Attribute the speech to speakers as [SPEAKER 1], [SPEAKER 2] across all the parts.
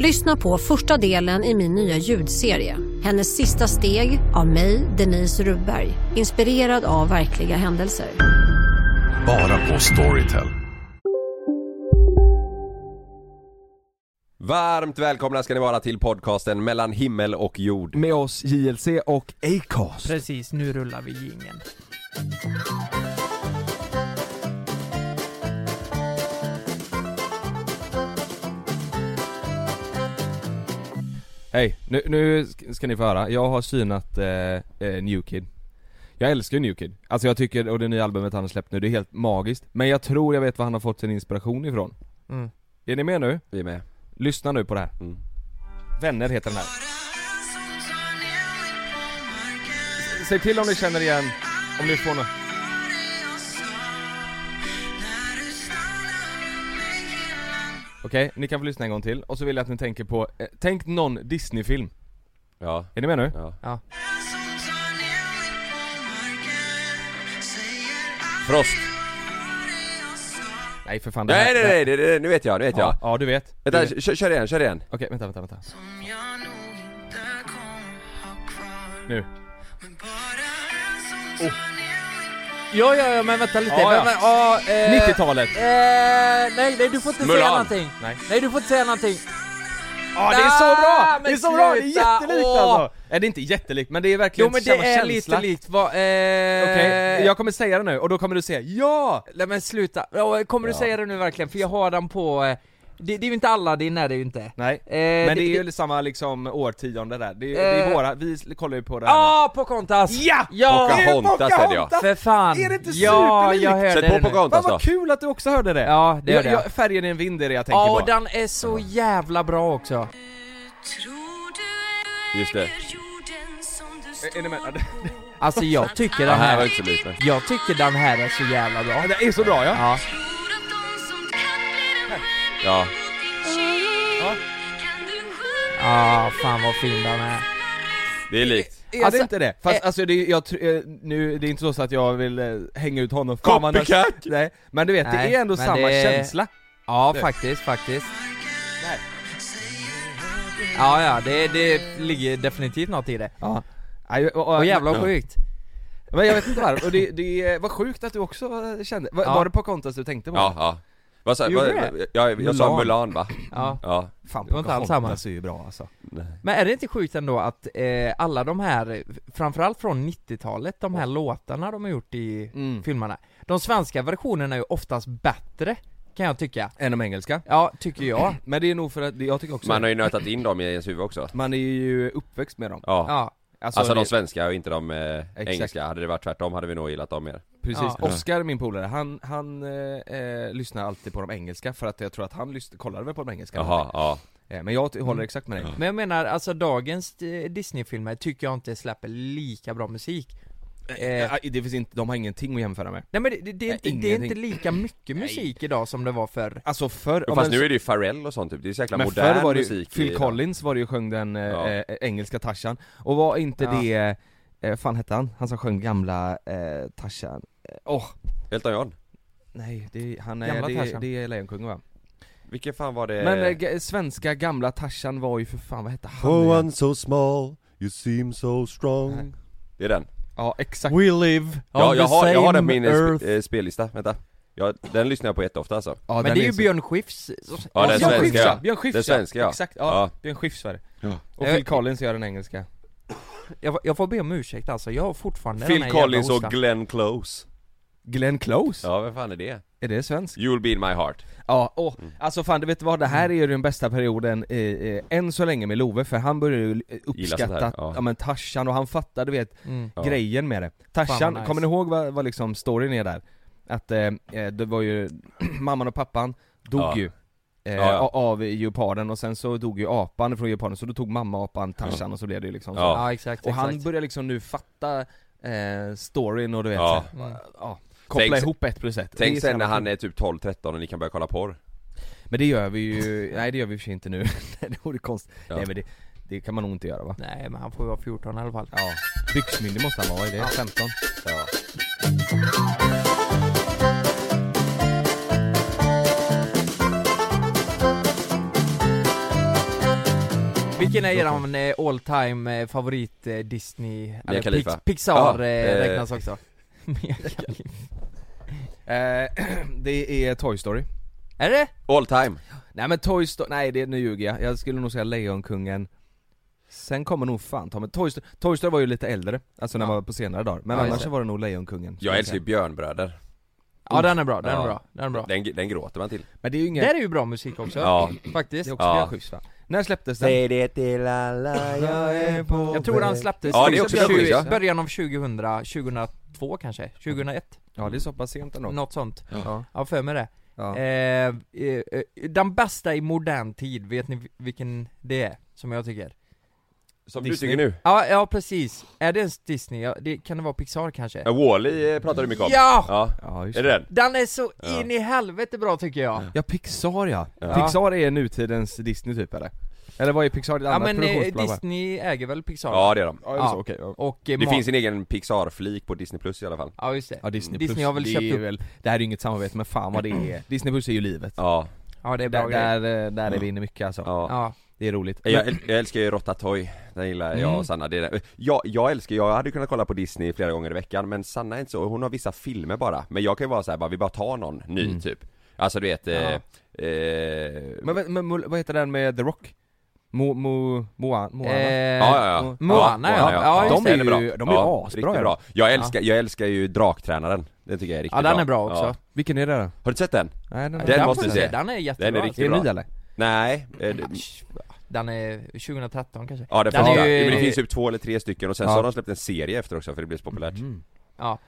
[SPEAKER 1] Lyssna på första delen i min nya ljudserie. Hennes sista steg av mig, Denise Rubberg. Inspirerad av verkliga händelser.
[SPEAKER 2] Bara på Storytel.
[SPEAKER 3] Varmt välkomna ska ni vara till podcasten mellan himmel och jord.
[SPEAKER 4] Med oss JLC och Acast.
[SPEAKER 5] Precis, nu rullar vi jingeln.
[SPEAKER 6] Hej, nu, nu sk- ska ni få höra. Jag har synat eh, eh, New Kid. Jag älskar ju New Kid. Alltså jag tycker, och det nya albumet han har släppt nu, det är helt magiskt. Men jag tror jag vet var han har fått sin inspiration ifrån.
[SPEAKER 5] Mm.
[SPEAKER 6] Är ni med nu?
[SPEAKER 3] Vi är med.
[SPEAKER 6] Lyssna nu på det här.
[SPEAKER 3] Mm.
[SPEAKER 6] Vänner heter den här. S- Säg till om ni känner igen, om ni får något. Okej, ni kan få lyssna en gång till. Och så vill jag att ni tänker på, eh, tänk någon Disney-film.
[SPEAKER 3] Ja.
[SPEAKER 6] Är ni med nu?
[SPEAKER 3] ja.
[SPEAKER 5] Ja.
[SPEAKER 3] Frost.
[SPEAKER 6] Nej för fan det
[SPEAKER 3] Nej
[SPEAKER 6] här-
[SPEAKER 3] nej
[SPEAKER 6] det här-
[SPEAKER 3] nej, det- det- nu vet jag, nu vet
[SPEAKER 6] Ja,
[SPEAKER 3] jag.
[SPEAKER 6] ja du vet. Du vet.
[SPEAKER 3] Vänta, kör, kör igen, kör igen.
[SPEAKER 6] Okej, vänta, vänta, vänta. Nu.
[SPEAKER 5] Jo, jo, jo, men vänta lite.
[SPEAKER 6] Ja, ja.
[SPEAKER 5] Men, men, åh, eh,
[SPEAKER 6] 90-talet.
[SPEAKER 5] Eh, nej, nej, du får inte
[SPEAKER 3] Mulan.
[SPEAKER 5] säga någonting.
[SPEAKER 6] Nej.
[SPEAKER 5] Nej, du får inte säga någonting. Ah,
[SPEAKER 6] Ja, det är så bra!
[SPEAKER 5] men
[SPEAKER 6] Det är så bra! Det är
[SPEAKER 5] sluta,
[SPEAKER 6] jättelikt
[SPEAKER 5] åh.
[SPEAKER 6] alltså! Nej det är inte jättelikt, men det är verkligen
[SPEAKER 5] Jo, men det
[SPEAKER 6] samma
[SPEAKER 5] är
[SPEAKER 6] känsla.
[SPEAKER 5] lite likt vad... Eh,
[SPEAKER 6] Okej, jag kommer säga det nu och då kommer du säga ja!
[SPEAKER 5] Nej men sluta. Åh, Kommer du säga det nu verkligen? För jag har den på... Eh, det, det är ju inte alla din är det ju inte.
[SPEAKER 6] Nej,
[SPEAKER 5] Eh,
[SPEAKER 6] men det är ju samma liksom årtionde där. Det är, det är
[SPEAKER 5] Eh.
[SPEAKER 6] våra, vi kollar ju på det här
[SPEAKER 5] Ja, Pocahontas!
[SPEAKER 6] Ja!
[SPEAKER 5] Ja!
[SPEAKER 3] Pocahontas. Pocahontas säger jag.
[SPEAKER 5] För fan!
[SPEAKER 6] Är det inte
[SPEAKER 5] ja,
[SPEAKER 6] superlikt?
[SPEAKER 5] jag hörde
[SPEAKER 3] Sätt
[SPEAKER 5] det
[SPEAKER 3] på
[SPEAKER 5] nu.
[SPEAKER 3] Pocahontas
[SPEAKER 6] Fan
[SPEAKER 3] då.
[SPEAKER 6] vad kul att du också hörde det!
[SPEAKER 5] Ja, det
[SPEAKER 6] jag,
[SPEAKER 5] hörde jag.
[SPEAKER 6] jag, Färgen i en vind är det jag tänker
[SPEAKER 5] Ja, och
[SPEAKER 6] på.
[SPEAKER 5] den är så jävla bra också.
[SPEAKER 3] Just det.
[SPEAKER 6] Är ni med? Ja, det-
[SPEAKER 5] Alltså jag tycker
[SPEAKER 3] Det
[SPEAKER 5] den
[SPEAKER 3] här var
[SPEAKER 5] här,
[SPEAKER 3] inte så likt. men-
[SPEAKER 5] jag tycker den här är så jävla bra.
[SPEAKER 6] Det är så bra ja!
[SPEAKER 5] Ja.
[SPEAKER 3] Ja.
[SPEAKER 5] Ja, fan vad fin den är.
[SPEAKER 3] Det är likt.
[SPEAKER 6] Är
[SPEAKER 5] Alltså,
[SPEAKER 6] det inte det? Fast
[SPEAKER 5] eh,
[SPEAKER 6] alltså det, är- jag, tr- eh, nu, det är inte så, så att jag vill eh, hänga ut honom för vad han
[SPEAKER 3] Copycat!
[SPEAKER 6] har, Nej, men du vet
[SPEAKER 5] Nej,
[SPEAKER 6] det är ändå
[SPEAKER 5] men
[SPEAKER 6] samma
[SPEAKER 5] det-
[SPEAKER 6] känsla
[SPEAKER 5] Ja,
[SPEAKER 6] Det.
[SPEAKER 5] faktiskt, faktiskt. Ja, ja, det, det ligger definitivt något i det.
[SPEAKER 6] Ja Nej, och, och,
[SPEAKER 5] Och jävla
[SPEAKER 6] ja.
[SPEAKER 5] sjukt.
[SPEAKER 6] Men jag vet inte varför, och det, det var sjukt att du också kände, var,
[SPEAKER 5] Ja.
[SPEAKER 6] var det på kontas du tänkte på?
[SPEAKER 3] Ja, ja. Vad sa
[SPEAKER 6] Gjorde
[SPEAKER 3] vad-
[SPEAKER 6] du
[SPEAKER 3] jag? Jag, sa
[SPEAKER 6] Mulan.
[SPEAKER 3] Mulan va?
[SPEAKER 5] Ja.
[SPEAKER 3] Ja.
[SPEAKER 6] Fan
[SPEAKER 5] Det var inte alls samma.
[SPEAKER 6] Pocahontas är ju bra alltså
[SPEAKER 5] Men är det inte sjukt ändå att eh, alla de här, framförallt från 90-talet, de här låtarna de har gjort i
[SPEAKER 6] Mm.
[SPEAKER 5] filmerna. De svenska versionerna är ju oftast bättre, kan jag tycka.
[SPEAKER 6] Än de engelska?
[SPEAKER 5] Ja, tycker jag.
[SPEAKER 6] Men det är nog för att, det- jag tycker också
[SPEAKER 3] Man har ju nötat in dem i ens huvud också.
[SPEAKER 6] man är ju uppväxt med dem
[SPEAKER 3] Ja.
[SPEAKER 5] Ja.
[SPEAKER 3] Alltså de
[SPEAKER 6] det,
[SPEAKER 3] svenska och inte de eh,
[SPEAKER 6] Exakt.
[SPEAKER 3] engelska. Hade det varit tvärtom hade vi nog gillat dem mer.
[SPEAKER 6] precis,
[SPEAKER 5] Ja.
[SPEAKER 6] Oscar min polare, han, han eh, eh, lyssnar alltid på de engelska för att jag tror att han lyssn- kollade väl på de engelska
[SPEAKER 3] Jaha, ja. Mm.
[SPEAKER 6] Eh, Men jag ty- håller exakt med dig
[SPEAKER 5] Men jag menar, alltså dagens eh, Disney-filmer tycker jag inte släpper lika bra musik. Eh,
[SPEAKER 6] Eh, Det finns inte, de har ingenting att jämföra med
[SPEAKER 5] nej men det, det, det, är, inte, det är
[SPEAKER 6] ingenting.
[SPEAKER 5] inte lika mycket musik idag som det var förr.
[SPEAKER 6] Alltså förr,
[SPEAKER 3] Men
[SPEAKER 6] om
[SPEAKER 3] fast
[SPEAKER 6] man-
[SPEAKER 3] nu är det ju Pharrell och sånt typ. Det är så jäkla
[SPEAKER 6] men
[SPEAKER 3] modern
[SPEAKER 6] förr var det ju,
[SPEAKER 3] musik.
[SPEAKER 6] Phil
[SPEAKER 3] i-
[SPEAKER 6] Collins var det ju sjöng den eh,
[SPEAKER 3] Ja.
[SPEAKER 6] eh, engelska Tarzan, och var inte
[SPEAKER 5] Ja.
[SPEAKER 6] det, eh, fan hette han? Han som sjöng gamla eh, Tarzan, Eh, åh,
[SPEAKER 3] Elton John.
[SPEAKER 6] nej det, han är,
[SPEAKER 5] Gamla
[SPEAKER 6] det,
[SPEAKER 5] Tarzan.
[SPEAKER 6] det är Lejonkungen va?
[SPEAKER 3] Vilken fan var det?
[SPEAKER 6] Men eh, g- svenska gamla Tarzan var ju för fan, vad hette han?
[SPEAKER 7] For
[SPEAKER 6] igen?
[SPEAKER 7] one so small, you seem so strong.
[SPEAKER 3] det är den.
[SPEAKER 6] Ja exakt,
[SPEAKER 7] We live
[SPEAKER 3] Ja,
[SPEAKER 7] on
[SPEAKER 3] jag
[SPEAKER 7] the
[SPEAKER 3] har,
[SPEAKER 7] same
[SPEAKER 3] jag har den på min eh,
[SPEAKER 7] earth.
[SPEAKER 3] sp- eh, spellista, vänta. Ja, den lyssnar jag på jätteofta alltså.
[SPEAKER 6] ja,
[SPEAKER 5] men det är ju
[SPEAKER 6] så-
[SPEAKER 5] Björn Skifs
[SPEAKER 3] Ja, den
[SPEAKER 6] Björn
[SPEAKER 3] svenska,
[SPEAKER 6] Skifs
[SPEAKER 3] ja.
[SPEAKER 6] ja, Björn Skifs
[SPEAKER 3] Den svenska, ja.
[SPEAKER 6] Exakt, ja,
[SPEAKER 3] Ja.
[SPEAKER 6] Björn Skifs var det
[SPEAKER 3] Ja.
[SPEAKER 6] Och
[SPEAKER 5] Eh,
[SPEAKER 6] Phil Collins gör den engelska
[SPEAKER 5] jag, får- jag får be om ursäkt alltså, jag har fortfarande den
[SPEAKER 3] Phil
[SPEAKER 5] här jävla
[SPEAKER 3] Collins och
[SPEAKER 5] hostan.
[SPEAKER 3] Glenn Close.
[SPEAKER 6] Glenn Close?
[SPEAKER 3] Ja, vem fan är det?
[SPEAKER 6] Är det svensk?
[SPEAKER 3] You'll be in my heart.
[SPEAKER 6] Ja, åh, alltså fan du vet vad, det
[SPEAKER 3] Mm.
[SPEAKER 6] här är ju den bästa perioden eh, eh, än så länge med Love, för han började ju eh,
[SPEAKER 3] sånt
[SPEAKER 6] uppskatta,
[SPEAKER 3] här,
[SPEAKER 6] ja.
[SPEAKER 3] ja.
[SPEAKER 6] men Tarzan och han fattade du vet,
[SPEAKER 5] Mm.
[SPEAKER 3] Ja.
[SPEAKER 6] grejen med det. Tarzan,
[SPEAKER 5] Fan, vad nice.
[SPEAKER 6] kommer ni ihåg vad, vad liksom storyn är där? Att eh, eh, det var ju, mamman och pappan dog
[SPEAKER 3] Ja.
[SPEAKER 6] ju
[SPEAKER 3] Ja,
[SPEAKER 6] eh,
[SPEAKER 3] ja.
[SPEAKER 6] a- av geoparden och sen så dog ju apan från geoparden, så då tog mamma apan Tarzan och så blev det ju liksom så.
[SPEAKER 3] Ja.
[SPEAKER 5] Ja, exakt,
[SPEAKER 6] Och han
[SPEAKER 5] exakt.
[SPEAKER 6] börjar liksom nu fatta eh, storyn och du vet
[SPEAKER 3] Ja.
[SPEAKER 6] så här,
[SPEAKER 5] Mm.
[SPEAKER 6] ja, koppla
[SPEAKER 3] Tänk-
[SPEAKER 6] ihop ett plus ett. Det är
[SPEAKER 3] Tänk
[SPEAKER 6] så
[SPEAKER 3] sen när
[SPEAKER 6] jävla kul.
[SPEAKER 3] han är typ 12-13 och ni kan börja kolla porr.
[SPEAKER 6] Men det gör vi ju, nej det gör vi i och för sig inte nu, det vore konstigt.
[SPEAKER 3] Ja.
[SPEAKER 6] Nej men det, det kan man nog inte göra va?
[SPEAKER 5] Nej men han får ju vara 14 i alla fall.
[SPEAKER 6] Ja, byxmyndig måste han vara, är det 15?
[SPEAKER 3] Ja.
[SPEAKER 5] Vilken är eran eh, all time eh, favorit eh, Disney, eller
[SPEAKER 3] Khalifa.
[SPEAKER 5] Pix- Pixar
[SPEAKER 3] Ja,
[SPEAKER 5] eh,
[SPEAKER 3] eh,
[SPEAKER 5] räknas också? Mia Khalifa.
[SPEAKER 6] Eh, det är Toy Story.
[SPEAKER 5] Är det?
[SPEAKER 3] All time.
[SPEAKER 6] Nej men Toy Story, nej det, nu ljuger jag. Jag skulle nog säga Lejonkungen Sen kommer nog fan ta mig, Toy Story, Toy Story var ju lite äldre, alltså när man var på senare dagar, men
[SPEAKER 5] Ja, just
[SPEAKER 6] annars
[SPEAKER 5] det.
[SPEAKER 6] så var det nog Lejonkungen skulle
[SPEAKER 3] Jag älskar ju
[SPEAKER 6] säga.
[SPEAKER 3] Björnbröder.
[SPEAKER 5] Ja den är bra, den är
[SPEAKER 3] Ja.
[SPEAKER 5] bra, den är bra.
[SPEAKER 3] Den, den gråter man till.
[SPEAKER 6] Men det är ju
[SPEAKER 5] Det
[SPEAKER 6] ingen,
[SPEAKER 5] är ju bra musik också,
[SPEAKER 3] Ja.
[SPEAKER 5] faktiskt.
[SPEAKER 6] det är också
[SPEAKER 3] Ja.
[SPEAKER 6] ja. schysst va? När släpptes den?
[SPEAKER 3] det till alla
[SPEAKER 5] Jag tror den släpptes
[SPEAKER 3] Ja, det är också
[SPEAKER 5] i
[SPEAKER 3] bra skit, ja.
[SPEAKER 5] början av 2000, 2002 kanske, 2001,
[SPEAKER 6] Ja det är så pass sent ändå
[SPEAKER 5] något sånt.
[SPEAKER 6] Ja,
[SPEAKER 5] Ja, för mig det.
[SPEAKER 6] ja.
[SPEAKER 5] Eh, eh, eh, den bästa i modern tid, vet ni vilken det är? Som jag tycker?
[SPEAKER 3] Som
[SPEAKER 6] Disney.
[SPEAKER 3] du tycker nu.
[SPEAKER 5] Ja, ja precis. Är det ens Disney? Ja, det, kan det vara Pixar kanske?
[SPEAKER 3] Ja, Wall-E eh, pratar du mycket om.
[SPEAKER 5] Ja!
[SPEAKER 3] ja.
[SPEAKER 6] ja just
[SPEAKER 3] Är det den?
[SPEAKER 5] Den är så
[SPEAKER 3] Ja.
[SPEAKER 5] in i helvete bra tycker jag.
[SPEAKER 6] Ja, Pixar ja.
[SPEAKER 3] Ja.
[SPEAKER 6] Pixar är nutidens Disney typ eller? Eller vad är Pixar? Ett
[SPEAKER 5] Ja,
[SPEAKER 6] annat
[SPEAKER 5] men eh,
[SPEAKER 6] produktionsbolag va?
[SPEAKER 5] Disney äger väl Pixar?
[SPEAKER 3] Ja, det är de.
[SPEAKER 6] Ja, är det så? Okej. ja.
[SPEAKER 5] Och eh,
[SPEAKER 3] Det
[SPEAKER 5] Ma-
[SPEAKER 3] finns en egen Pixar-flik på Disney Plus i alla fall.
[SPEAKER 5] Ja just det.
[SPEAKER 6] Ja, Disney,
[SPEAKER 5] Disney har väl
[SPEAKER 6] det
[SPEAKER 5] köpt
[SPEAKER 6] är
[SPEAKER 5] upp-
[SPEAKER 6] Väl, det här är ju inget samarbete men fan vad det är. Disney Plus är ju livet.
[SPEAKER 3] Ja.
[SPEAKER 5] Ja det är bra
[SPEAKER 6] Där,
[SPEAKER 5] grejer.
[SPEAKER 6] där, eh, där är vi inne mycket alltså.
[SPEAKER 3] ja.
[SPEAKER 5] Ja.
[SPEAKER 6] Det är roligt.
[SPEAKER 3] Jag, äl- jag älskar ju Rottatoy, den gillar jag
[SPEAKER 5] Mm.
[SPEAKER 3] och Sanna, det är den. Jag, jag älskar, jag hade kunnat kolla på Disney flera gånger i veckan men Sanna är inte så, hon har vissa filmer bara, men jag kan ju vara såhär bara, vi bara tar någon ny
[SPEAKER 5] Mm.
[SPEAKER 3] typ Alltså du vet, eh, eh,
[SPEAKER 6] Men, men, men mul- vad heter den med The Rock? Mo, mo, Moa, Moana?
[SPEAKER 5] Eh,
[SPEAKER 3] ja, ja, ja.
[SPEAKER 5] Moana, ja. Ja,
[SPEAKER 3] de
[SPEAKER 5] just det.
[SPEAKER 3] är ju bra.
[SPEAKER 6] de är ju asbra,
[SPEAKER 3] riktigt
[SPEAKER 6] ja.
[SPEAKER 3] bra. Jag älskar, jag älskar ju Draktränaren, den tycker jag är riktigt
[SPEAKER 5] Ja den är bra också.
[SPEAKER 3] Ja.
[SPEAKER 6] Vilken är det då?
[SPEAKER 3] Har du sett den?
[SPEAKER 6] Nej, den,
[SPEAKER 3] Den
[SPEAKER 6] den
[SPEAKER 3] måste
[SPEAKER 5] får
[SPEAKER 3] du
[SPEAKER 5] jag
[SPEAKER 3] se.
[SPEAKER 5] Den är jättebra.
[SPEAKER 3] Den är
[SPEAKER 6] Är
[SPEAKER 3] riktigt
[SPEAKER 6] det
[SPEAKER 3] bra.
[SPEAKER 6] ny eller?
[SPEAKER 3] Nej, eh, det-
[SPEAKER 5] Den är 2013 kanske.
[SPEAKER 3] ja det,
[SPEAKER 5] Den
[SPEAKER 3] första.
[SPEAKER 5] är ju-
[SPEAKER 3] men det finns typ två eller tre stycken och sen
[SPEAKER 6] Ja.
[SPEAKER 3] så har de släppt en serie efter också för det blev så populärt
[SPEAKER 5] Mm. Ja.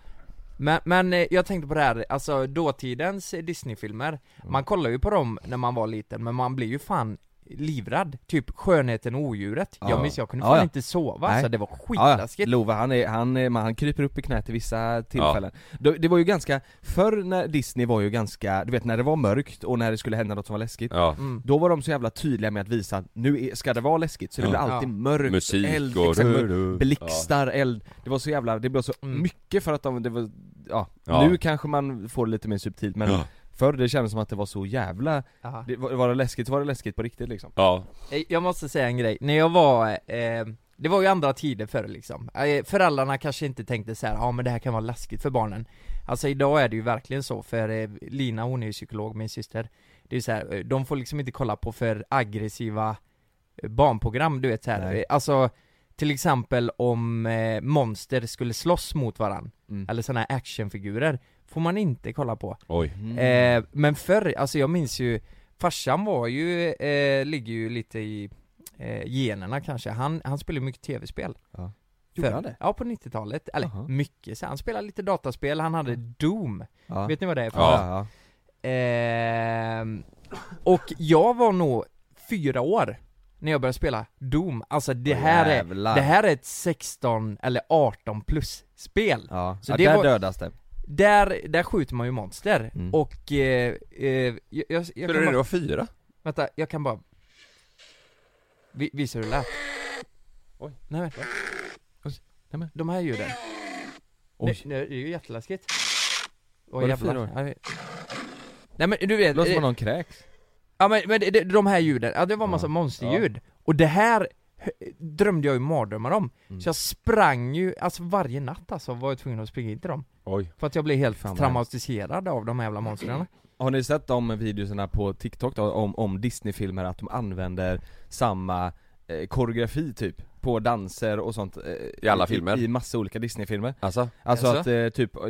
[SPEAKER 5] Men, men eh, jag tänkte på det här, alltså dåtidens eh, Disney-filmer,
[SPEAKER 3] Mm.
[SPEAKER 5] man kollar ju på dem när man var liten men man blir ju fan livrädd. Typ Skönheten och Odjuret.
[SPEAKER 6] Ja.
[SPEAKER 5] Jag minns jag kunde
[SPEAKER 6] Ja,
[SPEAKER 5] fan
[SPEAKER 6] ja.
[SPEAKER 5] inte sova
[SPEAKER 6] Nej.
[SPEAKER 5] så det var
[SPEAKER 6] Ja,
[SPEAKER 5] skitläskigt.
[SPEAKER 6] ja. Lova han, är, han, är- man- han kryper upp i knät i vissa tillfällen. Det, det var ju ganska, förr när Disney var ju ganska, du vet när det var mörkt och när det skulle hända något som var läskigt.
[SPEAKER 3] Ja,
[SPEAKER 5] Mm.
[SPEAKER 6] Då var de så jävla tydliga med att visa att nu är, ska det vara läskigt, så det
[SPEAKER 3] Ja.
[SPEAKER 6] blir alltid
[SPEAKER 5] Ja.
[SPEAKER 6] mörkt,
[SPEAKER 3] Musik
[SPEAKER 6] eld,
[SPEAKER 3] och-
[SPEAKER 6] exakt,
[SPEAKER 3] du, du.
[SPEAKER 6] blixtar, eld. Det var så jävla, det blev så
[SPEAKER 5] Mm.
[SPEAKER 6] mycket för att de, det var, ja,
[SPEAKER 3] Ja.
[SPEAKER 6] nu kanske man får det lite mer subtilt men
[SPEAKER 3] Ja.
[SPEAKER 6] förr det kändes som att det var så jävla,
[SPEAKER 5] Jaha.
[SPEAKER 6] det, var var det läskigt så var det läskigt på riktigt liksom.
[SPEAKER 3] ja,
[SPEAKER 5] Eh, Jag måste säga en grej, när jag var, eh, det var ju andra tider förr liksom. Eh, föräldrarna kanske inte tänkte så här, ja ah, men det här kan vara läskigt för barnen. Alltså idag är det ju verkligen så, för eh, Lina hon är ju psykolog, min syster. Det är ju så här, eh, de får liksom inte kolla på för aggressiva eh, barnprogram, du vet så här.
[SPEAKER 6] Nej.
[SPEAKER 5] Eh, Alltså, till exempel om eh, monster skulle slåss mot varann,
[SPEAKER 6] Mm.
[SPEAKER 5] eller sådana här actionfigurer, får man inte kolla på.
[SPEAKER 3] oj
[SPEAKER 6] Mm.
[SPEAKER 5] Eh, men förr, alltså jag minns ju, farsan var ju, eh, ligger ju lite i eh, generna kanske, han, han spelade mycket tv-spel
[SPEAKER 6] Ja. Gjorde
[SPEAKER 5] Förr.
[SPEAKER 6] han det?
[SPEAKER 5] Ja, på 90-talet, eller
[SPEAKER 6] Jaha.
[SPEAKER 5] mycket, så han spelade lite dataspel, han hade Doom,
[SPEAKER 6] Mm. Ja.
[SPEAKER 5] vet ni vad det är för
[SPEAKER 3] Ja.
[SPEAKER 6] Ja, ja.
[SPEAKER 5] Ehm, och jag var nog fyra år när jag började spela Doom, alltså det här är,
[SPEAKER 6] Jävlar.
[SPEAKER 5] det här är ett 16 eller 18 plus spel
[SPEAKER 6] Ja.
[SPEAKER 5] Så
[SPEAKER 6] ja,
[SPEAKER 5] det
[SPEAKER 6] där
[SPEAKER 5] var-
[SPEAKER 6] dödas det.
[SPEAKER 5] Där, där skjuter man ju monster,
[SPEAKER 6] Mm.
[SPEAKER 5] och eh, eh, jag, jag, jag
[SPEAKER 3] Spelade du när
[SPEAKER 5] kan
[SPEAKER 3] du
[SPEAKER 5] bara,
[SPEAKER 3] var fyra?
[SPEAKER 5] vänta, jag kan bara vi, Visa hur det lät Oj, nej vänta Oj, nej men de här ljuden
[SPEAKER 6] Oj.
[SPEAKER 5] Oj. Nu, nu, det är ju jätteläskigt Åh
[SPEAKER 6] Var det
[SPEAKER 5] jävlar
[SPEAKER 6] fyra år?
[SPEAKER 5] Ja, det- Nej men du vet,
[SPEAKER 6] Det låter
[SPEAKER 5] eh,
[SPEAKER 6] som att någon kräks.
[SPEAKER 5] ja men, men det- det, de här ljuden, ja det var en massa
[SPEAKER 6] Ja.
[SPEAKER 5] monsterljud Och det här hö- drömde jag ju mardrömmar om
[SPEAKER 6] Mm.
[SPEAKER 5] Så jag sprang ju, alltså varje natt alltså var jag tvungen att springa in till dem
[SPEAKER 3] Oj
[SPEAKER 5] För att jag blev helt
[SPEAKER 6] Fan, vad
[SPEAKER 5] traumatiserad av de här jävla monstren
[SPEAKER 6] Har ni sett de videorna på TikTok då, om, om Disney-filmer att de använder samma eh, koreografi typ? På danser och sånt eh,
[SPEAKER 3] I alla filmer?
[SPEAKER 6] I, i massa olika Disney-filmer
[SPEAKER 3] Alltså?
[SPEAKER 6] Alltså
[SPEAKER 5] Jaså?
[SPEAKER 6] att eh, typ eh,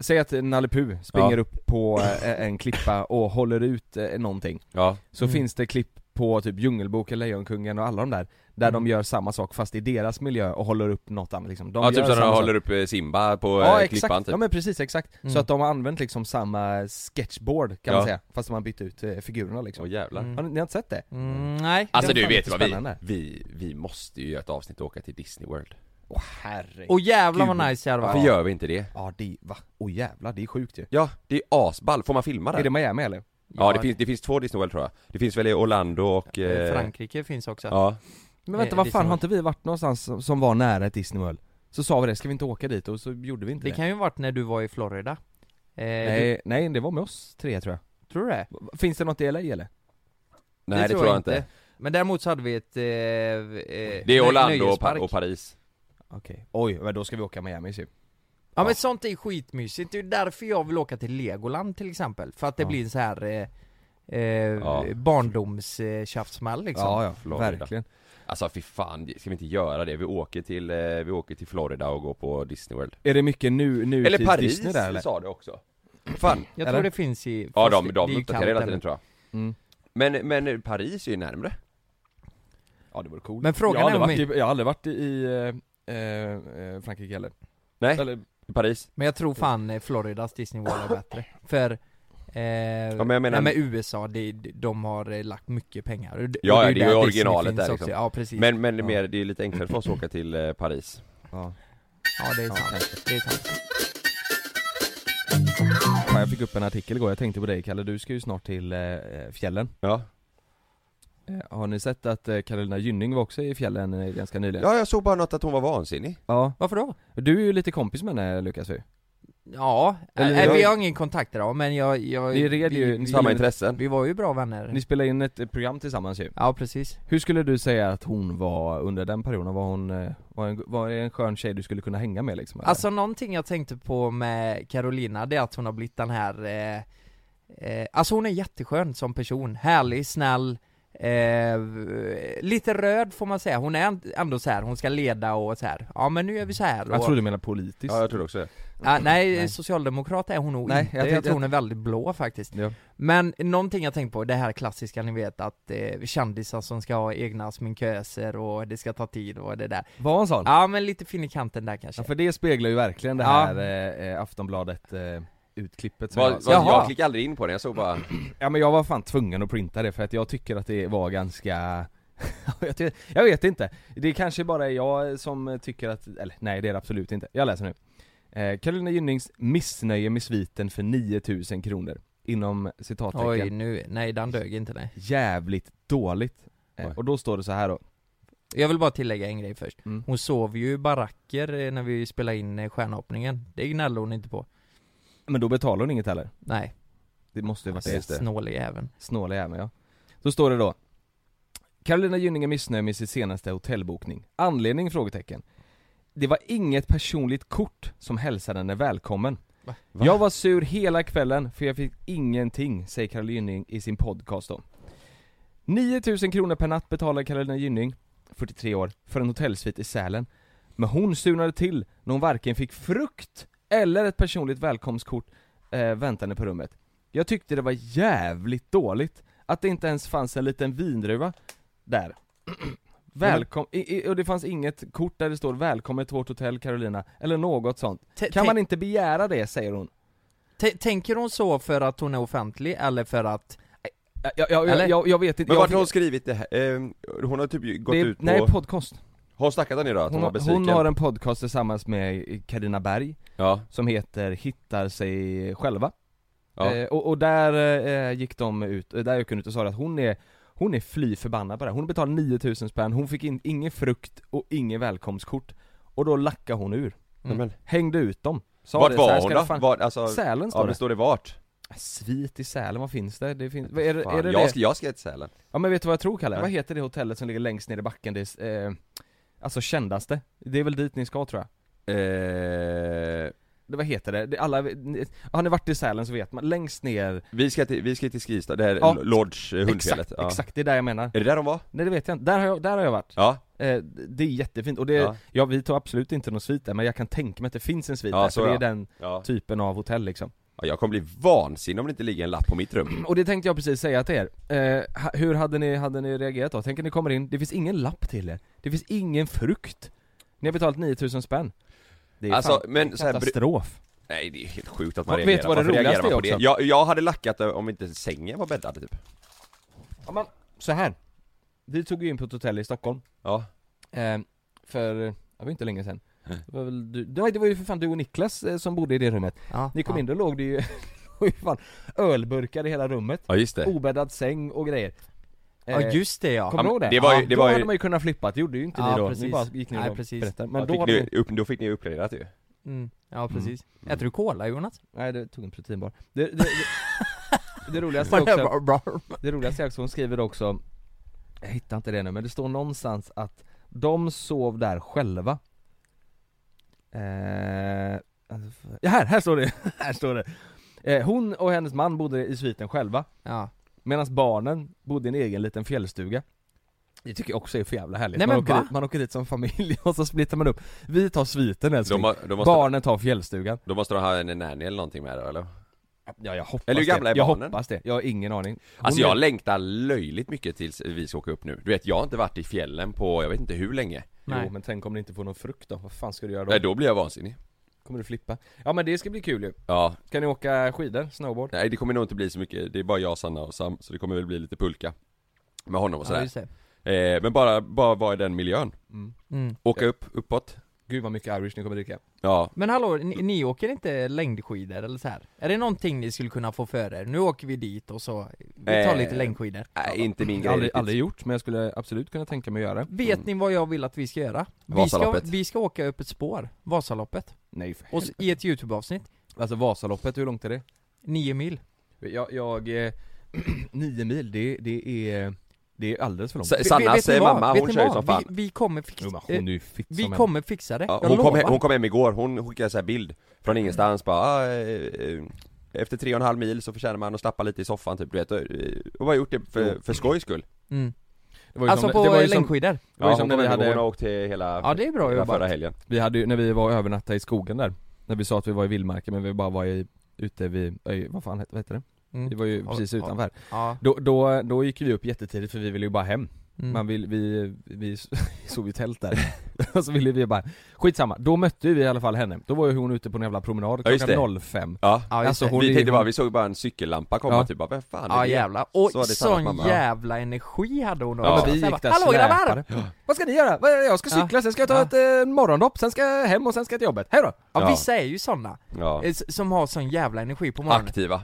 [SPEAKER 6] säg att Nalle Puh springer
[SPEAKER 3] Ja.
[SPEAKER 6] upp på eh, en klippa och håller ut eh, någonting
[SPEAKER 3] Ja,
[SPEAKER 6] Så finns det klipp på typ Djungelboken, Lejonkungen och alla de där Där
[SPEAKER 3] Mm.
[SPEAKER 6] de gör samma sak fast i deras miljö och håller upp något annat liksom de
[SPEAKER 3] ja
[SPEAKER 6] gör
[SPEAKER 3] typ som när
[SPEAKER 6] samma
[SPEAKER 3] de
[SPEAKER 6] sak.
[SPEAKER 3] håller upp eh, Simba på
[SPEAKER 6] Ja
[SPEAKER 3] ja,
[SPEAKER 6] exakt,
[SPEAKER 3] klippan typ
[SPEAKER 6] ja men precis exakt.
[SPEAKER 5] Mm.
[SPEAKER 6] Så att de har använt liksom samma sketchboard
[SPEAKER 3] Ja.
[SPEAKER 6] kan man säga, fast man har bytt ut eh, figurerna liksom
[SPEAKER 3] Åh jävlar
[SPEAKER 5] Mm.
[SPEAKER 6] har ni, ni har inte sett det?
[SPEAKER 5] Mm, nej.
[SPEAKER 3] Alltså
[SPEAKER 6] Det är
[SPEAKER 3] du
[SPEAKER 6] fan
[SPEAKER 3] vet
[SPEAKER 6] lite
[SPEAKER 3] ju vad vi,
[SPEAKER 6] spännande.
[SPEAKER 3] vi, vi måste ju göra ett avsnitt och åka till Disney World
[SPEAKER 6] Åh herregud
[SPEAKER 5] Och jävlar
[SPEAKER 6] Gud.
[SPEAKER 5] vad nice det hade
[SPEAKER 3] Varför
[SPEAKER 5] varit.
[SPEAKER 3] gör vi inte det?
[SPEAKER 6] Ja det, va? Åh jävlar, det är sjukt ju
[SPEAKER 3] Ja, det är asball, får man filma där?
[SPEAKER 6] Är det Miami eller?
[SPEAKER 3] Ja det finns, det finns två Disney World tror jag Det finns väl i Orlando och...
[SPEAKER 5] Eh,
[SPEAKER 3] Eh,
[SPEAKER 5] Frankrike finns också.
[SPEAKER 3] Ja,
[SPEAKER 6] Men
[SPEAKER 5] Eh,
[SPEAKER 6] vänta, vad
[SPEAKER 5] Disney
[SPEAKER 6] fan har
[SPEAKER 5] World.
[SPEAKER 6] inte vi varit någonstans som, som var nära ett Disney World? Så sa vi det, ska vi inte åka dit? Och så gjorde vi inte
[SPEAKER 5] Det
[SPEAKER 6] det,
[SPEAKER 5] kan ju ha varit när du var i Florida. Eh, du,
[SPEAKER 6] nej, nej, det var med oss tre tror jag
[SPEAKER 5] tror du det?
[SPEAKER 6] Finns det något i LA eller?
[SPEAKER 3] nej det, tror jag inte,
[SPEAKER 5] Men däremot så hade vi ett... Eh, eh,
[SPEAKER 3] Det är
[SPEAKER 5] nö-
[SPEAKER 3] Orlando och,
[SPEAKER 5] nöjespark.
[SPEAKER 3] pa- och Paris
[SPEAKER 6] Okej Oj, men då ska vi åka Miami typ. ju
[SPEAKER 5] Ja men sånt är skitmysigt, det är ju därför jag vill åka till Legoland till exempel, för att det
[SPEAKER 6] Ja.
[SPEAKER 5] blir en så här eh, eh,
[SPEAKER 3] Ja.
[SPEAKER 5] barndomstjafsmall liksom
[SPEAKER 6] Ja, ja,
[SPEAKER 3] Florida.
[SPEAKER 6] verkligen
[SPEAKER 3] Alltså fy fan, ska vi inte göra det? Vi åker till, eh, vi åker till Florida och går på Disney World
[SPEAKER 6] Är det mycket nu, nu
[SPEAKER 3] Eller Paris
[SPEAKER 6] Disney där eller?
[SPEAKER 3] sa du också Fan,
[SPEAKER 5] Jag
[SPEAKER 6] Eller?
[SPEAKER 5] tror det finns i...
[SPEAKER 3] ja
[SPEAKER 5] fast
[SPEAKER 3] de,
[SPEAKER 5] det-
[SPEAKER 3] de
[SPEAKER 5] det är ju
[SPEAKER 3] uppdaterar hela
[SPEAKER 5] kallt
[SPEAKER 3] tiden
[SPEAKER 5] ännu.
[SPEAKER 3] tror jag
[SPEAKER 6] Mm.
[SPEAKER 3] men, men Paris är ju närmre
[SPEAKER 6] Ja det vore coolt
[SPEAKER 5] Men frågan
[SPEAKER 6] jag har
[SPEAKER 5] är om
[SPEAKER 6] aldrig
[SPEAKER 5] vi-
[SPEAKER 6] varit i, Jag har aldrig varit i eh, eh, Frankrike heller
[SPEAKER 3] Nej,
[SPEAKER 6] Eller,
[SPEAKER 3] Paris
[SPEAKER 5] Men jag tror fan eh, Floridas Disney World är bättre, för Eh, ja,
[SPEAKER 3] men jag menar-
[SPEAKER 5] nej, men USA, det, de har eh, lagt mycket pengar Och d-
[SPEAKER 3] Ja,
[SPEAKER 5] och
[SPEAKER 3] ja, det är
[SPEAKER 5] där
[SPEAKER 3] ju
[SPEAKER 5] Disney
[SPEAKER 3] originalet
[SPEAKER 5] finns
[SPEAKER 3] där,
[SPEAKER 5] också.
[SPEAKER 3] liksom.
[SPEAKER 5] Ja precis,
[SPEAKER 3] Men, men det är
[SPEAKER 6] Ja.
[SPEAKER 3] mer, det är lite enklare för oss att åka till eh, Paris
[SPEAKER 6] ja.
[SPEAKER 5] ja det är sant, det är sant
[SPEAKER 6] Fan, jag fick upp en artikel igår, jag tänkte på dig Kalle, du ska ju snart till eh, fjällen
[SPEAKER 3] Ja,
[SPEAKER 6] Eh, Har ni sett att eh, Carolina Gynning var också i fjällen eh, ganska nyligen?
[SPEAKER 3] ja jag såg bara något att hon var vansinnig
[SPEAKER 6] Ja.
[SPEAKER 5] Varför då?
[SPEAKER 6] Du är ju lite kompis med henne Lukas
[SPEAKER 3] Mm.
[SPEAKER 6] ju.
[SPEAKER 5] Ja,
[SPEAKER 6] Eller-
[SPEAKER 5] äh, vi har ingen kontakt idag men jag... jag
[SPEAKER 6] Ni red ju-
[SPEAKER 5] vi,
[SPEAKER 3] Samma
[SPEAKER 5] vi,
[SPEAKER 3] intressen
[SPEAKER 5] vi var ju bra vänner
[SPEAKER 6] Ni spelade in ett eh, program tillsammans ju.
[SPEAKER 5] Ja precis
[SPEAKER 6] Hur skulle du säga att hon var under den perioden? Var hon, eh, var en, var det en skön tjej du skulle kunna hänga med liksom? eller?
[SPEAKER 5] Alltså någonting jag tänkte på med Carolina, det är att hon har blivit den här, eh, eh, alltså hon är jätteskön som person, härlig, snäll, eh, lite röd får man säga, hon är änd- ändå så här, hon ska leda och så här. ja men nu gör vi så här och,
[SPEAKER 6] jag tror du menar politiskt.
[SPEAKER 3] Ja jag tror också det
[SPEAKER 5] Ah, nej,
[SPEAKER 6] Nej.
[SPEAKER 5] socialdemokrat är hon nog
[SPEAKER 6] Nej,
[SPEAKER 5] inte,
[SPEAKER 6] jag
[SPEAKER 5] jag,
[SPEAKER 6] tänkte-
[SPEAKER 5] tror hon är väldigt blå faktiskt
[SPEAKER 6] Ja.
[SPEAKER 5] Men någonting jag tänkt på, det här klassiska ni vet att eh, kändisar som ska ha egna sminköser och det ska ta tid och det där
[SPEAKER 6] Var hon sån?
[SPEAKER 5] Ja men lite fin i kanten där kanske
[SPEAKER 6] Ja, för det speglar ju verkligen det
[SPEAKER 5] Ja.
[SPEAKER 6] här eh, eh, Aftonbladet eh, utklippet som
[SPEAKER 3] Vad-
[SPEAKER 6] jag,
[SPEAKER 3] vad-
[SPEAKER 5] Jaha.
[SPEAKER 3] Jag klickade aldrig in på den, jag såg bara
[SPEAKER 6] Ja men jag var fan tvungen att printa det för att jag tycker att det var ganska jag, ty- jag vet inte, det är kanske bara jag som tycker att, eller nej det är det absolut inte, jag läser nu eh, Carolina Gynnings missnöje med sviten för 9000 kronor Inom
[SPEAKER 5] Oj
[SPEAKER 6] citattecken
[SPEAKER 5] nu, nej den dög inte nej
[SPEAKER 6] Jävligt dåligt eh,
[SPEAKER 3] Oj.
[SPEAKER 6] Och då står det så här då
[SPEAKER 5] Jag vill bara tillägga en grej först
[SPEAKER 6] Mm.
[SPEAKER 5] Hon sov ju i baracker eh, när vi spelade in eh, stjärnhoppningen Det gnällde hon inte på
[SPEAKER 6] Men då betalar hon inget heller
[SPEAKER 5] Nej,
[SPEAKER 6] Det måste ju varit det
[SPEAKER 5] snålig även
[SPEAKER 6] Snåla jäveln ja. Då står det då Carolina Gynning är missnöjd med sin senaste hotellbokning. Anledning? frågetecken. Det var inget personligt kort som hälsade henne välkommen.
[SPEAKER 5] Va?
[SPEAKER 6] Jag var sur hela kvällen för jag fick ingenting, säger Carolina Gynning i sin podcast då. 9000 kronor per natt betalade Carolina Gynning, 43 år, för en hotellsvit i Sälen. Men hon surnade till när hon varken fick frukt eller ett personligt välkomstkort eh, väntande på rummet. Jag tyckte det var jävligt dåligt att det inte ens fanns en liten vindruva där. Välkom i, i, och det fanns inget kort där det står 'Välkommen till vårt hotell Carolina' eller något sånt.
[SPEAKER 5] T-
[SPEAKER 6] Kan
[SPEAKER 5] tänk-
[SPEAKER 6] man inte begära det, säger hon.
[SPEAKER 5] t- Tänker hon så för att hon är offentlig eller för att
[SPEAKER 6] Jag, jag, jag,
[SPEAKER 5] Eller?
[SPEAKER 6] jag, jag vet inte.
[SPEAKER 3] Men
[SPEAKER 6] jag
[SPEAKER 3] vart har hon skrivit det här? Eh, Hon har typ ju gått
[SPEAKER 6] det,
[SPEAKER 3] ut på...
[SPEAKER 6] Nej, podcast.
[SPEAKER 3] Har hon snackat om det då? Att hon,
[SPEAKER 6] Hon,
[SPEAKER 3] var
[SPEAKER 6] har-
[SPEAKER 3] besviken?
[SPEAKER 6] hon har en podcast tillsammans med Karina Berg,
[SPEAKER 3] Ja,
[SPEAKER 6] som heter 'Hittar sig själva'
[SPEAKER 3] ja.
[SPEAKER 6] Eh, och, och där eh, gick de ut, eh, där gick hon ut och sa att hon är hon är fly förbannad på det här. Hon betalade 9000 spänn, hon fick in ingen frukt och ingen välkomstkort Och då lackade hon ur,
[SPEAKER 3] Nej, men,
[SPEAKER 6] hängde ut dem Sa
[SPEAKER 3] Mm. vart
[SPEAKER 6] det, så här
[SPEAKER 3] var
[SPEAKER 6] ska
[SPEAKER 3] hon
[SPEAKER 6] det
[SPEAKER 3] då?
[SPEAKER 6] fan-
[SPEAKER 3] Var, alltså,
[SPEAKER 6] Sälen står
[SPEAKER 3] ja men
[SPEAKER 6] det
[SPEAKER 3] står det vart?
[SPEAKER 6] Svit i Sälen, vad finns det? Det finns, vad är, det-
[SPEAKER 3] Fan,
[SPEAKER 6] är det
[SPEAKER 3] jag,
[SPEAKER 6] det?
[SPEAKER 3] ska, jag ska till Sälen
[SPEAKER 6] Ja men vet du vad jag tror Kalle?
[SPEAKER 3] Nej.
[SPEAKER 6] Vad heter det hotellet som ligger längst ner i backen? Det är, eh, alltså kändaste Det är väl dit ni ska tror jag?
[SPEAKER 3] eh,
[SPEAKER 6] Det, vad heter det? det alla, ni, har ni varit i Sälen så vet man, längst ner
[SPEAKER 3] Vi ska till, vi ska till Skistad, det här
[SPEAKER 6] Ja.
[SPEAKER 3] Lodge, eh, hundfjället
[SPEAKER 6] Exakt, exakt, det är där jag menar
[SPEAKER 3] Är det där de var?
[SPEAKER 6] Nej det vet jag inte, där har jag, där har jag varit
[SPEAKER 3] Ja,
[SPEAKER 6] Eh, Eh, det är jättefint, och det, ja.
[SPEAKER 3] Ja.
[SPEAKER 6] vi tar absolut inte någon svit där men jag kan tänka mig att det finns en svit
[SPEAKER 3] Ja,
[SPEAKER 6] där,
[SPEAKER 3] så
[SPEAKER 6] för det är
[SPEAKER 3] ja.
[SPEAKER 6] den
[SPEAKER 3] Ja.
[SPEAKER 6] typen av hotell liksom
[SPEAKER 3] Ja, jag kommer bli vansinnig om det inte ligger en lapp på mitt rum.
[SPEAKER 6] Och det tänkte jag precis säga till er, eh, ha- hur hade ni, hade ni reagerat då? Tänk att ni kommer in, det finns ingen lapp till er, det finns ingen frukt Ni har betalat 9000 spänn Det är
[SPEAKER 3] Alltså,
[SPEAKER 6] fan
[SPEAKER 3] men så här, bru-
[SPEAKER 6] katastrof
[SPEAKER 3] nej det är helt sjukt att man
[SPEAKER 6] Vad- vet
[SPEAKER 3] reagerar.
[SPEAKER 6] du vad det
[SPEAKER 3] Varför reagerar
[SPEAKER 6] roligaste
[SPEAKER 3] man på
[SPEAKER 6] är
[SPEAKER 3] det?
[SPEAKER 6] också?
[SPEAKER 3] Jag, jag hade lackat eh, om inte sängen var bäddad typ.
[SPEAKER 6] ja, men, så här. vi tog ju in på ett hotell i Stockholm
[SPEAKER 3] Ja.
[SPEAKER 6] eh, För, eh, det var inte länge sedan det var, väl du, nej, det var ju för fan du och Niklas eh, som bodde i det rummet
[SPEAKER 5] Ja,
[SPEAKER 6] Ni kom
[SPEAKER 5] ja.
[SPEAKER 6] in, då låg det ju, oj fan, ölburkar i hela rummet
[SPEAKER 3] Ja just det.
[SPEAKER 6] Obäddad säng och grejer
[SPEAKER 5] Ja
[SPEAKER 6] Eh,
[SPEAKER 5] just det ja.
[SPEAKER 6] Kommer du
[SPEAKER 3] men
[SPEAKER 6] ihåg det?
[SPEAKER 3] det var ju-
[SPEAKER 6] Ja,
[SPEAKER 3] det
[SPEAKER 6] då
[SPEAKER 3] var ju-
[SPEAKER 6] hade man ju kunnat flippa, det gjorde ju inte
[SPEAKER 5] Ja,
[SPEAKER 6] ni då, ni
[SPEAKER 5] precis.
[SPEAKER 6] bara gick ner
[SPEAKER 5] Nej,
[SPEAKER 6] och
[SPEAKER 5] precis.
[SPEAKER 6] berättade Men
[SPEAKER 3] Men
[SPEAKER 6] då
[SPEAKER 3] fick
[SPEAKER 6] var
[SPEAKER 3] ni,
[SPEAKER 6] det...
[SPEAKER 3] upp, då fick ni uppgraderat ju.
[SPEAKER 5] Mm. Ja precis. Äter du cola Jonas?
[SPEAKER 6] Nej det tog en proteinbar Det, det, det, det roligaste är också,
[SPEAKER 5] Whatever.
[SPEAKER 6] det roligaste är också, hon skriver också Jag hittar inte det nu men det står någonstans att de sov där själva eh, alltså, ja, här, här står det, här står det eh, Hon och hennes man bodde i sviten själva
[SPEAKER 5] Ja.
[SPEAKER 6] Medan barnen bodde i en egen liten fjällstuga Det tycker jag också är för jävla härligt
[SPEAKER 5] Nej,
[SPEAKER 6] man,
[SPEAKER 5] men
[SPEAKER 6] åker
[SPEAKER 5] va?
[SPEAKER 6] dit, man åker dit som familj och så splittar man upp Vi tar sviten älskling,
[SPEAKER 3] De, har- de, måste,
[SPEAKER 6] barnen tar fjällstugan
[SPEAKER 3] de måste ha en nanny eller någonting med det eller?
[SPEAKER 6] Ja jag hoppas
[SPEAKER 3] Eller hur gamla
[SPEAKER 6] det,
[SPEAKER 3] är
[SPEAKER 6] jag
[SPEAKER 3] barnen?
[SPEAKER 6] hoppas det, jag har ingen aning Hon
[SPEAKER 3] Alltså jag
[SPEAKER 6] är-
[SPEAKER 3] längtar löjligt mycket tills vi ska åka upp nu. Du vet, jag har inte varit i fjällen på jag vet inte hur länge.
[SPEAKER 5] Nej.
[SPEAKER 6] Jo men tänk om du inte får någon frukt då, vad fan ska du göra då?
[SPEAKER 3] Nej, då blir jag vansinnig.
[SPEAKER 6] Kommer du flippa? Ja men det ska bli kul ju,
[SPEAKER 3] Ja,
[SPEAKER 6] kan ni åka skidor, snowboard?
[SPEAKER 3] nej det kommer nog inte bli så mycket. Det är bara jag, Sanna och Sam, så det kommer väl bli lite pulka. Med honom och
[SPEAKER 5] Ja,
[SPEAKER 3] sådär.
[SPEAKER 5] just det.
[SPEAKER 3] eh, men bara, bara vara i den miljön.
[SPEAKER 5] Mm.
[SPEAKER 3] Åka upp, uppåt.
[SPEAKER 6] Gud vad mycket Irish ni kommer dricka
[SPEAKER 3] Ja,
[SPEAKER 5] Men hallå, ni, ni åker inte längdskidor eller så här? Är det någonting ni skulle kunna få för er? Nu åker vi dit och så, vi tar
[SPEAKER 3] Eh,
[SPEAKER 5] lite längdskidor
[SPEAKER 3] nej inte min
[SPEAKER 6] Jag
[SPEAKER 3] grej
[SPEAKER 6] har aldrig,
[SPEAKER 3] riktigt.
[SPEAKER 6] aldrig gjort men jag skulle absolut kunna tänka mig att göra Mm. det
[SPEAKER 5] Vet ni vad jag vill att vi ska göra? Vi ska,
[SPEAKER 3] Vasaloppet.
[SPEAKER 5] vi ska åka upp ett spår, Vasaloppet,
[SPEAKER 6] Nej för
[SPEAKER 5] och s- i ett YouTube-avsnitt,
[SPEAKER 6] Alltså Vasaloppet, hur långt är det?
[SPEAKER 5] nio mil
[SPEAKER 6] Jag, jag eh, nio mil, det, det är, det är alldeles för långt
[SPEAKER 3] Sa- Sannas
[SPEAKER 5] Vet ni
[SPEAKER 3] eh,
[SPEAKER 5] vad?
[SPEAKER 3] mamma,
[SPEAKER 5] Vet
[SPEAKER 3] hon
[SPEAKER 5] ni
[SPEAKER 3] kör ju
[SPEAKER 5] vad?
[SPEAKER 3] som fan.
[SPEAKER 5] Vi, vi kommer fixa,
[SPEAKER 6] Jo, men hon är ju fit
[SPEAKER 5] eh, vi
[SPEAKER 6] som en-
[SPEAKER 5] kommer fixa det,
[SPEAKER 3] Ja,
[SPEAKER 5] jag
[SPEAKER 3] hon, kom
[SPEAKER 5] lovar! Mm.
[SPEAKER 3] hem, hon kom hem igår, hon skickade så här bild från ingenstans bara ah, eh, eh, Efter tre och en halv mil så förtjänar man att slappa lite i soffan typ, du vet. eh, Hon har gjort det för, för skojs skull
[SPEAKER 5] mm.
[SPEAKER 6] Det var ju
[SPEAKER 5] Alltså
[SPEAKER 6] som-
[SPEAKER 5] på
[SPEAKER 6] det var ju som-
[SPEAKER 5] längdskidor?
[SPEAKER 6] Det var ju
[SPEAKER 3] Ja,
[SPEAKER 6] som
[SPEAKER 3] hon,
[SPEAKER 6] när
[SPEAKER 3] kom
[SPEAKER 6] vi
[SPEAKER 3] hem hade... hon har
[SPEAKER 6] hade,
[SPEAKER 3] åkt till hela,
[SPEAKER 5] Ja det är bra
[SPEAKER 3] hela
[SPEAKER 5] jobbat
[SPEAKER 3] förra helgen
[SPEAKER 6] vi hade ju, när vi var och övernattade i skogen där När vi sa att vi var i vildmarken men vi bara var i, ute vid, öj, vad fan heter, vad heter det?
[SPEAKER 5] Mm.
[SPEAKER 6] Vi var ju
[SPEAKER 5] Ja,
[SPEAKER 6] precis
[SPEAKER 5] ja.
[SPEAKER 6] utanför
[SPEAKER 5] Ja,
[SPEAKER 6] då, då, då gick vi upp jättetidigt för vi ville ju bara hem
[SPEAKER 5] mm.
[SPEAKER 6] Man vill, vi, vi sov i tält där Och så ville vi bara, skitsamma, då mötte vi i alla fall henne Då var ju hon ute på en jävla promenad
[SPEAKER 3] Ja, just
[SPEAKER 6] klockan 05
[SPEAKER 3] Ja,
[SPEAKER 5] ja, just
[SPEAKER 6] alltså,
[SPEAKER 5] det.
[SPEAKER 6] hon är-
[SPEAKER 3] vi tänkte bara, vi såg bara en cykellampa komma
[SPEAKER 6] Ja.
[SPEAKER 3] typ, bara, vem fan är
[SPEAKER 5] Ja
[SPEAKER 3] det?
[SPEAKER 5] jävla och
[SPEAKER 3] Så var det Sannas
[SPEAKER 5] sån
[SPEAKER 3] mamma, ja.
[SPEAKER 5] jävla energi hade hon
[SPEAKER 3] Ja,
[SPEAKER 5] också.
[SPEAKER 3] men
[SPEAKER 6] vi
[SPEAKER 5] Så här
[SPEAKER 6] gick
[SPEAKER 5] bara,
[SPEAKER 6] där
[SPEAKER 5] Hallå grabbar!
[SPEAKER 6] släpade. Vad ska ni göra? Vad- Jag ska
[SPEAKER 5] Ja.
[SPEAKER 6] cykla, sen ska jag ta
[SPEAKER 5] Ja.
[SPEAKER 6] ett eh, morgondopp, sen ska jag hem och sen ska jag till jobbet, hejdå!
[SPEAKER 5] Ja,
[SPEAKER 3] Ja.
[SPEAKER 5] vissa är ju såna,
[SPEAKER 3] Ja.
[SPEAKER 5] eh, s- som har sån jävla energi på morgonen
[SPEAKER 3] Aktiva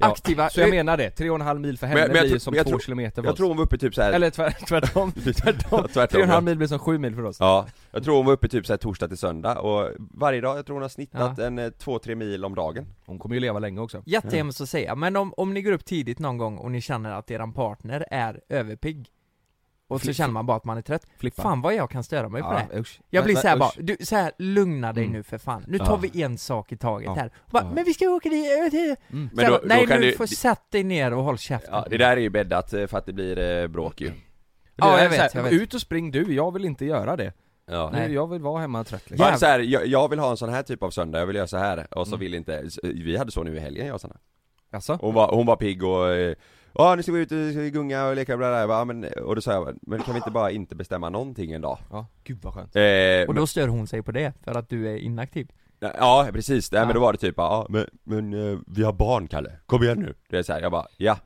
[SPEAKER 6] Ja.
[SPEAKER 5] Aktiva,
[SPEAKER 6] Så jag
[SPEAKER 5] eh,
[SPEAKER 6] menar det, tre och en halv mil för
[SPEAKER 3] Men
[SPEAKER 6] henne
[SPEAKER 3] jag- men jag
[SPEAKER 6] blir
[SPEAKER 3] tror-
[SPEAKER 6] ju som
[SPEAKER 3] men jag
[SPEAKER 6] två
[SPEAKER 3] tror-
[SPEAKER 6] kilometer för
[SPEAKER 3] Jag
[SPEAKER 6] oss.
[SPEAKER 3] tror hon var uppe typ såhär
[SPEAKER 6] Eller tvär, tvärtom, tvärtom,
[SPEAKER 3] Tvärtom,
[SPEAKER 6] tre och en
[SPEAKER 3] ja.
[SPEAKER 6] halv mil blir som sju mil för oss
[SPEAKER 3] Ja, jag tror hon var uppe typ så här torsdag till söndag och varje dag, jag tror hon har snittat
[SPEAKER 5] Ja.
[SPEAKER 3] en eh, två, tre mil om dagen
[SPEAKER 6] Hon kommer ju leva länge också
[SPEAKER 5] jättehemskt att säga, men om, om ni går upp tidigt någon gång och ni känner att eran partner är överpigg och så
[SPEAKER 6] Fli-
[SPEAKER 5] känner man bara att man är trött,
[SPEAKER 6] Flippa
[SPEAKER 5] fan vad jag kan störa mig på det här.
[SPEAKER 6] usch.
[SPEAKER 5] Jag blir
[SPEAKER 6] Men-
[SPEAKER 5] såhär
[SPEAKER 6] usch.
[SPEAKER 5] bara, du, så här, lugna dig
[SPEAKER 6] Mm.
[SPEAKER 5] nu för fan, nu tar
[SPEAKER 3] Ja.
[SPEAKER 5] vi en sak i taget
[SPEAKER 6] Ja.
[SPEAKER 5] här. Och Bara,
[SPEAKER 3] Ja.
[SPEAKER 5] Men vi ska åka dit,
[SPEAKER 6] Mm.
[SPEAKER 3] Men
[SPEAKER 5] men
[SPEAKER 3] då- då
[SPEAKER 5] bara, nej
[SPEAKER 3] kan
[SPEAKER 5] nu
[SPEAKER 3] du-
[SPEAKER 5] får sätt dig ner och håll käften.
[SPEAKER 3] Ja, det där är ju bäddat eh, för att det blir eh, bråk ju
[SPEAKER 5] Ja,
[SPEAKER 6] Det är
[SPEAKER 5] jag vet,
[SPEAKER 6] så här,
[SPEAKER 5] jag vet.
[SPEAKER 6] Ut och spring du, jag vill inte göra det.
[SPEAKER 3] Ja.
[SPEAKER 5] Nej.
[SPEAKER 6] Jag vill vara hemma trött liksom.
[SPEAKER 3] Ja,
[SPEAKER 5] Jävlar.
[SPEAKER 3] så här, jag, jag vill ha en sån här typ av söndag, jag vill göra så här och så
[SPEAKER 6] Mm.
[SPEAKER 3] vill inte, så- vi hade så nu i helgen jag och Sanna
[SPEAKER 6] Alltså?
[SPEAKER 3] Hon var, hon var pigg och eh, Ja nu ska vi ut och ska vi gunga och leka och bla bla, bla. Ja, men, och då sa jag men kan vi inte bara inte bestämma någonting en dag?
[SPEAKER 6] Ja, gud vad skönt.
[SPEAKER 3] Eh,
[SPEAKER 5] Och
[SPEAKER 3] men,
[SPEAKER 5] då stör hon sig på det, för att du är inaktiv.
[SPEAKER 3] ja precis, Nej,
[SPEAKER 5] Ja.
[SPEAKER 3] men då var det typ ja men, men eh, vi har barn Kalle, kom igen nu! Det är så här, jag bara ja,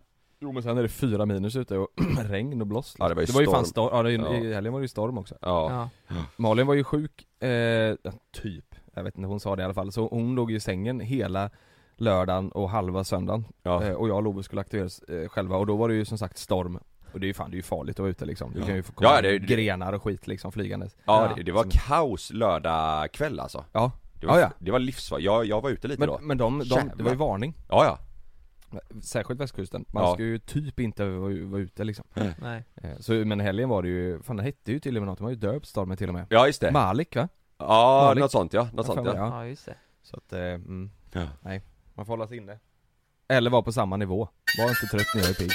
[SPEAKER 6] Jo men sen är det fyra minus ute och regn och blåst.
[SPEAKER 3] Ja, det var ju
[SPEAKER 6] fan
[SPEAKER 3] storm.
[SPEAKER 6] storm, ja, det,
[SPEAKER 3] Ja.
[SPEAKER 6] i helgen var det ju storm också.
[SPEAKER 3] ja,
[SPEAKER 5] Ja.
[SPEAKER 6] Malin var ju sjuk, eh, ja, typ. Jag vet inte, hon sa det i alla fall. Så hon låg ju i sängen hela lördagen och halva söndagen.
[SPEAKER 3] ja.
[SPEAKER 6] Eh, och jag och Love skulle aktiveras eh, själva och då var det ju som sagt storm. Och det är ju fan, det är ju farligt att vara ute liksom. Du
[SPEAKER 3] Ja.
[SPEAKER 6] kan ju få komma
[SPEAKER 3] Ja, det-
[SPEAKER 6] grenar och skit liksom flygandes.
[SPEAKER 3] ja det, det var
[SPEAKER 6] Som-
[SPEAKER 3] kaos lördag kväll alltså
[SPEAKER 6] Ja.
[SPEAKER 3] Det var,
[SPEAKER 6] Ja, ja.
[SPEAKER 3] det var livsfarligt, jag, jag var ute lite
[SPEAKER 6] Men,
[SPEAKER 3] då
[SPEAKER 6] men de, de, det var
[SPEAKER 3] Jävlar.
[SPEAKER 6] ju varning.
[SPEAKER 3] Ja ja,
[SPEAKER 6] Särskilt västkusten, man
[SPEAKER 3] Ja.
[SPEAKER 6] ska ju typ inte vara, vara ute liksom
[SPEAKER 5] Nej.
[SPEAKER 6] Eh, Så men helgen var det ju, fan den hette ju till och med något, de har ju döpt stormen till och med
[SPEAKER 3] ja just det
[SPEAKER 6] Malik va?
[SPEAKER 3] Ja,
[SPEAKER 6] Malik.
[SPEAKER 3] något sånt ja, något
[SPEAKER 6] Jag
[SPEAKER 3] sånt
[SPEAKER 6] fan,
[SPEAKER 3] ja
[SPEAKER 5] Ja, just det.
[SPEAKER 6] Så att, eh, mm,
[SPEAKER 3] Ja.
[SPEAKER 6] nej, man får hålla sig inne Eller vara på samma nivå, var inte trött när jag är pigg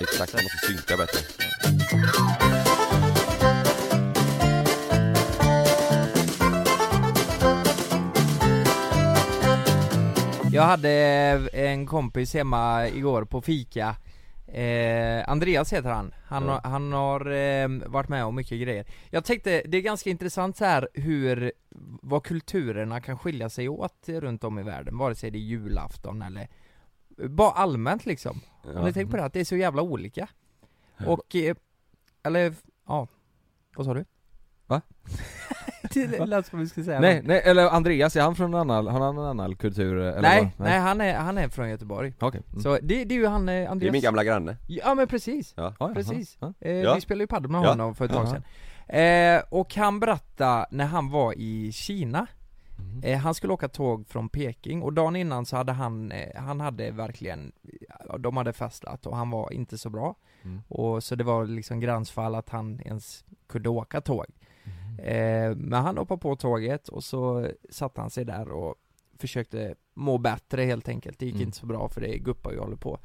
[SPEAKER 3] Exakt, man måste synka bättre
[SPEAKER 5] Jag hade en kompis hemma igår på fika eh, Andreas heter han, han, har- han har eh, varit med om mycket grejer Jag tänkte, det är ganska intressant så här hur, vad kulturerna kan skilja sig åt runt om i världen Vare sig det är julafton eller, eh, bara allmänt liksom Om ni tänker på det, här, att det är så jävla olika Och, eh, eller, ja, vad sa du?
[SPEAKER 6] Va?
[SPEAKER 5] det lät som vi skulle säga
[SPEAKER 6] Nej, nej, eller Andreas, är han från en annan, har han en annan kultur eller
[SPEAKER 5] nej,
[SPEAKER 6] vad?
[SPEAKER 5] nej, han, är, han är från Göteborg.
[SPEAKER 6] Okej. Mm.
[SPEAKER 5] Så det, det är ju han eh,
[SPEAKER 3] Det är
[SPEAKER 5] Andreas
[SPEAKER 3] min gamla granne
[SPEAKER 5] Ja men precis,
[SPEAKER 3] ja.
[SPEAKER 6] Ja, ja,
[SPEAKER 5] precis.
[SPEAKER 6] ja.
[SPEAKER 5] Eh,
[SPEAKER 3] Ja.
[SPEAKER 5] Vi spelade ju padel med
[SPEAKER 3] Ja.
[SPEAKER 5] honom för ett tag sedan eh, Och han berättade när han var i Kina
[SPEAKER 6] Mhm.
[SPEAKER 5] eh, Han skulle åka tåg från Peking och dagen innan så hade han, eh, han hade verkligen, ja, de hade festat och han var inte så bra
[SPEAKER 6] Mm.
[SPEAKER 5] Och så det var liksom gränsfall att han ens kunde åka tåg
[SPEAKER 6] Mhm.
[SPEAKER 5] eh, Men han hoppade på tåget och så satte han sig där och försökte må bättre helt enkelt Det gick
[SPEAKER 6] Mm.
[SPEAKER 5] inte så bra för det guppar ju och håller på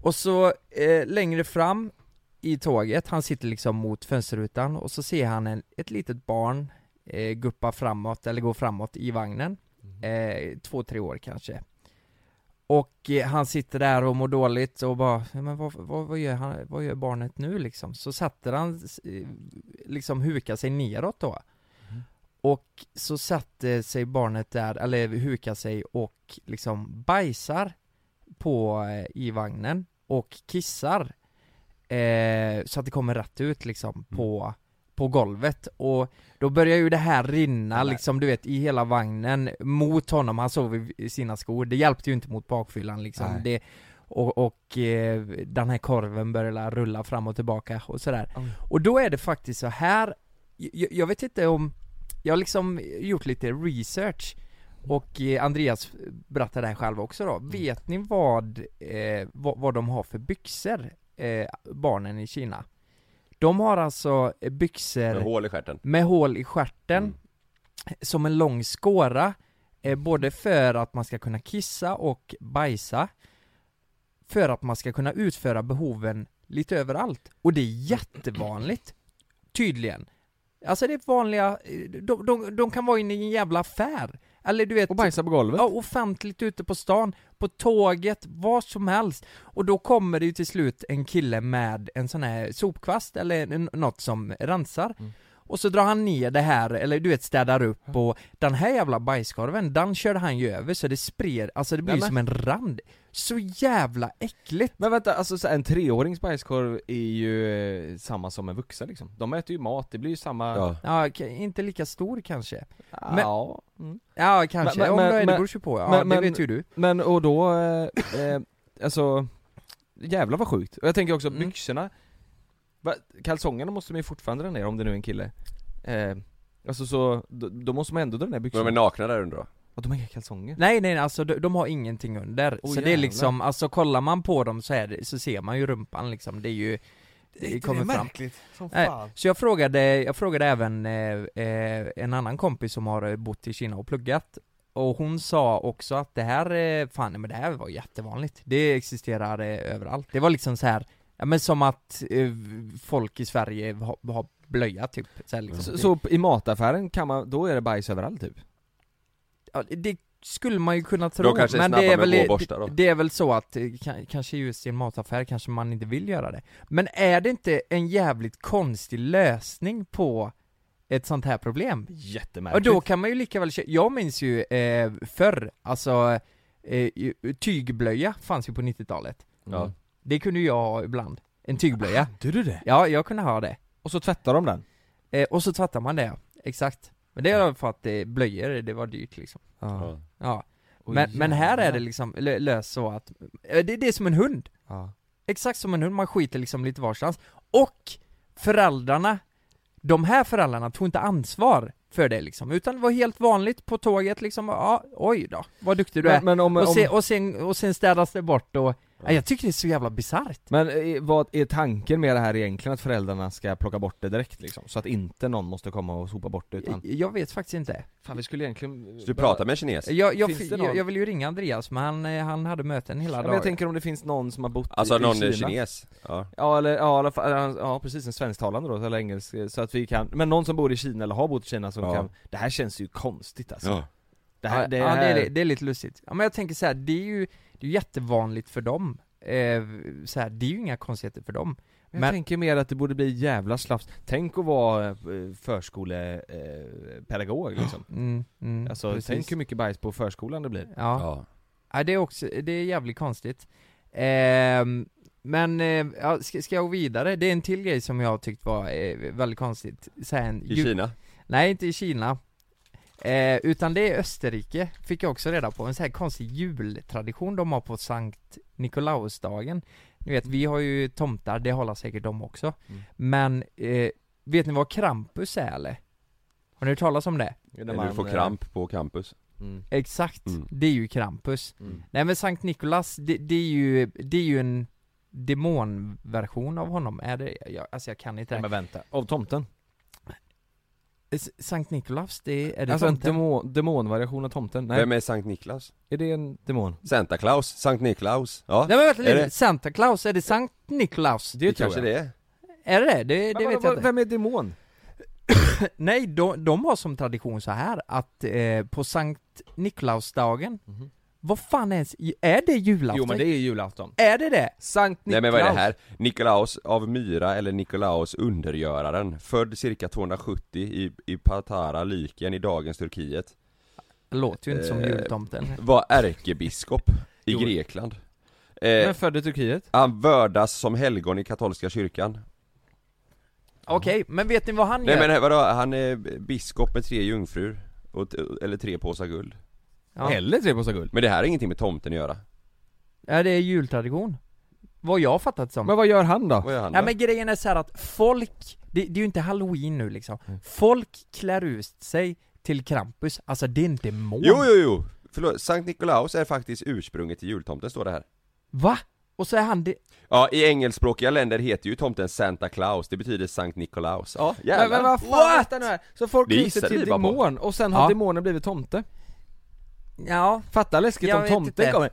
[SPEAKER 5] och så eh, längre fram i tåget, han sitter liksom mot fönsterrutan och så ser han en, ett litet barn eh, guppa framåt, eller gå framåt i vagnen. Eh, två, tre år kanske. Och eh, han sitter där och mår dåligt och bara, men vad, vad, vad, gör, han, vad gör barnet nu liksom? Så sätter han, eh, liksom hukar sig neråt då. Och så satte sig barnet där, eller hukar sig och liksom bajsar på, eh, i vagnen och kissar eh, Så att det kommer rätt ut liksom på, på golvet och då börjar ju det här rinna liksom du vet i hela vagnen mot honom, han sov i- i sina skor, det hjälpte ju inte mot bakfyllan liksom
[SPEAKER 6] Nej.
[SPEAKER 5] det, och, och eh, den här korven börjar rulla fram och tillbaka och sådär Och då är det faktiskt så här jag, jag vet inte om Jag har liksom gjort lite research och eh, Andreas berättar det här själv också då. Vet ni vad, eh, vad, vad de har för byxor, eh, barnen i Kina? De har alltså eh, byxor
[SPEAKER 3] Med hål i stjärten
[SPEAKER 5] med hål i stjärten
[SPEAKER 6] Mm.
[SPEAKER 5] Som en lång skåra eh, Både för att man ska kunna kissa och bajsa För att man ska kunna utföra behoven lite överallt Och det är jättevanligt Tydligen Alltså det är vanliga, eh, de, de, de kan vara inne i en jävla affär Eller du vet
[SPEAKER 6] Och bajsa på golvet?
[SPEAKER 5] Ja, offentligt ute på stan, på tåget, vad som helst. Och då kommer det ju till slut en kille med en sån här sopkvast eller n- något som rensar.
[SPEAKER 6] Mm.
[SPEAKER 5] Och så drar han ner det här, eller du vet städar upp och den här jävla bajskorven, den körde han ju över så det spred, alltså det blir ju
[SPEAKER 6] Nämen.
[SPEAKER 5] som en rand. Så jävla äckligt!
[SPEAKER 6] Men vänta, alltså så här, en treårings bajskorv är ju eh, samma som en vuxen liksom. De äter ju mat, det blir ju samma...
[SPEAKER 3] Ja.
[SPEAKER 5] Ja, k- inte lika stor kanske.
[SPEAKER 6] Ja. Mm.
[SPEAKER 5] Ja, kanske.
[SPEAKER 6] Men-
[SPEAKER 5] Om
[SPEAKER 6] men-
[SPEAKER 5] det, det
[SPEAKER 6] men-
[SPEAKER 5] beror ju på. Ja,
[SPEAKER 6] men-
[SPEAKER 5] det
[SPEAKER 6] men-
[SPEAKER 5] vet ju du.
[SPEAKER 6] Men och då, eh, eh, alltså, jävlar vad sjukt. Och jag tänker också
[SPEAKER 5] Mm.
[SPEAKER 6] byxorna, va, kalsongerna måste man ju fortfarande dra ner om det nu är en kille. Eh, alltså så, då, då måste man ändå dra ner
[SPEAKER 3] Men
[SPEAKER 6] byxorna.
[SPEAKER 3] de är nakna där under då?
[SPEAKER 6] Och de har inga kalsonger.
[SPEAKER 5] Nej nej alltså de, de har ingenting under,
[SPEAKER 6] Åh,
[SPEAKER 5] så det är
[SPEAKER 6] jävlar.
[SPEAKER 5] liksom, alltså kollar man på dem så, är det, så ser man ju rumpan liksom, det är ju det kommer fram.
[SPEAKER 8] märkligt? Som
[SPEAKER 5] Nej,
[SPEAKER 8] fan.
[SPEAKER 5] Så jag frågade, jag frågade även eh, eh, en annan kompis som har eh, bott i Kina och pluggat Och hon sa också att det här, eh, fan nej, men det här var jättevanligt Det existerar eh, överallt, det var liksom så här ja, men som att eh, folk i Sverige har, har blöja typ så, här, liksom.
[SPEAKER 6] Så, så i mataffären kan man, då är det bajs överallt typ?
[SPEAKER 5] Ja, det skulle man ju kunna tro,
[SPEAKER 3] De kanske är
[SPEAKER 5] men
[SPEAKER 3] snabba
[SPEAKER 5] det är,
[SPEAKER 3] med att
[SPEAKER 5] väl,
[SPEAKER 3] gå och
[SPEAKER 5] det-
[SPEAKER 3] borsta då.
[SPEAKER 5] det är väl så att eh, ka- kanske just i en mataffär kanske man inte vill göra det. Men är det inte en jävligt konstig lösning på ett sånt här problem? Och
[SPEAKER 6] Jättemärkligt.
[SPEAKER 5] då kan man ju lika väl kö- jag minns ju eh, förr, alltså eh, ju- tygblöja fanns ju på 90-talet.
[SPEAKER 3] Ja.
[SPEAKER 5] Det kunde ju jag ha ibland. En tygblöja.
[SPEAKER 6] Hade Mm. du det?
[SPEAKER 5] Ja, jag kunde ha det.
[SPEAKER 6] Och så tvättar de den?
[SPEAKER 5] Eh, och så tvättar man det, ja. exakt. Men det är för att eh, blöjor, det var dyrt liksom.
[SPEAKER 3] Ja.
[SPEAKER 5] Ja. Men, men här är det liksom lö- löst så att, eh, det, det är som en hund,
[SPEAKER 6] Ja.
[SPEAKER 5] exakt som en hund, man skiter liksom lite varstans Och föräldrarna, de här föräldrarna tog inte ansvar för det liksom, utan det var helt vanligt på tåget liksom, ja, oj då, vad duktig du är
[SPEAKER 6] Men, men om,
[SPEAKER 5] och,
[SPEAKER 6] om
[SPEAKER 5] sen, och, sen, och sen städas det bort och, ja. jag tycker det är så jävla bisarrt
[SPEAKER 6] Men eh, vad är tanken med det här egentligen? Att föräldrarna ska plocka bort det direkt liksom? Så att inte någon måste komma och sopa bort det utan...
[SPEAKER 5] jag, jag vet faktiskt inte
[SPEAKER 6] Fan vi skulle egentligen...
[SPEAKER 3] Så du pratar med en kines?
[SPEAKER 5] Jag, jag,
[SPEAKER 6] Finns det någon?
[SPEAKER 5] jag, jag vill ju ringa Andreas men han, eh, han hade möten hela
[SPEAKER 6] Ja, men
[SPEAKER 5] dagen
[SPEAKER 6] jag tänker om det finns någon som har bott
[SPEAKER 3] Alltså
[SPEAKER 6] i,
[SPEAKER 3] någon
[SPEAKER 6] i
[SPEAKER 3] är
[SPEAKER 6] Kina.
[SPEAKER 3] kines? Ja.
[SPEAKER 6] Ja eller, ja, i alla fall, eller, ja precis, en svensktalande då, eller engelsk, eh, så att vi kan, men någon som bor i Kina eller har bott i Kina som
[SPEAKER 3] Ja.
[SPEAKER 6] kan, det här känns ju konstigt alltså.
[SPEAKER 3] Ja.
[SPEAKER 6] Det här,
[SPEAKER 5] ja,
[SPEAKER 6] det
[SPEAKER 5] ja,
[SPEAKER 6] här.
[SPEAKER 5] det, är, det är lite lustigt. Ja, men jag tänker så här, det är ju, det är ju jättevanligt för dem. Eh, så här, det är ju inga konstigheter för dem.
[SPEAKER 6] Men jag
[SPEAKER 5] Men-
[SPEAKER 6] tänker mer att det borde bli jävla slafs. Tänk att vara eh, förskolepedagog liksom.
[SPEAKER 5] Mm, mm,
[SPEAKER 6] Alltså
[SPEAKER 5] precis.
[SPEAKER 6] tänk hur mycket bajs på förskolan det blir.
[SPEAKER 5] Ja.
[SPEAKER 3] Ja.
[SPEAKER 5] Ja, det är också, det är jävligt konstigt. Ehm, men, eh, ja, ska, ska jag gå vidare? Det är en till grej som jag tyckt var eh, väldigt konstigt. Så här, en,
[SPEAKER 3] I
[SPEAKER 5] ju-
[SPEAKER 3] Kina?
[SPEAKER 5] Nej, inte i Kina. Eh, utan det är Österrike, fick jag också reda på. En så här konstig jultradition de har på Sankt Nikolausdagen. Ni vet, vi har ju tomtar, det håller säkert de också.
[SPEAKER 6] Mm.
[SPEAKER 5] Men, eh, vet ni vad Krampus är eller? Har ni hört talas om det?
[SPEAKER 3] du får kramp på campus
[SPEAKER 6] eh, Mm.
[SPEAKER 5] Exakt,
[SPEAKER 3] Mm.
[SPEAKER 5] det är ju Krampus.
[SPEAKER 6] Mm.
[SPEAKER 5] Nej men Sankt Nikolas, det, det är ju, det är ju en demonversion av honom, är det, jag, alltså jag kan inte det
[SPEAKER 6] Men vänta, av tomten?
[SPEAKER 5] här. S- Sankt Nikolaus, det är det
[SPEAKER 6] alltså
[SPEAKER 5] tomten?
[SPEAKER 6] en demon, demonvariation av tomten? Nej,
[SPEAKER 3] Vem är Sankt Niklas?
[SPEAKER 6] är det en demon?
[SPEAKER 3] Santa Claus? Sankt Niklaus? Ja,
[SPEAKER 5] Nej men vänta
[SPEAKER 3] Är
[SPEAKER 5] lite,
[SPEAKER 3] det-
[SPEAKER 5] Santa Claus, är det Sankt Nikolaus?
[SPEAKER 3] det, kanske det är
[SPEAKER 5] Är det det? Det, det vet jag inte.
[SPEAKER 6] Vem är demon?
[SPEAKER 5] Nej, de, de har som tradition så här att eh, på Sankt Nikolausdagen,
[SPEAKER 6] Mhm.
[SPEAKER 5] vad fan ens, är det julafton?
[SPEAKER 6] Jo men det är julafton.
[SPEAKER 5] Är det det?
[SPEAKER 6] Sankt
[SPEAKER 3] Nej
[SPEAKER 6] Nikolaus.
[SPEAKER 3] men vad är det här? Nikolaus av Myra eller Nikolaus undergöraren Född cirka 270 i, i Patara, Lyken i dagens Turkiet
[SPEAKER 5] Låter ju inte som
[SPEAKER 3] Eh,
[SPEAKER 5] jultomten.
[SPEAKER 3] Var ärkebiskop i
[SPEAKER 6] Jo.
[SPEAKER 3] Grekland eh,
[SPEAKER 6] Men född i Turkiet?
[SPEAKER 3] Han vördas som helgon i katolska kyrkan
[SPEAKER 5] Okej, men vet ni vad han
[SPEAKER 3] Nej
[SPEAKER 5] gör?
[SPEAKER 3] men vadå, han är biskop med tre jungfrur och, t- eller tre påsar guld
[SPEAKER 5] Ja.
[SPEAKER 6] Eller tre påsar guld.
[SPEAKER 3] Men det här har ingenting med tomten att göra
[SPEAKER 5] Ja, det är jultradition. Vad jag har fattat som.
[SPEAKER 6] Men vad gör han då?
[SPEAKER 3] Vad gör han
[SPEAKER 5] Ja
[SPEAKER 3] då?
[SPEAKER 5] men grejen är så här att folk, det, det är ju inte halloween nu liksom.
[SPEAKER 3] Mm.
[SPEAKER 5] Folk klär ut sig till Krampus, alltså det är en demon.
[SPEAKER 3] Jo, jo, jo! Förlåt, Sankt Nikolaus är faktiskt ursprunget till jultomten, står det här
[SPEAKER 5] Va? Och så är han det,
[SPEAKER 3] Ja, i engelskspråkiga länder heter ju tomten Santa Claus, det betyder Sankt Nikolaus Ja,
[SPEAKER 6] Men, men vad fan vänta nu här. Så folk
[SPEAKER 3] Det
[SPEAKER 6] klär sig
[SPEAKER 3] gissade
[SPEAKER 6] till
[SPEAKER 3] vi bara på.
[SPEAKER 6] demon och sen har
[SPEAKER 5] Ja.
[SPEAKER 6] demonen blivit tomte?
[SPEAKER 5] ja.
[SPEAKER 6] Fatta läskigt
[SPEAKER 5] Jag
[SPEAKER 6] om
[SPEAKER 5] vet
[SPEAKER 6] tomten
[SPEAKER 5] inte. Liksom.
[SPEAKER 6] kommer.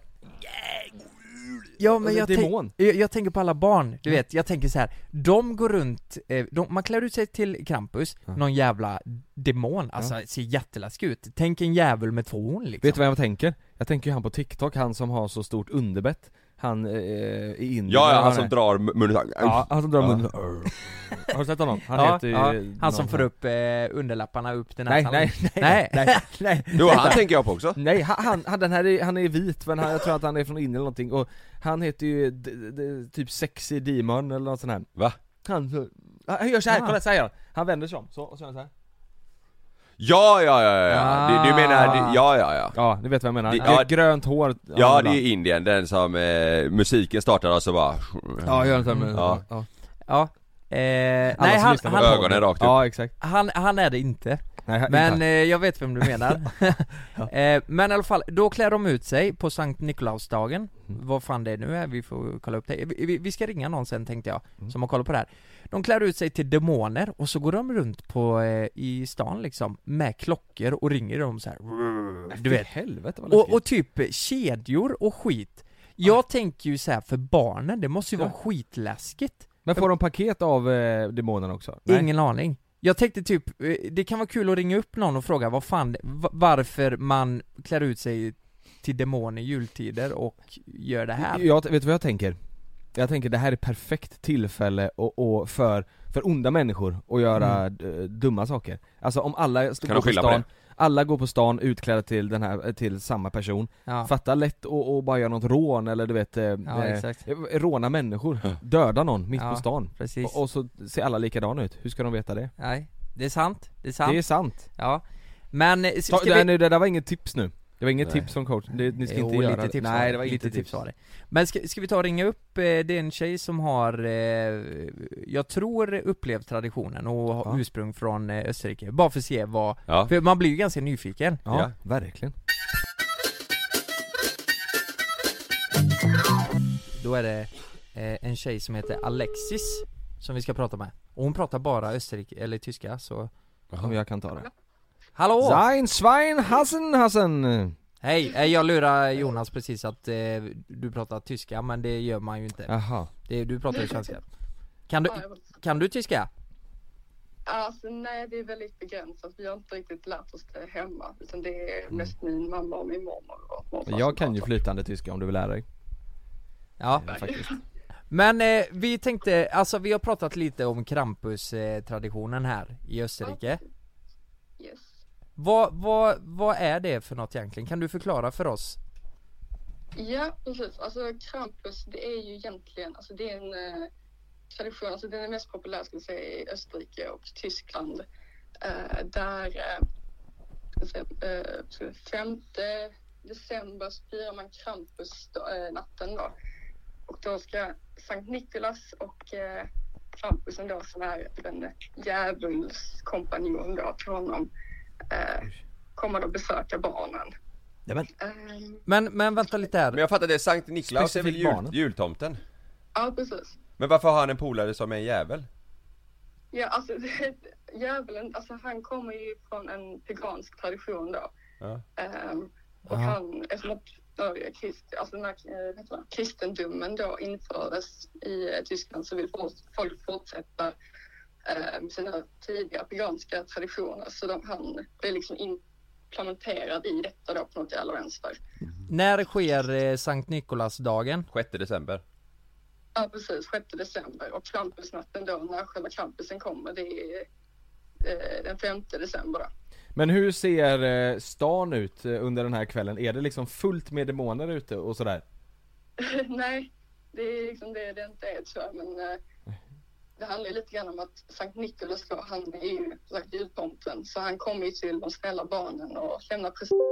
[SPEAKER 5] Ja men
[SPEAKER 6] Eller
[SPEAKER 5] jag, tänk,
[SPEAKER 6] Alltså, demon.
[SPEAKER 5] jag, jag tänker på alla barn, du vet, jag tänker så här. de går runt, eh, de, man klär ut sig till Krampus, någon jävla demon, alltså ser jätteläskig ut. Tänk en djävul med två horn liksom.
[SPEAKER 6] Vet du vad jag tänker? Jag tänker ju han på TikTok, han som har så stort underbett Han eh, i Indien
[SPEAKER 3] Ja, ja, han
[SPEAKER 6] är-
[SPEAKER 3] som drar munnen så här.
[SPEAKER 6] Ja, han som drar
[SPEAKER 3] Ja.
[SPEAKER 6] munnen Har du sett honom? Han
[SPEAKER 5] ja,
[SPEAKER 6] heter ju
[SPEAKER 5] ja,
[SPEAKER 6] någon-
[SPEAKER 5] han som får upp eh, underlapparna upp till
[SPEAKER 6] Nej,
[SPEAKER 5] näsan.
[SPEAKER 6] nej,
[SPEAKER 5] nej, nej.
[SPEAKER 6] nej
[SPEAKER 3] Jo, han tänker jag på också
[SPEAKER 6] Nej, han, han, han, den här är, han är vit men han, jag tror att han är från Indien eller någonting och han heter ju d, d, typ sexy demon eller något sånt här
[SPEAKER 3] Va?
[SPEAKER 6] Han, så- han gör såhär,
[SPEAKER 5] Ah.
[SPEAKER 6] kolla såhär gör han. Han vänder sig om, så, och så gör han såhär
[SPEAKER 3] Ja, ja, ja, ja, ja. Du, du menar,
[SPEAKER 5] Ah.
[SPEAKER 3] du, ja, ja, ja
[SPEAKER 6] Ja, ni vet vad jag menar,
[SPEAKER 3] Det-
[SPEAKER 6] det, är
[SPEAKER 3] ja.
[SPEAKER 6] grönt hår
[SPEAKER 3] Ja, det är Indien, den som eh, musiken startar och så bara
[SPEAKER 6] Ja, gör han såhär med
[SPEAKER 3] Ja.
[SPEAKER 6] ja.
[SPEAKER 5] Ja, eh,
[SPEAKER 6] Alla
[SPEAKER 5] nej
[SPEAKER 6] som
[SPEAKER 5] han,
[SPEAKER 6] lyssnar på
[SPEAKER 5] han,
[SPEAKER 3] ögonen rakt upp
[SPEAKER 6] ja exakt
[SPEAKER 5] han, han är det inte,
[SPEAKER 6] Nej, han- inte
[SPEAKER 5] men
[SPEAKER 6] han.
[SPEAKER 5] eh, jag vet vem du menar eh, Men i alla fall, då klär de ut sig på Sankt Nikolausdagen,
[SPEAKER 6] Mm.
[SPEAKER 5] vad fan det nu är, vi får kolla upp det vi, vi- vi ska ringa någon sen tänkte jag,
[SPEAKER 6] Mm.
[SPEAKER 5] som har koll på det här De klär ut sig till demoner och så går de runt på, eh, i stan liksom, med klockor och ringer dem så här.
[SPEAKER 6] Mm. Du vet Helvete vad
[SPEAKER 5] Och, och typ kedjor och skit Jag tänker ju så här för barnen, det måste ju
[SPEAKER 6] Ja.
[SPEAKER 5] vara skitläskigt
[SPEAKER 6] Men får de paket av eh, demonen också?
[SPEAKER 5] Ingen aning. Jag tänkte typ, eh, det kan vara kul att ringa upp någon och fråga vad fan, va- varför man klär ut sig till demon i jultider och gör det här.
[SPEAKER 6] Jag, vet du vad jag tänker? Jag tänker det här är perfekt tillfälle och, och för, för onda människor att göra d- dumma saker Alltså om alla står
[SPEAKER 3] Kan
[SPEAKER 6] går
[SPEAKER 3] de
[SPEAKER 6] på
[SPEAKER 3] skylla på
[SPEAKER 6] stan, alla går på stan utklädda till den här, till samma person
[SPEAKER 5] Ja,
[SPEAKER 6] Fatta lätt och, och bara göra något rån eller du vet, eh,
[SPEAKER 5] ja
[SPEAKER 6] eh,
[SPEAKER 5] exakt.
[SPEAKER 6] råna människor, döda någon mitt
[SPEAKER 5] Ja,
[SPEAKER 6] på stan
[SPEAKER 5] Precis.
[SPEAKER 6] och, och så ser alla likadana ut, hur ska de veta det?
[SPEAKER 5] Nej, det är sant. Det är sant.
[SPEAKER 6] Det är sant!
[SPEAKER 5] Ja. Men, eh, s-
[SPEAKER 6] Ta,
[SPEAKER 5] ska
[SPEAKER 6] det,
[SPEAKER 5] vi...
[SPEAKER 6] nu, det där var inget tips nu, det var inget
[SPEAKER 3] Nej.
[SPEAKER 6] tips från coach, det, ni ska
[SPEAKER 5] Jo,
[SPEAKER 6] inte göra
[SPEAKER 5] lite
[SPEAKER 6] det.
[SPEAKER 5] tips
[SPEAKER 6] Nej det var
[SPEAKER 5] lite
[SPEAKER 6] inte
[SPEAKER 5] tips var det. Men ska, ska vi ta och ringa upp, eh, det är en tjej som har, eh, jag tror upplevt traditionen och har
[SPEAKER 6] Ja.
[SPEAKER 5] ursprung från eh, Österrike, bara för att se vad,
[SPEAKER 3] Ja.
[SPEAKER 5] för man blir ju ganska nyfiken.
[SPEAKER 6] Ja,
[SPEAKER 3] Ja.
[SPEAKER 6] verkligen
[SPEAKER 5] Då är det eh, en tjej som heter Alexis som vi ska prata med. Och hon pratar bara österrik eller tyska så...
[SPEAKER 6] Om jag kan ta det
[SPEAKER 5] Hallå!
[SPEAKER 6] Sein Schwein Hassen Hassen!
[SPEAKER 5] Hej! eh, Jag lurar Jonas precis att eh, du pratar tyska men det gör man ju inte.
[SPEAKER 6] Jaha.
[SPEAKER 5] Det, du pratar ju svenska. Kan du, kan du tyska? Alltså nej, det är väldigt begränsat. Vi har inte riktigt lärt oss det hemma. Utan det är mest min mamma och min mormor och morfar
[SPEAKER 6] Men Mm. jag
[SPEAKER 5] som
[SPEAKER 6] kan ju
[SPEAKER 5] pratar.
[SPEAKER 6] flytande tyska om du vill lära dig
[SPEAKER 9] Ja,
[SPEAKER 6] eh, faktiskt
[SPEAKER 9] men eh, vi tänkte, alltså vi har pratat lite om Krampus-traditionen här i Österrike
[SPEAKER 5] Yes.
[SPEAKER 9] vad, vad, vad är det för något egentligen? Kan du förklara för oss?
[SPEAKER 5] Ja, precis. Alltså Krampus, det är ju egentligen, alltså det är en eh, tradition, alltså den är mest populär ska jag säga i Österrike och Tyskland. Eh, där eh, ska jag säga, eh, ska jag säga, 5 december så firar man Krampus-natten då. Och då ska Sankt Nikolas och eh, Krampusen då som är en djävulskompanjon då till honom eh, kommer då besöka barnen.
[SPEAKER 10] Nämen.
[SPEAKER 5] Ehm,
[SPEAKER 9] Men, men vänta lite här
[SPEAKER 3] Men jag fattar det, Sankt Nikolaus är väl
[SPEAKER 10] Specifikt
[SPEAKER 3] jul,
[SPEAKER 10] barnen.
[SPEAKER 3] jultomten?
[SPEAKER 5] ja, precis.
[SPEAKER 3] Men varför har han en polare som är en djävul?
[SPEAKER 5] Ja, alltså det- djävulen, alltså han kommer ju från en pagansk tradition då.
[SPEAKER 3] Ja.
[SPEAKER 5] Ehm, och
[SPEAKER 9] Aha.
[SPEAKER 5] han, eftersom att ja, krist, alltså den här, eh, heter det, kristendomen då infördes i eh, Tyskland så vill fort- folk fortsätta eh, med sina tidiga paganska traditioner. Så de, han blir liksom implementerad i detta då på något jävla vänster.
[SPEAKER 9] När sker eh, Sankt Nikolasdagen?
[SPEAKER 3] 6 december
[SPEAKER 5] Ja, precis. 6 december. Och Krampusnatten då, när själva Krampusen kommer, det är eh, den 5 december då.
[SPEAKER 6] Men hur ser eh, stan ut eh, under den här kvällen? Är det liksom fullt med demoner ute och sådär?
[SPEAKER 5] Nej, det är liksom det det inte är tror jag. Men eh, det handlar ju lite grann om att Sankt Nikolaus då, han är ju som sagt jultomten. Så han kommer ju till de snälla barnen och lämnar presenter.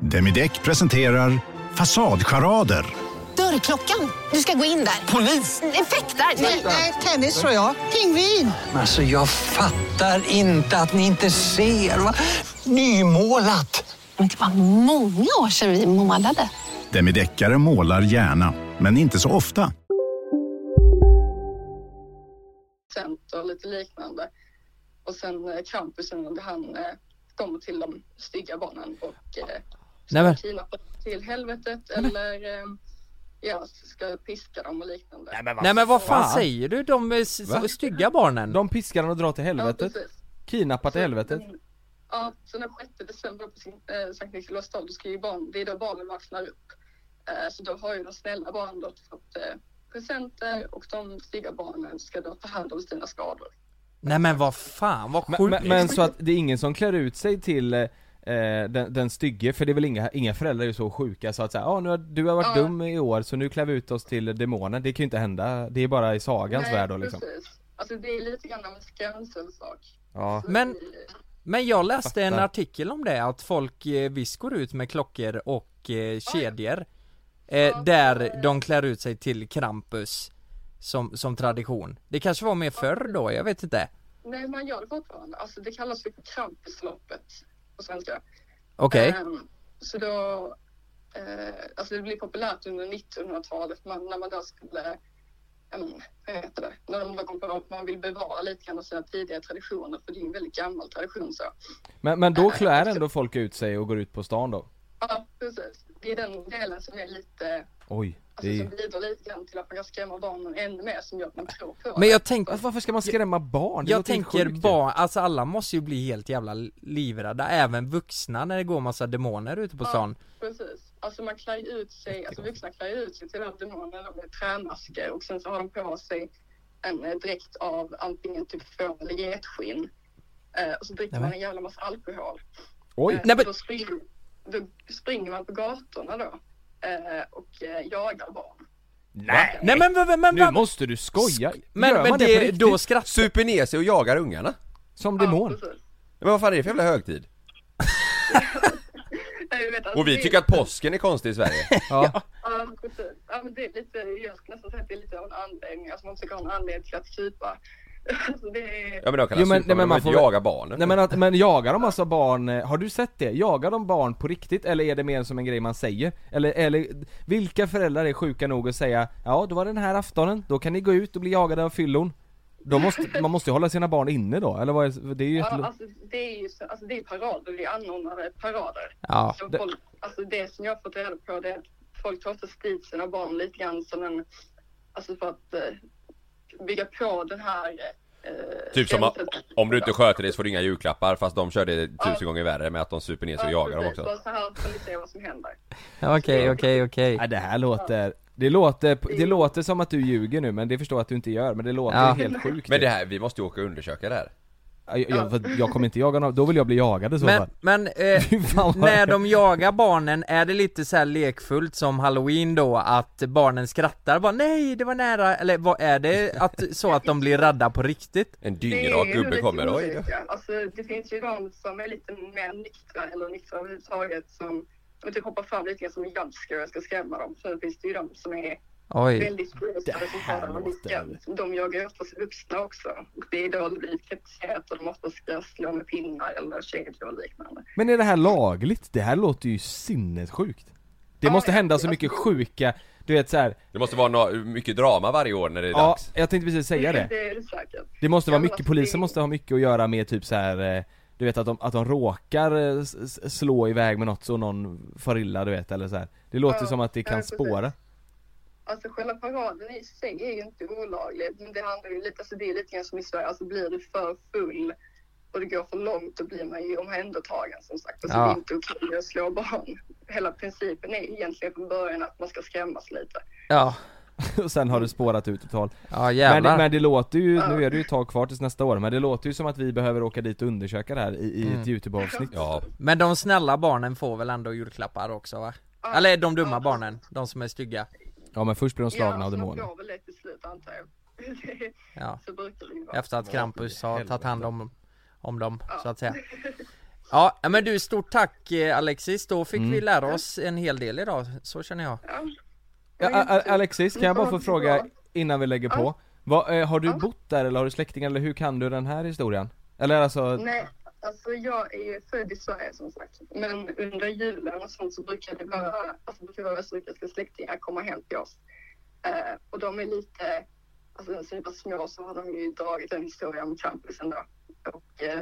[SPEAKER 2] Demideck presenterar Fasadcharader.
[SPEAKER 11] Dörrklockan. Du ska gå in där. Polis? Effektar? Nej, nej, tennis tror jag. Pingvin.
[SPEAKER 12] Alltså jag fattar inte att ni inte ser. Va? Nymålat.
[SPEAKER 11] Men det var många år sedan vi målade.
[SPEAKER 13] Demideckare målar gärna, men inte så ofta.
[SPEAKER 5] och lite liknande. Och sen eh, Krampusen, han eh, kommer till de stygga barnen och eh,
[SPEAKER 9] Nej, men,
[SPEAKER 5] kidnappar till helvetet eller eh, ja, ska piska dem och liknande.
[SPEAKER 9] nej men vad fan säger du? De är s-
[SPEAKER 6] Va?
[SPEAKER 9] stygga barnen
[SPEAKER 6] De piskar den och drar till helvetet
[SPEAKER 5] Ja, precis.
[SPEAKER 6] Kidnappar till helvetet
[SPEAKER 5] Ja, så den 6 december på sin- eh, Sankt Nikolaus dag, då ska ju barn, det är då barnen vaknar upp. Eh, så då har ju de snälla barnen då fått eh, presenter och de stygga barnen ska då ta hand om sina skador.
[SPEAKER 9] Nej men vad fan, vad sjukt
[SPEAKER 6] men, men, men så att det är ingen som klär ut sig till eh, den, den stygge, för det är väl inga, inga föräldrar är ju så sjuka så att säga, ah, nu har, du har varit
[SPEAKER 5] Ja.
[SPEAKER 6] dum i år så nu klär vi ut oss till demonen, det kan ju inte hända, det är bara i sagans
[SPEAKER 5] Nej,
[SPEAKER 6] värld då liksom
[SPEAKER 5] precis. Alltså det är lite grann av en skrämselsak.
[SPEAKER 6] Ja,
[SPEAKER 9] Men, men jag läste en
[SPEAKER 6] Fattar.
[SPEAKER 9] artikel om det, att folk eh, visst går ut med klockor och eh, kedjor eh, Där de klär ut sig till Krampus som, som tradition Det kanske var mer förr då, jag vet inte
[SPEAKER 5] Nej, man gör det fortfarande. Alltså det kallas för Krampusloppet på svenska.
[SPEAKER 9] Okej,
[SPEAKER 5] Ehm, så då, eh, alltså det blev populärt under 1900-talet man, när man då skulle, ja, men, vad heter det, när de då kom på att man vill bevara lite grann av sina tidiga traditioner för det är ju en väldigt gammal tradition så.
[SPEAKER 6] men, men då klär ändå folk ut sig och går ut på stan då?
[SPEAKER 5] Ja, precis. Det är den delen som är lite,
[SPEAKER 6] Oj,
[SPEAKER 5] alltså
[SPEAKER 6] det
[SPEAKER 5] som
[SPEAKER 6] är...
[SPEAKER 5] bidrar lite grann till att man kan skrämma barnen ännu mer som gör att man tror på
[SPEAKER 9] men
[SPEAKER 5] det.
[SPEAKER 9] jag tänker
[SPEAKER 6] alltså, Varför ska man skrämma barn? Det
[SPEAKER 9] Jag
[SPEAKER 6] låter helt
[SPEAKER 9] tänker
[SPEAKER 6] sjukt ju.
[SPEAKER 9] bara, alltså alla måste ju bli helt jävla livrädda, även vuxna när det går massa demoner ute på stan
[SPEAKER 5] Precis. Alltså man klär ju ut sig, alltså vuxna klär ju ut sig till den här demonen då med trämasker och sen så har de på sig en eh, dräkt av antingen typ får eller getskinn. Eh, och så dricker
[SPEAKER 14] Nej,
[SPEAKER 5] man
[SPEAKER 14] men.
[SPEAKER 5] en jävla massa alkohol.
[SPEAKER 14] Oj.
[SPEAKER 5] Eh,
[SPEAKER 14] Nej, men-
[SPEAKER 5] Då, springer, då springer man på gatorna då eh, och eh, jagar barn.
[SPEAKER 6] Nej!
[SPEAKER 15] Nej men, men, men, men
[SPEAKER 6] Nu måste du skoja!
[SPEAKER 3] Men,
[SPEAKER 6] Gör
[SPEAKER 3] men
[SPEAKER 6] man på
[SPEAKER 3] det,
[SPEAKER 6] riktigt?
[SPEAKER 3] då skrattar Super ner sig och jagar ungarna?
[SPEAKER 6] Som demon?
[SPEAKER 3] Men vad fan är det för jävla högtid?
[SPEAKER 5] Nej, du vet, alltså,
[SPEAKER 3] Och vi
[SPEAKER 5] det-
[SPEAKER 3] tycker att påsken är konstig i Sverige
[SPEAKER 6] Ja
[SPEAKER 5] Ja, precis. Ja, men det är lite, jag skulle nästan säga att det är lite av en anledning. Alltså man försöker ha en anledning till att krypa. Alltså det är...
[SPEAKER 3] Ja men de kan
[SPEAKER 6] Jo,
[SPEAKER 3] jo, men,
[SPEAKER 6] men- nej,
[SPEAKER 3] men
[SPEAKER 6] men man
[SPEAKER 3] man får
[SPEAKER 6] får väl-
[SPEAKER 3] jaga barnen
[SPEAKER 6] Nej men, att, men jagar de alltså barn, eh, har du sett det? Jagar de barn på riktigt eller är det mer som en grej man säger? Eller, eller vilka föräldrar är sjuka nog att säga Ja, då var det den här aftonen, då kan ni gå ut och bli jagade av fyllon då måste, Man måste ju hålla sina barn inne då, eller vad är det? är ju
[SPEAKER 5] Ja,
[SPEAKER 6] ett,
[SPEAKER 5] alltså det är ju så, alltså det är parader, det är anordnade parader.
[SPEAKER 6] Ja,
[SPEAKER 5] Så
[SPEAKER 6] det-
[SPEAKER 5] folk, alltså det som jag har fått reda på det är att folk tar oftast dit sina barn lite grann som en, alltså för att eh, bygga på den här eh,
[SPEAKER 3] Typ som att,
[SPEAKER 5] känslan.
[SPEAKER 3] om du inte sköter dig så får du inga julklappar fast de kör det
[SPEAKER 5] Ja.
[SPEAKER 3] tusen gånger värre med att de super ner sig och
[SPEAKER 5] Ja,
[SPEAKER 3] jagar dem
[SPEAKER 5] precis.
[SPEAKER 3] också
[SPEAKER 5] Bara så här får ni se vad som händer.
[SPEAKER 15] Okej, okej, okej
[SPEAKER 6] Nej det här låter, det låter, det låter som att du ljuger nu men det förstår jag att du inte gör, men det låter
[SPEAKER 3] Ja.
[SPEAKER 6] helt sjukt
[SPEAKER 3] Men det här, vi måste ju åka och undersöka det här
[SPEAKER 6] jag, jag, för jag kommer inte jaga någon, då vill jag bli jagad i så
[SPEAKER 15] Men,
[SPEAKER 6] fall
[SPEAKER 15] men eh,
[SPEAKER 6] vad
[SPEAKER 15] när
[SPEAKER 6] hemskt.
[SPEAKER 15] de jagar barnen, är det lite så här lekfullt som halloween då? Att barnen skrattar bara nej det var nära, eller vad är det att, så att de blir rädda på riktigt?
[SPEAKER 3] En
[SPEAKER 5] Det är ju lite olika. Alltså, det finns ju de som är lite mer nyktra eller nyktra överhuvudtaget som som typ hoppar fram lite grann som en jumpscare och ska skrämma dem. Sen finns det ju de som är
[SPEAKER 15] Oj.
[SPEAKER 5] väldigt berusade som tar dem och nickar. De jagar ju oftast vuxna också. Och Det är då det blir kritiserat och de oftast ska slå med pinnar eller kedjor och liknande.
[SPEAKER 6] Men är det här lagligt? Det här låter ju sinnessjukt Det måste hända så mycket sjuka, du vet så här.
[SPEAKER 3] Det måste vara nå- mycket drama varje år när det är
[SPEAKER 6] Ja,
[SPEAKER 3] dags
[SPEAKER 6] jag tänkte precis säga det
[SPEAKER 5] Det är det säkert.
[SPEAKER 6] Det måste vara
[SPEAKER 5] Ja, men
[SPEAKER 6] mycket,
[SPEAKER 5] alltså,
[SPEAKER 6] polisen måste ha mycket att göra med typ så här. eh, Du vet att de, att de råkar eh, s- s- slå iväg med något så någon far illa du vet eller så här. Det låter
[SPEAKER 5] Ja,
[SPEAKER 6] som att det
[SPEAKER 5] ja,
[SPEAKER 6] kan
[SPEAKER 5] precis.
[SPEAKER 6] spåra
[SPEAKER 5] Alltså själva paraden i sig är ju inte olaglig. Men det handlar ju lite, alltså det är lite grann som i Sverige, alltså blir du för full och det går för långt då blir man ju omhändertagen som sagt. Alltså
[SPEAKER 16] Ja.
[SPEAKER 5] det är inte okej att slå barn. Hela principen är ju egentligen från början att man ska skrämmas lite.
[SPEAKER 15] Ja
[SPEAKER 6] Och sen har det spårat ut totalt
[SPEAKER 15] Ja
[SPEAKER 6] men,
[SPEAKER 15] jävlar
[SPEAKER 6] men det låter ju, nu är det ju ett tag kvar tills nästa år Men det låter ju som att vi behöver åka dit och undersöka det här i, i ett
[SPEAKER 15] Mm.
[SPEAKER 6] youtube-avsnitt
[SPEAKER 3] Ja
[SPEAKER 15] Men de snälla barnen får väl ändå julklappar också va? Eller de dumma barnen, de som är stygga
[SPEAKER 6] Ja men först blir de slagna av
[SPEAKER 5] man
[SPEAKER 6] demoner
[SPEAKER 5] går väl lite till slut antar jag.
[SPEAKER 15] Ja.
[SPEAKER 5] Så brukar det ju vara.
[SPEAKER 15] Efter att Krampus har tagit hand om, om dem, så att säga Ja, men du stort tack eh, Alexis, då fick
[SPEAKER 6] Mm.
[SPEAKER 15] vi lära oss en hel del idag, så känner jag
[SPEAKER 6] Ja, A- A- Alexis, kan jag bara få fråga innan vi lägger på? Vad, eh, har du bott där eller har du släktingar eller hur kan du den här historien? Eller alltså,
[SPEAKER 5] Nej, alltså jag är ju född i Sverige som sagt. Men under julen och sånt så brukar det vara, alltså brukar våra österrikiska släktingar komma hem till oss. Eh, och de är lite, alltså sen vi var små så har de ju dragit en historia om campisen då. Och eh,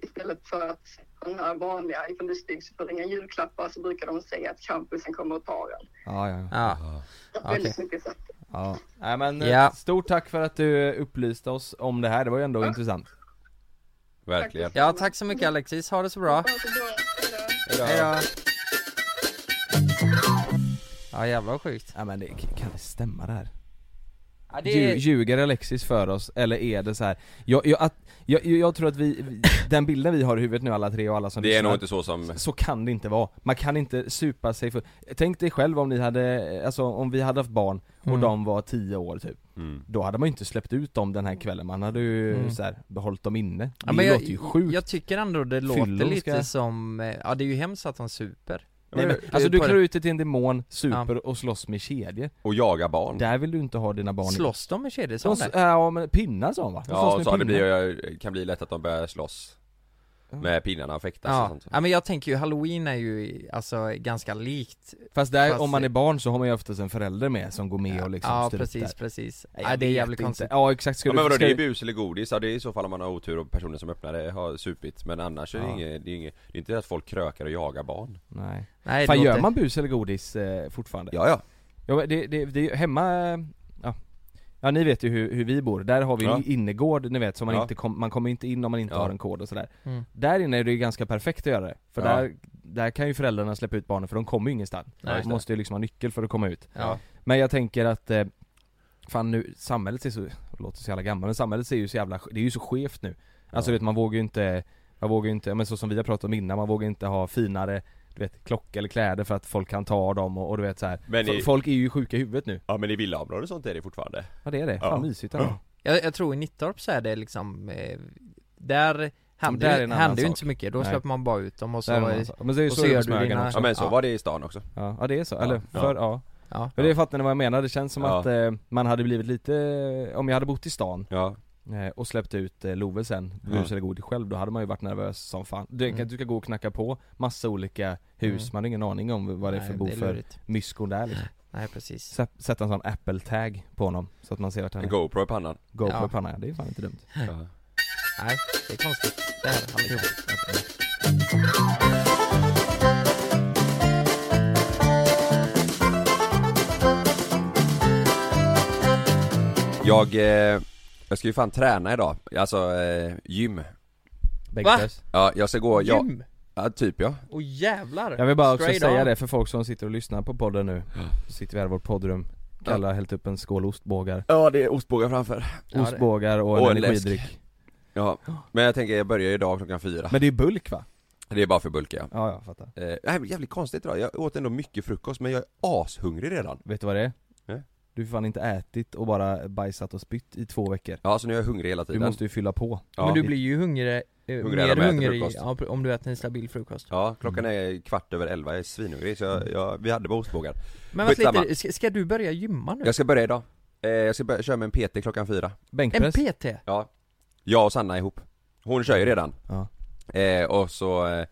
[SPEAKER 5] istället för att den här vanliga, ifall du styggs för inga julklappar så brukar de säga att campusen kommer att ta den.
[SPEAKER 6] ja ja
[SPEAKER 15] Ja,
[SPEAKER 5] Väldigt mycket så.
[SPEAKER 6] ja. Nej, men eh,
[SPEAKER 15] Ja.
[SPEAKER 6] stort tack för att du upplyste oss om det här, det var ju ändå intressant
[SPEAKER 3] Verkligen
[SPEAKER 15] Ja, tack så mycket Alexis, ha det så bra
[SPEAKER 3] Hejdå.
[SPEAKER 15] Hejdå Ja jävlar vad sjukt
[SPEAKER 6] Ja men det kan det stämma det här?
[SPEAKER 15] Ja, det
[SPEAKER 6] Lju-
[SPEAKER 15] är...
[SPEAKER 6] Ljuger Alexis för oss, eller är det så här? Jag, jag, att, jag, jag tror att vi, vi- den bilden vi har i huvudet nu alla tre och alla som
[SPEAKER 3] Det är
[SPEAKER 6] lyssnar,
[SPEAKER 3] nog inte så som-
[SPEAKER 6] Så kan det inte vara, man kan inte supa sig för Tänk dig själv om ni hade, alltså om vi hade haft barn och
[SPEAKER 15] Mm.
[SPEAKER 6] de var 10 år typ
[SPEAKER 3] Mm.
[SPEAKER 6] Då hade man ju inte släppt ut dem den här kvällen, man hade ju
[SPEAKER 15] Mm.
[SPEAKER 6] så här, behållit dem inne Det
[SPEAKER 15] Ja, men jag,
[SPEAKER 6] låter ju sjukt
[SPEAKER 15] jag tycker ändå det låter
[SPEAKER 6] Fyllon ska-
[SPEAKER 15] lite som, eh, ja det är ju hemskt att de super
[SPEAKER 6] Nej, men,
[SPEAKER 15] Det är
[SPEAKER 6] Alltså du
[SPEAKER 15] på
[SPEAKER 6] klär
[SPEAKER 15] det-
[SPEAKER 6] ut dig till en demon, super och slåss med kedjor
[SPEAKER 3] Och jaga barn
[SPEAKER 6] Där vill du inte ha dina barn i.
[SPEAKER 15] Slåss de med kedjor? sa
[SPEAKER 6] De
[SPEAKER 15] de
[SPEAKER 6] s-
[SPEAKER 15] det?
[SPEAKER 6] Ja men pinnar sa de va? De slåss
[SPEAKER 3] Ja
[SPEAKER 6] med
[SPEAKER 3] och så det
[SPEAKER 6] pinnar.
[SPEAKER 3] blir, kan bli lätt att de börjar slåss Med pinnarna och fäktas och
[SPEAKER 15] Ja.
[SPEAKER 3] sånt
[SPEAKER 15] ja, men jag tänker ju halloween är ju alltså ganska likt
[SPEAKER 6] Fast där, om man är barn så har man ju oftast en förälder med som går med och liksom
[SPEAKER 15] Ja
[SPEAKER 6] styr upp
[SPEAKER 15] precis,
[SPEAKER 6] där.
[SPEAKER 15] precis
[SPEAKER 6] Nej,
[SPEAKER 15] Nej,
[SPEAKER 6] jag
[SPEAKER 15] det är
[SPEAKER 6] vet
[SPEAKER 15] jävligt
[SPEAKER 6] inte.
[SPEAKER 15] konstigt
[SPEAKER 6] Ja, exakt. Ska
[SPEAKER 3] ja,
[SPEAKER 6] du-
[SPEAKER 3] men vadå,
[SPEAKER 6] ska
[SPEAKER 3] det är
[SPEAKER 6] du-
[SPEAKER 3] bus eller godis, ja, det är i så fall om man har otur och personen som öppnar det har supit Men annars är det
[SPEAKER 6] Ja.
[SPEAKER 3] inget, det är inget, det är inte att folk krökar och jagar barn
[SPEAKER 6] Nej,
[SPEAKER 15] Nej, det
[SPEAKER 6] Fan gör
[SPEAKER 15] låter-
[SPEAKER 6] man bus eller godis eh, fortfarande?
[SPEAKER 3] Ja, ja.
[SPEAKER 6] ja men det, det, det, hemma, eh, ja Ja ni vet ju hur, hur vi bor, där har vi ju
[SPEAKER 3] Ja.
[SPEAKER 6] innergård ni vet, så man
[SPEAKER 3] Ja.
[SPEAKER 6] inte kom, man kommer inte in om man inte
[SPEAKER 3] Ja.
[SPEAKER 6] har en kod och sådär
[SPEAKER 15] Mm.
[SPEAKER 6] Där inne är det ju ganska perfekt att göra det, för
[SPEAKER 3] Ja.
[SPEAKER 6] där, där kan ju föräldrarna släppa ut barnen för de kommer ju ingenstans
[SPEAKER 3] Nej, just
[SPEAKER 6] De
[SPEAKER 3] det.
[SPEAKER 6] måste ju liksom ha nyckel för att komma ut
[SPEAKER 3] Ja.
[SPEAKER 6] Men jag tänker att, eh, fan nu, samhället ser så låter så jävla gammal, men samhället ser ju så jävla, det är ju så skevt nu Alltså du vet man vågar ju inte, man vågar ju inte, men så som vi har pratat om innan, man vågar inte ha finare du vet, klocka eller kläder för att folk kan ta dem och, och du vet så här.
[SPEAKER 3] Men i-
[SPEAKER 6] Fol- Folk är ju sjuka i huvudet nu
[SPEAKER 3] Ja men i villaområden och sånt är det fortfarande
[SPEAKER 6] Ja det är det, fan mysigt alltså. ändå.
[SPEAKER 5] Jag, jag tror i Nittorp så är det liksom eh, Där
[SPEAKER 6] där är
[SPEAKER 5] händer,
[SPEAKER 6] en
[SPEAKER 5] ju-
[SPEAKER 6] annan
[SPEAKER 5] händer ju
[SPEAKER 6] sak.
[SPEAKER 5] inte så mycket, då
[SPEAKER 6] Nej.
[SPEAKER 5] släpper man bara ut dem och så,
[SPEAKER 6] Där är en annan sak. Men det är ju
[SPEAKER 5] och
[SPEAKER 6] så
[SPEAKER 5] så,
[SPEAKER 6] det är
[SPEAKER 5] gör
[SPEAKER 6] med
[SPEAKER 5] du
[SPEAKER 6] Smögen
[SPEAKER 5] dina...
[SPEAKER 6] också. Ja, men så
[SPEAKER 3] var det i stan också
[SPEAKER 6] Ja, ja det är så,
[SPEAKER 3] Ja.
[SPEAKER 6] eller
[SPEAKER 3] Ja.
[SPEAKER 6] för, ja.
[SPEAKER 3] Ja.
[SPEAKER 6] Men det fattar ni vad jag menar, det känns som
[SPEAKER 3] Ja.
[SPEAKER 6] att eh, man hade blivit lite, eh, om jag hade bott i stan
[SPEAKER 3] Ja.
[SPEAKER 6] eh, och släppt ut eh, Love sen,
[SPEAKER 3] Ja.
[SPEAKER 6] bus eller godis själv, då hade man ju varit nervös som fan. Du,
[SPEAKER 3] Mm.
[SPEAKER 6] du ska gå och knacka på massa olika hus,
[SPEAKER 5] Mm.
[SPEAKER 6] man har ingen aning om vad det är
[SPEAKER 5] Nej,
[SPEAKER 6] för
[SPEAKER 5] det
[SPEAKER 6] bo
[SPEAKER 5] är
[SPEAKER 6] för
[SPEAKER 5] lurigt.
[SPEAKER 6] myskon där liksom.
[SPEAKER 5] Nej precis
[SPEAKER 6] Sätt- Sätta en sån apple-tag på honom, så att man ser vart han är
[SPEAKER 3] En GoPro i pannan.
[SPEAKER 6] GoPro
[SPEAKER 5] Ja.
[SPEAKER 6] i pannan, ja, det är fan inte dumt
[SPEAKER 5] Nej, det är konstigt. Det är det aldrig.
[SPEAKER 3] Jag, eh, jag ska ju fan träna idag, alltså eh, gym
[SPEAKER 6] Bänkpress.
[SPEAKER 3] Ja, jag ska gå, jag,
[SPEAKER 5] Gym?
[SPEAKER 3] Ja, typ ja
[SPEAKER 5] Och jävlar!
[SPEAKER 6] Jag vill bara också
[SPEAKER 5] Straight
[SPEAKER 6] säga
[SPEAKER 5] on.
[SPEAKER 6] det för folk som sitter och lyssnar på podden nu Så Sitter vi här i vårt poddrum Kalle har hällt upp en skål ostbågar
[SPEAKER 3] Ja det är ostbågar framför
[SPEAKER 6] Ostbågar och en
[SPEAKER 3] läsk.
[SPEAKER 6] energidryck.
[SPEAKER 3] Ja, men jag tänker jag börjar idag klockan fyra
[SPEAKER 6] Men det är bulk va?
[SPEAKER 3] Det är bara för bulk ja
[SPEAKER 6] Ja, jag fattar.
[SPEAKER 3] eh, det här är jävligt konstigt idag, jag åt ändå mycket frukost men jag är ashungrig redan
[SPEAKER 6] Vet du vad det är?
[SPEAKER 3] Nej.
[SPEAKER 6] Du har fan inte ätit och bara bajsat och spytt i två veckor
[SPEAKER 3] Ja, så nu är jag hungrig hela
[SPEAKER 6] Du
[SPEAKER 3] tiden
[SPEAKER 6] måste ju fylla på
[SPEAKER 3] Ja.
[SPEAKER 5] Men du blir ju hungrig, eh,
[SPEAKER 3] Hungrig när man
[SPEAKER 5] mer
[SPEAKER 3] äter
[SPEAKER 5] hungrig
[SPEAKER 3] frukost.
[SPEAKER 5] ja, om du äter en stabil frukost Mm.
[SPEAKER 3] Ja, klockan är kvart över elva, jag är svinhungrig så jag, jag, vi hade bara ostbågar
[SPEAKER 5] Men vänta
[SPEAKER 3] Skitsamma.
[SPEAKER 5] lite, ska, ska du börja gymma nu?
[SPEAKER 3] Jag ska börja idag. Eh, jag ska börja köra med en PT klockan fyra.
[SPEAKER 5] Bänkpress? En PT?
[SPEAKER 3] Ja. Jag och Sanna ihop. Hon kör ju redan. Eh, och så eh,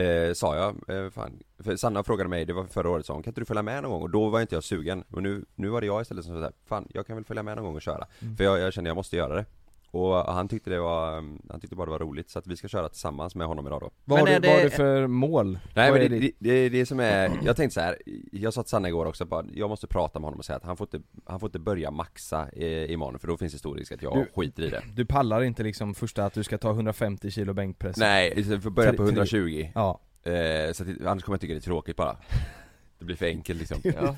[SPEAKER 3] eh, sa jag, eh, fan, för Sanna frågade mig, det var förra året, sa hon, kan inte du följa med någon gång? Och då var inte jag sugen. Och nu, nu var det jag istället som sa så här, fan jag kan väl följa med någon gång och köra.
[SPEAKER 6] Mm.
[SPEAKER 3] För jag, jag kände jag måste göra det. Och han tyckte det var, mm, han tyckte bara det var roligt så att vi ska köra tillsammans med honom idag då.
[SPEAKER 6] Vad har,
[SPEAKER 5] Men
[SPEAKER 6] du,
[SPEAKER 5] är
[SPEAKER 6] vad har du
[SPEAKER 5] det-
[SPEAKER 6] för mål?
[SPEAKER 3] Nej
[SPEAKER 6] Vad
[SPEAKER 3] men
[SPEAKER 6] är
[SPEAKER 3] det,
[SPEAKER 6] ditt-
[SPEAKER 3] det, det är det som är, jag tänkte så här. jag sa till Sanna igår också bara, jag måste prata med honom och säga att han får inte, han får inte börja maxa eh, imorgon för då finns det stor risk att jag
[SPEAKER 6] Du-
[SPEAKER 3] skiter i det
[SPEAKER 6] Du pallar inte liksom första att du ska ta 150 kilo bänkpress
[SPEAKER 3] Nej, istället för att börja
[SPEAKER 6] Alltså. Tre-
[SPEAKER 3] på 120
[SPEAKER 6] tre- Ja
[SPEAKER 3] eh, Så att, det- annars kommer jag tycka det är tråkigt bara Det blir för enkelt liksom
[SPEAKER 6] Ja.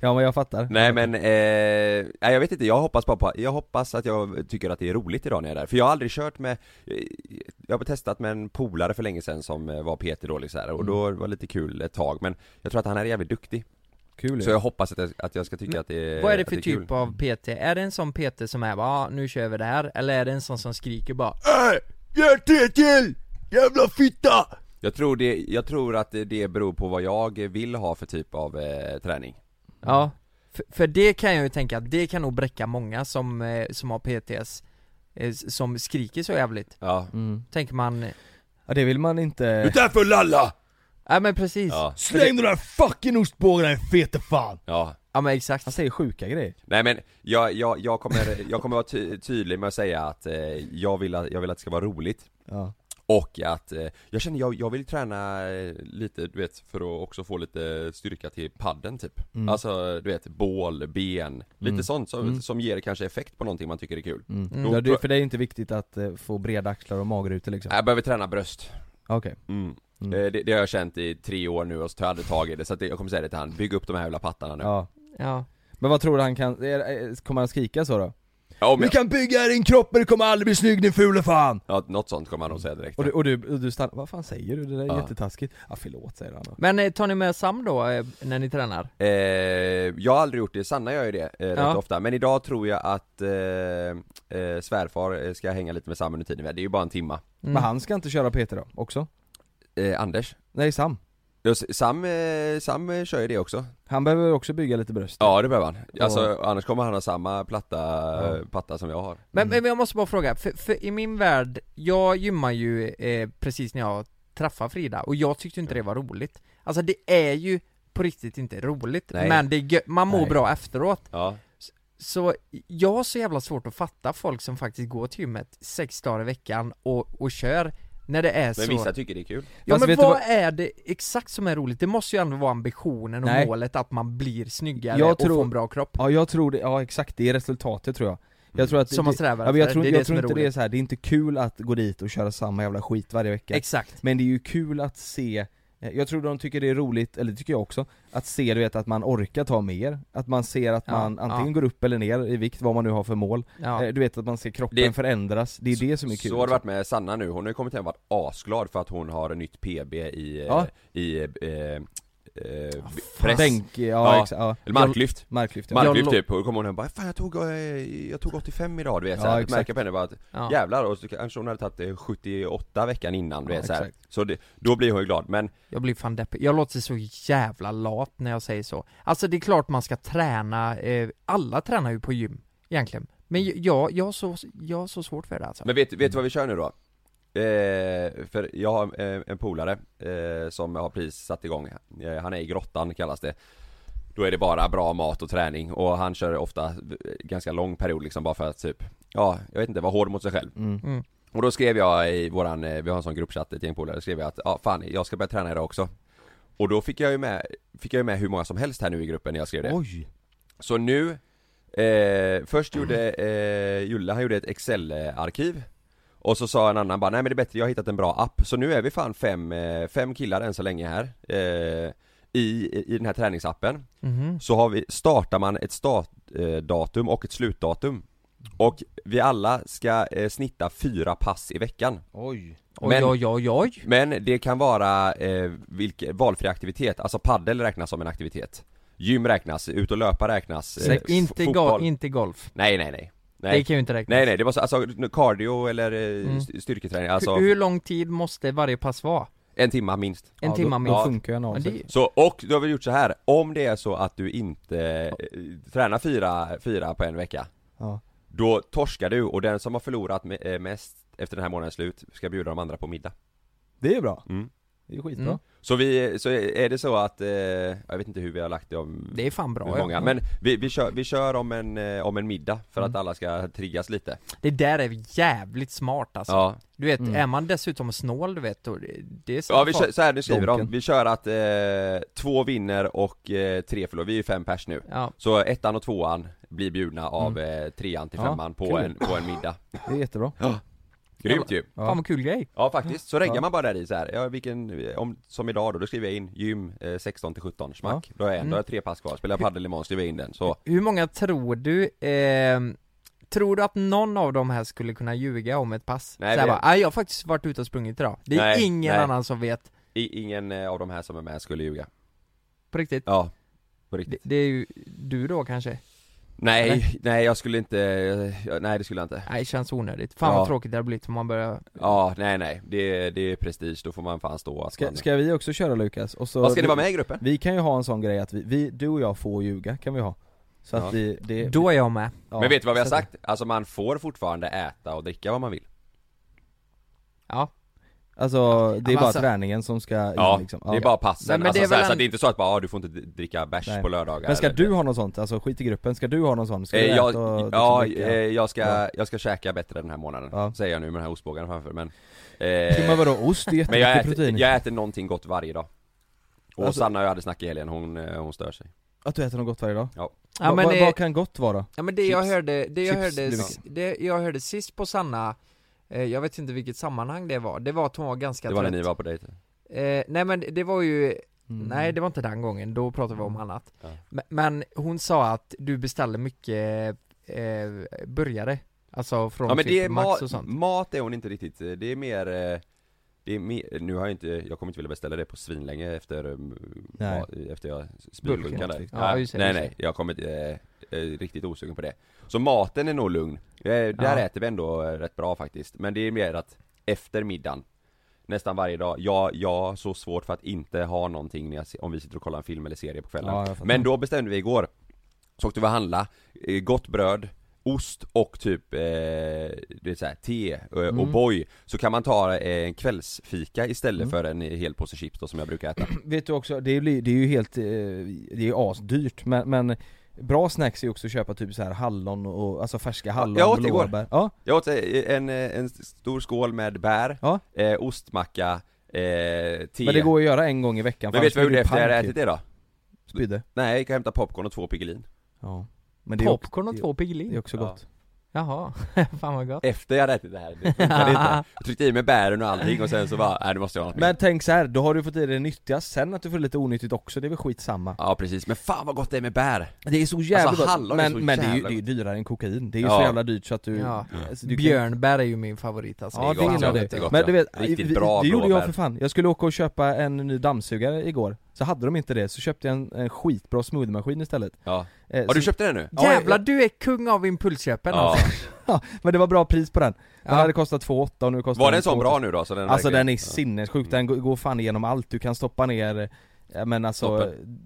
[SPEAKER 6] Ja men jag fattar
[SPEAKER 3] Nej men, eh, nej, jag vet inte, jag hoppas bara på, jag hoppas att jag tycker att det är roligt idag när jag är där, för jag har aldrig kört med eh, Jag har testat med en polare för länge sedan som eh, var Peter då liksom, så här, och då var det lite kul ett tag, men jag tror att han är jävligt duktig
[SPEAKER 6] Kul ju.
[SPEAKER 3] Så jag hoppas att jag, att jag ska tycka att det är
[SPEAKER 5] Vad är det
[SPEAKER 3] att
[SPEAKER 5] för
[SPEAKER 3] kul.
[SPEAKER 5] typ av PT? Är det en sån PT som är bara, ah, nu kör vi det här? Eller är det en sån som skriker bara
[SPEAKER 3] Äh, Gör det till! Jävla fitta! Jag tror, det, jag tror att det- det beror på vad jag vill ha för typ av eh, träning
[SPEAKER 5] Ja, för, för det kan jag ju tänka att det kan nog bräcka många som, eh, som har PTS eh, s- Som skriker så jävligt
[SPEAKER 3] Ja
[SPEAKER 5] Tänker man
[SPEAKER 6] Ja det vill man inte
[SPEAKER 5] Ut
[SPEAKER 3] där för lalla!
[SPEAKER 5] Nej men precis
[SPEAKER 3] Ja.
[SPEAKER 6] Släng de där fucking ostbågarna i fete fan!
[SPEAKER 3] Ja
[SPEAKER 5] Ja men exakt Han
[SPEAKER 6] säger sjuka grejer
[SPEAKER 3] Nej men jag, jag, jag, kommer, jag kommer vara ty- tydlig med att säga att eh, jag, vill att jag vill att det ska vara roligt
[SPEAKER 6] Ja.
[SPEAKER 3] Och att, eh, jag känner jag, jag vill träna eh, lite du vet för att också få lite styrka till padden typ
[SPEAKER 6] Mm.
[SPEAKER 3] Alltså du vet bål, ben, lite
[SPEAKER 6] Mm.
[SPEAKER 3] sånt som,
[SPEAKER 6] Mm.
[SPEAKER 3] som ger kanske effekt på någonting man tycker är kul
[SPEAKER 6] Mm.
[SPEAKER 3] Då
[SPEAKER 6] Ja,
[SPEAKER 3] tror
[SPEAKER 6] det,
[SPEAKER 3] jag-
[SPEAKER 6] för det är inte viktigt att eh, få breda axlar och magrutor liksom?
[SPEAKER 3] Nej, Jag behöver träna bröst
[SPEAKER 6] Okej.
[SPEAKER 3] mm. Eh, Det, det har jag känt i tre år nu och så tar jag aldrig tag i det så att det, jag kommer säga det till han, bygg upp de här jävla pattarna nu
[SPEAKER 6] Ja.
[SPEAKER 5] ja
[SPEAKER 6] Men vad tror du han kan, är- är- kommer han skrika så då?
[SPEAKER 3] Ja, om
[SPEAKER 6] Du
[SPEAKER 3] jag,
[SPEAKER 6] kan bygga din kropp men du kommer aldrig bli snygg din fule fan!
[SPEAKER 3] ja, något sånt kommer han nog säga direkt
[SPEAKER 6] Och du, och du, och du stannar, vad fan säger du? Det där är
[SPEAKER 3] Ja.
[SPEAKER 6] jättetaskigt Ja förlåt säger han då
[SPEAKER 5] Men eh, tar ni med Sam då eh, när ni tränar?
[SPEAKER 3] Eh, jag har aldrig gjort det, Sanna gör ju det eh, rätt
[SPEAKER 5] Ja.
[SPEAKER 3] ofta, men idag tror jag att eh, eh, svärfar eh, ska hänga lite med Sam under tiden, det är ju bara en timma
[SPEAKER 6] Men han ska inte köra PT då, också?
[SPEAKER 3] eh, Anders?
[SPEAKER 6] Nej Sam
[SPEAKER 3] Ja, s- Sam, eh, Sam eh, kör ju det också
[SPEAKER 6] Han behöver också bygga lite bröst
[SPEAKER 3] Ja det behöver han,
[SPEAKER 6] Ja.
[SPEAKER 3] alltså annars kommer han ha samma platta eh, patta som jag har
[SPEAKER 5] Men, men jag måste bara fråga, för, för i min värld, jag gymmar ju eh, precis när jag träffade Frida och jag tyckte inte det var roligt Alltså det är ju på riktigt inte roligt,
[SPEAKER 3] Nej.
[SPEAKER 5] men det är gö- man mår
[SPEAKER 3] Nej.
[SPEAKER 5] bra efteråt
[SPEAKER 3] Ja,
[SPEAKER 5] Så jag har så jävla svårt att fatta folk som faktiskt går till gymmet sex dagar i veckan och, och kör när det är så
[SPEAKER 3] men vissa tycker det är kul
[SPEAKER 5] Ja
[SPEAKER 6] Fast
[SPEAKER 5] men
[SPEAKER 6] vet du
[SPEAKER 5] vad,
[SPEAKER 6] vad-
[SPEAKER 5] är det exakt som är roligt? Det måste ju ändå vara ambitionen och
[SPEAKER 6] Nej.
[SPEAKER 5] målet att man blir snyggare
[SPEAKER 6] Jag
[SPEAKER 5] och
[SPEAKER 6] tror-
[SPEAKER 5] får en bra kropp
[SPEAKER 6] Ja jag tror det, ja exakt, det är resultatet tror jag jag tror att
[SPEAKER 5] Som
[SPEAKER 6] det,
[SPEAKER 5] man strävar
[SPEAKER 6] ja, men jag
[SPEAKER 5] efter,
[SPEAKER 6] tror,
[SPEAKER 5] det är
[SPEAKER 6] jag
[SPEAKER 5] det som
[SPEAKER 6] tror
[SPEAKER 5] är
[SPEAKER 6] inte det är
[SPEAKER 5] roligt.
[SPEAKER 6] så här. det är inte kul att gå dit och köra samma jävla skit varje vecka
[SPEAKER 5] Exakt.
[SPEAKER 6] Men det är ju kul att se Eh, Jag tror de tycker det är roligt, eller det tycker jag också, att se du vet att man orkar ta mer, att man ser att
[SPEAKER 5] Ja,
[SPEAKER 6] man antingen
[SPEAKER 5] ja.
[SPEAKER 6] går upp eller ner i vikt, vad man nu har för mål.
[SPEAKER 5] Ja.
[SPEAKER 6] Eh, Du vet att man ser kroppen
[SPEAKER 3] Det-
[SPEAKER 6] förändras, det är det som är kul. liksom.
[SPEAKER 3] Så har det varit med Sanna nu, hon har ju kommit hem och varit asglad för att hon har ett nytt PB i, eh,
[SPEAKER 6] Ja.
[SPEAKER 3] i eh, eh, eh,
[SPEAKER 6] fan.
[SPEAKER 3] press
[SPEAKER 6] Bänk, ja, exakt, ja.
[SPEAKER 3] Eller marklyft
[SPEAKER 6] Jag- marklyft, ja.
[SPEAKER 3] Marklyft
[SPEAKER 6] Jag
[SPEAKER 3] typ, och då kommer hon hem och bara 'Fan jag tog, eh, jag tog 85 idag' du vet
[SPEAKER 6] Ja,
[SPEAKER 3] såhär,
[SPEAKER 6] exakt.
[SPEAKER 3] märker på henne bara att
[SPEAKER 6] Ja.
[SPEAKER 3] jävlar och så kanske hon hade tagit eh, 78 veckan innan du
[SPEAKER 5] Ja,
[SPEAKER 3] vet såhär
[SPEAKER 5] exakt.
[SPEAKER 3] Så det, då blir hon ju glad men
[SPEAKER 5] Jag blir fan deppig, jag låter så jävla lat när jag säger så Alltså det är klart man ska träna, eh, alla tränar ju på gym egentligen Men j- jag, jag har så, jag har så svårt för det alltså
[SPEAKER 3] Men vet, vet du vad vi kör nu då? Eh, för jag har eh, en polare eh, som har precis satt igång, eh, han är i grottan kallas det Då är det bara bra mat och träning och han kör ofta eh, ganska lång period liksom bara för att typ Ja, jag vet inte, vara hård mot sig själv
[SPEAKER 6] Mm.
[SPEAKER 5] Mm.
[SPEAKER 3] Och då skrev jag i våran, eh, vi har en sån gruppchatt, ett gäng polare, skrev jag att ja fan jag ska börja träna idag också Och då fick jag ju med, fick jag ju med hur många som helst här nu i gruppen när jag skrev det
[SPEAKER 6] Oj!
[SPEAKER 3] Så nu, eh, först gjorde eh, Julle, han gjorde ett Excel-arkiv Och så sa en annan bara, nej men det är bättre, jag har hittat en bra app Så nu är vi fan fem, eh, fem killar än så länge här eh, i, I den här träningsappen
[SPEAKER 5] Mhm.
[SPEAKER 3] Så har vi, startar man ett startdatum och ett slutdatum Och vi alla ska eh, snitta fyra pass i veckan
[SPEAKER 6] Oj!
[SPEAKER 5] Oj, oj, oj, oj.
[SPEAKER 3] men det kan vara eh, vilke, valfri aktivitet, alltså paddel räknas som en aktivitet Gym räknas, ut och löpa räknas, eh,
[SPEAKER 5] Så
[SPEAKER 3] f-
[SPEAKER 5] inte, go-
[SPEAKER 3] fotboll-
[SPEAKER 5] inte golf
[SPEAKER 3] Nej nej nej Nej.
[SPEAKER 5] Det kan ju inte räknas.
[SPEAKER 3] Nej nej, det var så, alltså cardio eller eh,
[SPEAKER 5] Mm.
[SPEAKER 3] st- styrketräning, alltså
[SPEAKER 5] hur, hur lång tid måste varje pass vara?
[SPEAKER 3] en timma minst
[SPEAKER 5] En timma minst.
[SPEAKER 3] Ja.
[SPEAKER 5] funkar ju en avsikt. Men det-
[SPEAKER 3] Så, och då har vi gjort så här om det är så att du inte eh, tränar fyra, fyra på en vecka
[SPEAKER 6] Ja.
[SPEAKER 3] Då torskar du och den som har förlorat me- eh, mest efter den här månadens slut ska bjuda de andra på middag
[SPEAKER 6] Det är bra,
[SPEAKER 3] mm.
[SPEAKER 6] det är skitbra
[SPEAKER 5] Mm.
[SPEAKER 3] Så vi, så är det så att, eh, jag vet inte hur vi har lagt det om
[SPEAKER 5] Det är fan bra,
[SPEAKER 3] hur många,
[SPEAKER 5] ja.
[SPEAKER 3] men vi, vi, kör, vi kör om en, eh, om en middag för att
[SPEAKER 5] Mm.
[SPEAKER 3] alla ska triggas lite
[SPEAKER 5] Det där är jävligt smart alltså
[SPEAKER 3] Ja.
[SPEAKER 5] Du vet,
[SPEAKER 3] Mm.
[SPEAKER 5] är man dessutom snål du vet, då, det- det är
[SPEAKER 3] Ja vi kör, så här nu skriver de,
[SPEAKER 5] Donken.
[SPEAKER 3] vi kör att eh, två vinner och eh, tre förlorar, vi är ju fem pers nu
[SPEAKER 5] Ja.
[SPEAKER 3] Så ettan och tvåan blir bjudna av
[SPEAKER 5] Mm.
[SPEAKER 3] eh, trean till
[SPEAKER 6] Ja,
[SPEAKER 3] femman på,
[SPEAKER 6] kul.
[SPEAKER 3] en, på en middag
[SPEAKER 6] Det är jättebra
[SPEAKER 3] Ja. Grymt ju!
[SPEAKER 5] Fan vad kul grej!
[SPEAKER 3] Ja faktiskt, så reggar
[SPEAKER 5] Ja.
[SPEAKER 3] man bara där i så här. Ja, vilken, om, som idag då, då skriver jag in gym eh, 16 till 17, smack Då är jag en,
[SPEAKER 5] Mm.
[SPEAKER 3] då har jag tre pass kvar, spelar jag padel imorgon skriver jag in den så
[SPEAKER 5] Hur många tror du, ehm, tror du att någon av de här skulle kunna ljuga om ett pass?
[SPEAKER 3] Nej,
[SPEAKER 5] Såhär
[SPEAKER 3] vi-
[SPEAKER 5] bara, "Aj, jag har faktiskt varit ute och sprungit idag Det är
[SPEAKER 3] Nej,
[SPEAKER 5] ingen
[SPEAKER 3] nej.
[SPEAKER 5] annan som vet,
[SPEAKER 3] I, Ingen eh, av de här som är med skulle ljuga
[SPEAKER 5] på riktigt
[SPEAKER 3] Ja, på riktigt
[SPEAKER 5] Det, det är ju du då kanske?
[SPEAKER 3] Nej,
[SPEAKER 5] Eller?
[SPEAKER 3] nej jag skulle inte, eh, nej det skulle jag inte
[SPEAKER 5] Nej, det känns onödigt. Fan
[SPEAKER 3] Ja.
[SPEAKER 5] vad tråkigt det hade blivit om man börjar
[SPEAKER 3] Ja, nej nej, det, det är prestige, då får man fan stå att
[SPEAKER 6] Ska,
[SPEAKER 3] man...
[SPEAKER 6] ska vi också köra Lukas? Och så
[SPEAKER 3] Vad ska det vara med i gruppen?
[SPEAKER 6] Vi kan ju ha en sån grej att vi, vi du och jag får ljuga, kan vi ha Så att
[SPEAKER 3] Ja.
[SPEAKER 6] vi, det,
[SPEAKER 5] Då är jag med
[SPEAKER 6] Ja.
[SPEAKER 3] Men vet du vad vi har
[SPEAKER 6] Så det-
[SPEAKER 3] sagt? Alltså man får fortfarande äta och dricka vad man vill
[SPEAKER 5] Ja
[SPEAKER 6] Alltså det är
[SPEAKER 3] men
[SPEAKER 6] bara
[SPEAKER 3] alltså-
[SPEAKER 6] träningen som ska in,
[SPEAKER 3] Ja,
[SPEAKER 6] liksom.
[SPEAKER 3] det är bara passen,
[SPEAKER 5] Nej, men
[SPEAKER 3] alltså,
[SPEAKER 5] det är
[SPEAKER 3] så, här,
[SPEAKER 5] väl
[SPEAKER 3] så
[SPEAKER 5] en-
[SPEAKER 3] att det är inte så att bara, ah, du får inte dricka bärs
[SPEAKER 6] Nej.
[SPEAKER 3] på lördagar
[SPEAKER 6] Men ska
[SPEAKER 3] eller-
[SPEAKER 6] du ha något sånt? Alltså skit i gruppen, ska du ha något sånt? Ska
[SPEAKER 3] Eh,
[SPEAKER 6] du
[SPEAKER 3] jag,
[SPEAKER 6] äta och
[SPEAKER 3] ja,
[SPEAKER 6] dricka?
[SPEAKER 3] eh, jag ska,
[SPEAKER 6] Ja.
[SPEAKER 3] jag ska käka bättre den här månaden, säger jag nu med den här ostbågaren framför men eh,
[SPEAKER 6] Men vadå, ost är
[SPEAKER 3] Men jag
[SPEAKER 6] jättemycket
[SPEAKER 3] äter,
[SPEAKER 6] protein
[SPEAKER 3] jag äter någonting gott varje dag Och
[SPEAKER 6] Alltså-
[SPEAKER 3] Sanna och jag hade snack i helgen, hon, eh, hon stör sig
[SPEAKER 6] Att du äter något gott varje dag?
[SPEAKER 3] Ja.
[SPEAKER 5] Ja,
[SPEAKER 6] Va-
[SPEAKER 5] men
[SPEAKER 6] va-
[SPEAKER 5] det-
[SPEAKER 6] Vad kan gott vara?
[SPEAKER 5] Ja men det jag
[SPEAKER 6] Chips.
[SPEAKER 5] hörde, det jag
[SPEAKER 6] Chips,
[SPEAKER 5] hörde,
[SPEAKER 6] Lukas.
[SPEAKER 5] det jag hörde sist på Sanna eh, Jag vet inte vilket sammanhang det var, det var att hon var ganska
[SPEAKER 3] Det var när
[SPEAKER 5] trött
[SPEAKER 3] ni var på dejt
[SPEAKER 5] eh, Nej men det var ju, nej det var inte den gången, då pratade vi
[SPEAKER 6] Mm.
[SPEAKER 5] om annat men, men hon sa att du beställde mycket eh, burgare Alltså från
[SPEAKER 3] Ja men
[SPEAKER 5] typ
[SPEAKER 3] det är
[SPEAKER 5] Max och
[SPEAKER 3] ma-
[SPEAKER 5] sånt
[SPEAKER 3] mat är hon inte riktigt, eh, det är mer eh, det är mer, nu har jag inte, jag kommer inte vilja beställa det på svinlänge efter, mm,
[SPEAKER 5] Nej.
[SPEAKER 3] ma- efter jag spydbulkan där
[SPEAKER 5] Bulken. Ja, just det,
[SPEAKER 3] Nej
[SPEAKER 5] just
[SPEAKER 3] nej, jag kommer inte, eh, eh, riktigt osugen på det Så maten är nog lugn, eh, där
[SPEAKER 5] Ja.
[SPEAKER 3] äter vi ändå eh, rätt bra faktiskt Men det är mer att, efter middagen Nästan varje dag, jag, jag har så svårt för att inte ha någonting när jag, se- om vi sitter och kollar en film eller serie på kvällen
[SPEAKER 6] Ja, jag fattar.
[SPEAKER 3] Men då bestämde vi igår så åkte vi och handla, eh, gott bröd, ost och typ, eh, det är så här, te eh, och
[SPEAKER 6] Mm.
[SPEAKER 3] boy Så kan man ta eh, en kvällsfika istället
[SPEAKER 6] Mm.
[SPEAKER 3] för en hel påse chips då som jag brukar äta
[SPEAKER 6] Vet du också, det blir, det är ju helt, eh, det är ju asdyrt men, men Bra snacks är ju också att köpa typ så här hallon och, alltså färska hallon
[SPEAKER 3] Jag
[SPEAKER 6] och
[SPEAKER 3] åt igår.
[SPEAKER 6] blåbär Ja,
[SPEAKER 3] Jag åt eh, en, eh, en stor skål med bär, eh, ostmacka, eh, te
[SPEAKER 6] men det går ju att göra en gång i veckan
[SPEAKER 3] Men
[SPEAKER 6] för
[SPEAKER 3] vet du vad jag gjorde
[SPEAKER 6] annars
[SPEAKER 3] efter jag
[SPEAKER 6] blir
[SPEAKER 3] hade
[SPEAKER 6] ju
[SPEAKER 3] ätit det då?
[SPEAKER 6] Spydde?
[SPEAKER 3] Nej, jag gick och hämtade popcorn och två Piggelin
[SPEAKER 6] Ja men det är ju-
[SPEAKER 5] Popcorn och
[SPEAKER 6] det-
[SPEAKER 5] två Piggelin.
[SPEAKER 6] Det är också gott
[SPEAKER 5] Jaha, fan vad gott.
[SPEAKER 3] Efter jag hade ätit det här, det funkade inte Jag tryckte i mig bären och allting och sen så bara, nej det måste jag ha något mer
[SPEAKER 6] Men tänk så här, då har du fått i dig det nyttiga, sen att du får lite onyttigt också, det är väl skitsamma
[SPEAKER 3] Ja precis, men fan vad gott det är med bär!
[SPEAKER 6] Det är så jävla
[SPEAKER 3] alltså,
[SPEAKER 6] gott,
[SPEAKER 3] hallon är
[SPEAKER 6] men,
[SPEAKER 3] så
[SPEAKER 6] men det, är ju,
[SPEAKER 3] jävla
[SPEAKER 6] det är ju
[SPEAKER 3] gott.
[SPEAKER 6] dyrare än kokain, det är ju
[SPEAKER 3] Ja.
[SPEAKER 6] så jävla dyrt så att du...
[SPEAKER 5] Ja.
[SPEAKER 6] Alltså, du kan-
[SPEAKER 5] Björnbär är ju min favorit alltså.
[SPEAKER 6] Ja det
[SPEAKER 3] gott,
[SPEAKER 6] gillar
[SPEAKER 3] ja.
[SPEAKER 6] du
[SPEAKER 3] Det är gott,
[SPEAKER 6] Men
[SPEAKER 3] ja.
[SPEAKER 6] du vet,
[SPEAKER 3] Riktigt
[SPEAKER 6] vi-
[SPEAKER 3] bra
[SPEAKER 6] det gjorde jag
[SPEAKER 3] blåbär.
[SPEAKER 6] för fan. Jag skulle åka och köpa en ny dammsugare igår, så hade de inte det, så köpte jag en, en skitbra smoothiemaskin istället
[SPEAKER 3] Ja,
[SPEAKER 6] Eh,
[SPEAKER 3] har du
[SPEAKER 6] så-
[SPEAKER 3] köpt den nu?
[SPEAKER 5] Jävlar du är kung av impulsköpen
[SPEAKER 3] Ja.
[SPEAKER 5] alltså.
[SPEAKER 6] Ja, men det var bra pris på den. Den
[SPEAKER 5] Ja.
[SPEAKER 6] hade kostat 2 och nu kostar
[SPEAKER 3] Var den så
[SPEAKER 6] 2,8.
[SPEAKER 3] bra nu då, så den
[SPEAKER 6] alltså
[SPEAKER 3] verkligen-
[SPEAKER 6] den är
[SPEAKER 3] Ja.
[SPEAKER 6] sinnessjuk, den går- går fan igenom allt, du kan stoppa ner ja, men alltså,
[SPEAKER 3] Snoppen.
[SPEAKER 6] snoppen,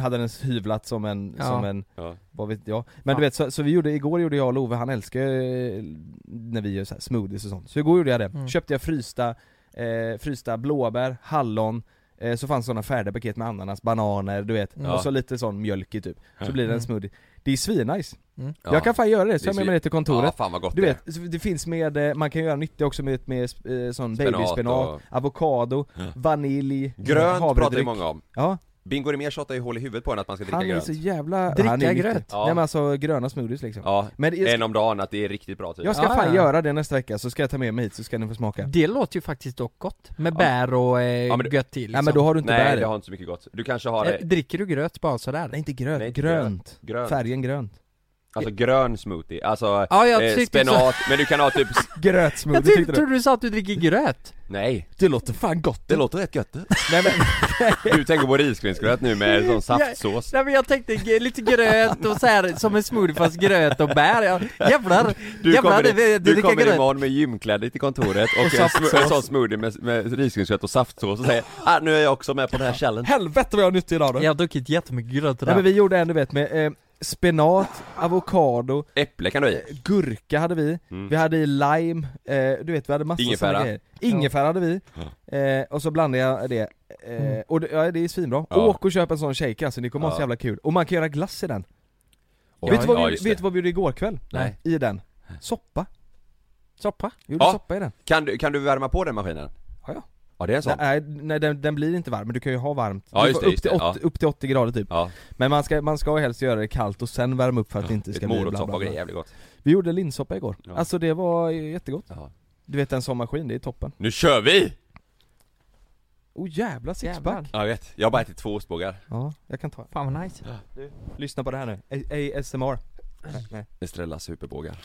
[SPEAKER 6] hade den hyvlat som en,
[SPEAKER 3] Ja.
[SPEAKER 6] som en
[SPEAKER 3] Ja.
[SPEAKER 6] vad vet jag Men
[SPEAKER 3] Ja.
[SPEAKER 6] du vet, så, så vi gjorde, igår gjorde jag och Love, han älskar ju när vi gör så här smoothies och sånt Så igår gjorde jag det,
[SPEAKER 3] Mm.
[SPEAKER 6] köpte jag frysta, eh, frysta blåbär, hallon eh, så fanns sådana färdiga paket med ananas, bananer, du vet,
[SPEAKER 3] Ja.
[SPEAKER 6] och så lite sån mjölkig typ Så
[SPEAKER 3] Ja.
[SPEAKER 6] blir det
[SPEAKER 3] Mm.
[SPEAKER 6] en smoothie Det är svinnice!
[SPEAKER 3] Mm. Ja.
[SPEAKER 6] Jag kan fan göra det,
[SPEAKER 3] Det
[SPEAKER 6] så
[SPEAKER 3] är
[SPEAKER 6] jag med
[SPEAKER 3] svin-
[SPEAKER 6] mig det till kontoret
[SPEAKER 3] Ja, fan vad gott
[SPEAKER 6] Du
[SPEAKER 3] det är.
[SPEAKER 6] vet, så det finns med, eh, man kan göra nyttiga också med, med eh, sån
[SPEAKER 3] Spenat
[SPEAKER 6] babyspenat,
[SPEAKER 3] och-
[SPEAKER 6] avokado,
[SPEAKER 3] Ja.
[SPEAKER 6] vanilj, eh,
[SPEAKER 3] Grönt pratar ju
[SPEAKER 6] havredryck.
[SPEAKER 3] många om
[SPEAKER 6] Ja,
[SPEAKER 3] Bingo Rimér tjatar ju hål i huvudet på en att man ska dricka
[SPEAKER 6] han är
[SPEAKER 3] grönt
[SPEAKER 6] så jävla...
[SPEAKER 3] Dricka
[SPEAKER 6] han är
[SPEAKER 3] grönt.
[SPEAKER 6] nyttigt.
[SPEAKER 3] Ja.
[SPEAKER 6] Nej men alltså gröna smoothies liksom
[SPEAKER 3] Ja,
[SPEAKER 6] Men det-
[SPEAKER 3] en om dagen, att det är riktigt bra typ
[SPEAKER 6] Jag ska
[SPEAKER 5] Ah,
[SPEAKER 6] fan göra det nästa vecka, så ska jag ta med mig hit så ska ni få smaka
[SPEAKER 5] Det låter ju faktiskt dock gott. Med bär och eh,
[SPEAKER 3] Ja, men du-
[SPEAKER 5] gött till liksom.
[SPEAKER 6] Nej, men då har du inte
[SPEAKER 3] Nej,
[SPEAKER 6] bär i.
[SPEAKER 3] det har inte så mycket gott Du kanske har
[SPEAKER 5] Eh,
[SPEAKER 3] det,
[SPEAKER 5] Dricker du gröt bara sådär?
[SPEAKER 6] Nej inte grönt,
[SPEAKER 3] Nej, inte
[SPEAKER 6] grönt.
[SPEAKER 3] grönt.
[SPEAKER 6] Färgen grönt
[SPEAKER 3] alltså grön smoothie, alltså
[SPEAKER 5] Ja, jag
[SPEAKER 3] eh,
[SPEAKER 5] tyckte så.
[SPEAKER 3] spenat, men du kan ha typ
[SPEAKER 6] Grötsmoothie
[SPEAKER 5] Jag tyckte, trodde du sa att du dricker gröt.
[SPEAKER 3] Nej
[SPEAKER 6] Det låter fan gott
[SPEAKER 3] Det låter rätt gött det. Du tänker på risgrynsgröt nu med sån saftsås
[SPEAKER 5] Nej men jag tänkte g- lite gröt och så här som en smoothie fast gröt och bär. Ja, jävlar!
[SPEAKER 3] Du
[SPEAKER 5] jävlar,
[SPEAKER 3] kommer,
[SPEAKER 5] det- det-
[SPEAKER 3] i-
[SPEAKER 5] det
[SPEAKER 3] du
[SPEAKER 5] dricker
[SPEAKER 3] kommer
[SPEAKER 5] gröt.
[SPEAKER 3] imorgon med gymkläder till kontoret och,
[SPEAKER 5] Och
[SPEAKER 3] en, sm- en
[SPEAKER 5] saftsås.
[SPEAKER 3] sån smoothie med, med risgrynsgröt och saftsås och säger ah, nu är jag också med på den här challenge
[SPEAKER 6] Helvete vad jag har nyttig idag då!
[SPEAKER 5] Jag har druckit jättemycket gröt
[SPEAKER 6] Nej
[SPEAKER 5] idag.
[SPEAKER 6] men vi gjorde en du vet med eh, spenat, avokado
[SPEAKER 3] Äpple kan du ha i.
[SPEAKER 6] Gurka hade vi,
[SPEAKER 3] Mm.
[SPEAKER 6] vi hade i lime, eh, du vet vi hade massor
[SPEAKER 3] Ingefära.
[SPEAKER 6] sådana grejer Ingefära hade vi, eh, och så blandade jag det, eh,
[SPEAKER 3] Mm.
[SPEAKER 6] och det, ja, det är svinbra
[SPEAKER 3] Ja.
[SPEAKER 6] Åk och köp en sån shake alltså, ni kommer ha så
[SPEAKER 3] Ja.
[SPEAKER 6] jävla kul, och man kan göra glass i den
[SPEAKER 3] Oj,
[SPEAKER 6] Vet du vad,
[SPEAKER 3] ja,
[SPEAKER 6] vi,
[SPEAKER 3] just
[SPEAKER 6] vet
[SPEAKER 3] det.
[SPEAKER 6] du vad vi gjorde igår kväll?
[SPEAKER 3] Nej.
[SPEAKER 6] I den? Soppa
[SPEAKER 5] Soppa?
[SPEAKER 6] Vi gjorde soppa i den
[SPEAKER 3] Kan, du, kan du värma på den maskinen?
[SPEAKER 6] Ja, ja.
[SPEAKER 3] Ja det är en sån?
[SPEAKER 6] Nej, nej den, den blir inte varm, men du kan ju ha varmt
[SPEAKER 3] Ja,
[SPEAKER 6] Du
[SPEAKER 3] just
[SPEAKER 6] får
[SPEAKER 3] det,
[SPEAKER 6] upp,
[SPEAKER 3] just
[SPEAKER 6] till
[SPEAKER 3] det,
[SPEAKER 6] 80,
[SPEAKER 3] ja.
[SPEAKER 6] upp till 80 grader typ
[SPEAKER 3] Ja.
[SPEAKER 6] Men man ska, man ska helst göra det kallt och sen värma upp för att det inte
[SPEAKER 3] Lite
[SPEAKER 6] ska bli bla bla
[SPEAKER 3] morotssoppa och
[SPEAKER 6] bla
[SPEAKER 3] grejer, jävligt gott
[SPEAKER 6] Vi gjorde linssoppa igår,
[SPEAKER 3] Ja.
[SPEAKER 6] alltså det var jättegott
[SPEAKER 3] Ja.
[SPEAKER 6] Du vet en sån maskin, det är toppen
[SPEAKER 3] Nu kör vi!
[SPEAKER 6] Oh jävla sixpack!
[SPEAKER 3] Ja, jag vet, jag har bara ätit två ostbågar
[SPEAKER 6] Ja, jag kan ta en.
[SPEAKER 5] Fan vad nice.
[SPEAKER 6] Du, lyssna på det här nu. A- ASMR. Nej, nej.
[SPEAKER 3] Estrella superbågar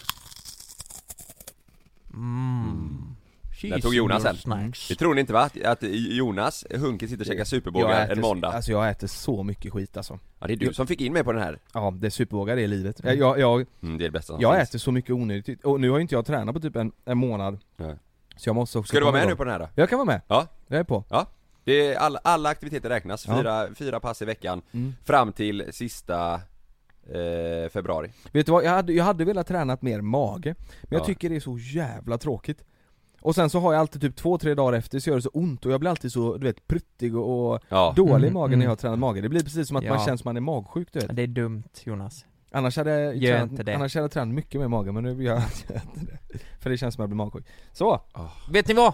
[SPEAKER 5] Mm.
[SPEAKER 3] Där tog Jonas
[SPEAKER 5] Cheese
[SPEAKER 3] sen
[SPEAKER 5] snacks.
[SPEAKER 3] Det tror ni inte va? Att- Att Jonas Hunke sitter och käkar
[SPEAKER 6] Jag
[SPEAKER 3] superbågar
[SPEAKER 6] äter-
[SPEAKER 3] en måndag
[SPEAKER 6] Alltså jag äter så mycket skit alltså.
[SPEAKER 3] Ja det är du
[SPEAKER 6] jag-
[SPEAKER 3] som fick in mig på den här
[SPEAKER 6] Ja, det är supervågar det är livet. Jag, jag, jag,
[SPEAKER 3] mm, Det är det bästa som
[SPEAKER 6] jag
[SPEAKER 3] finns.
[SPEAKER 6] äter så mycket onödigt. Och nu har ju inte jag tränat på typ en, en månad.
[SPEAKER 3] Nej.
[SPEAKER 6] Så jag måste också
[SPEAKER 3] Ska du vara
[SPEAKER 6] komma
[SPEAKER 3] med
[SPEAKER 6] igång.
[SPEAKER 3] nu på den här då?
[SPEAKER 6] Jag kan vara med.
[SPEAKER 3] Ja
[SPEAKER 6] Jag är på.
[SPEAKER 3] Ja, det är all, alla aktiviteter räknas,
[SPEAKER 6] Ja.
[SPEAKER 3] fyra, fyra pass i veckan
[SPEAKER 6] Mm.
[SPEAKER 3] fram till sista eh, februari
[SPEAKER 6] Vet du vad, jag hade, jag hade velat tränat mer mage. Men jag
[SPEAKER 3] Ja.
[SPEAKER 6] tycker det är så jävla tråkigt. Och sen så har jag alltid typ två, tre dagar efter så gör det så ont och jag blir alltid så, du vet, pruttig och, och
[SPEAKER 3] Ja.
[SPEAKER 6] dålig i
[SPEAKER 5] Mm,
[SPEAKER 6] magen när
[SPEAKER 5] mm.
[SPEAKER 6] jag har tränat mage. Det blir precis som att man
[SPEAKER 5] Ja.
[SPEAKER 6] känns som man är magsjuk du vet.
[SPEAKER 5] Det är dumt Jonas.
[SPEAKER 6] Annars hade jag
[SPEAKER 5] Gör
[SPEAKER 6] tränat,
[SPEAKER 5] inte det.
[SPEAKER 6] annars hade jag tränat mycket mer mage men nu gör jag inte det För det känns som att jag blir magsjuk Så!
[SPEAKER 5] Vet ni vad?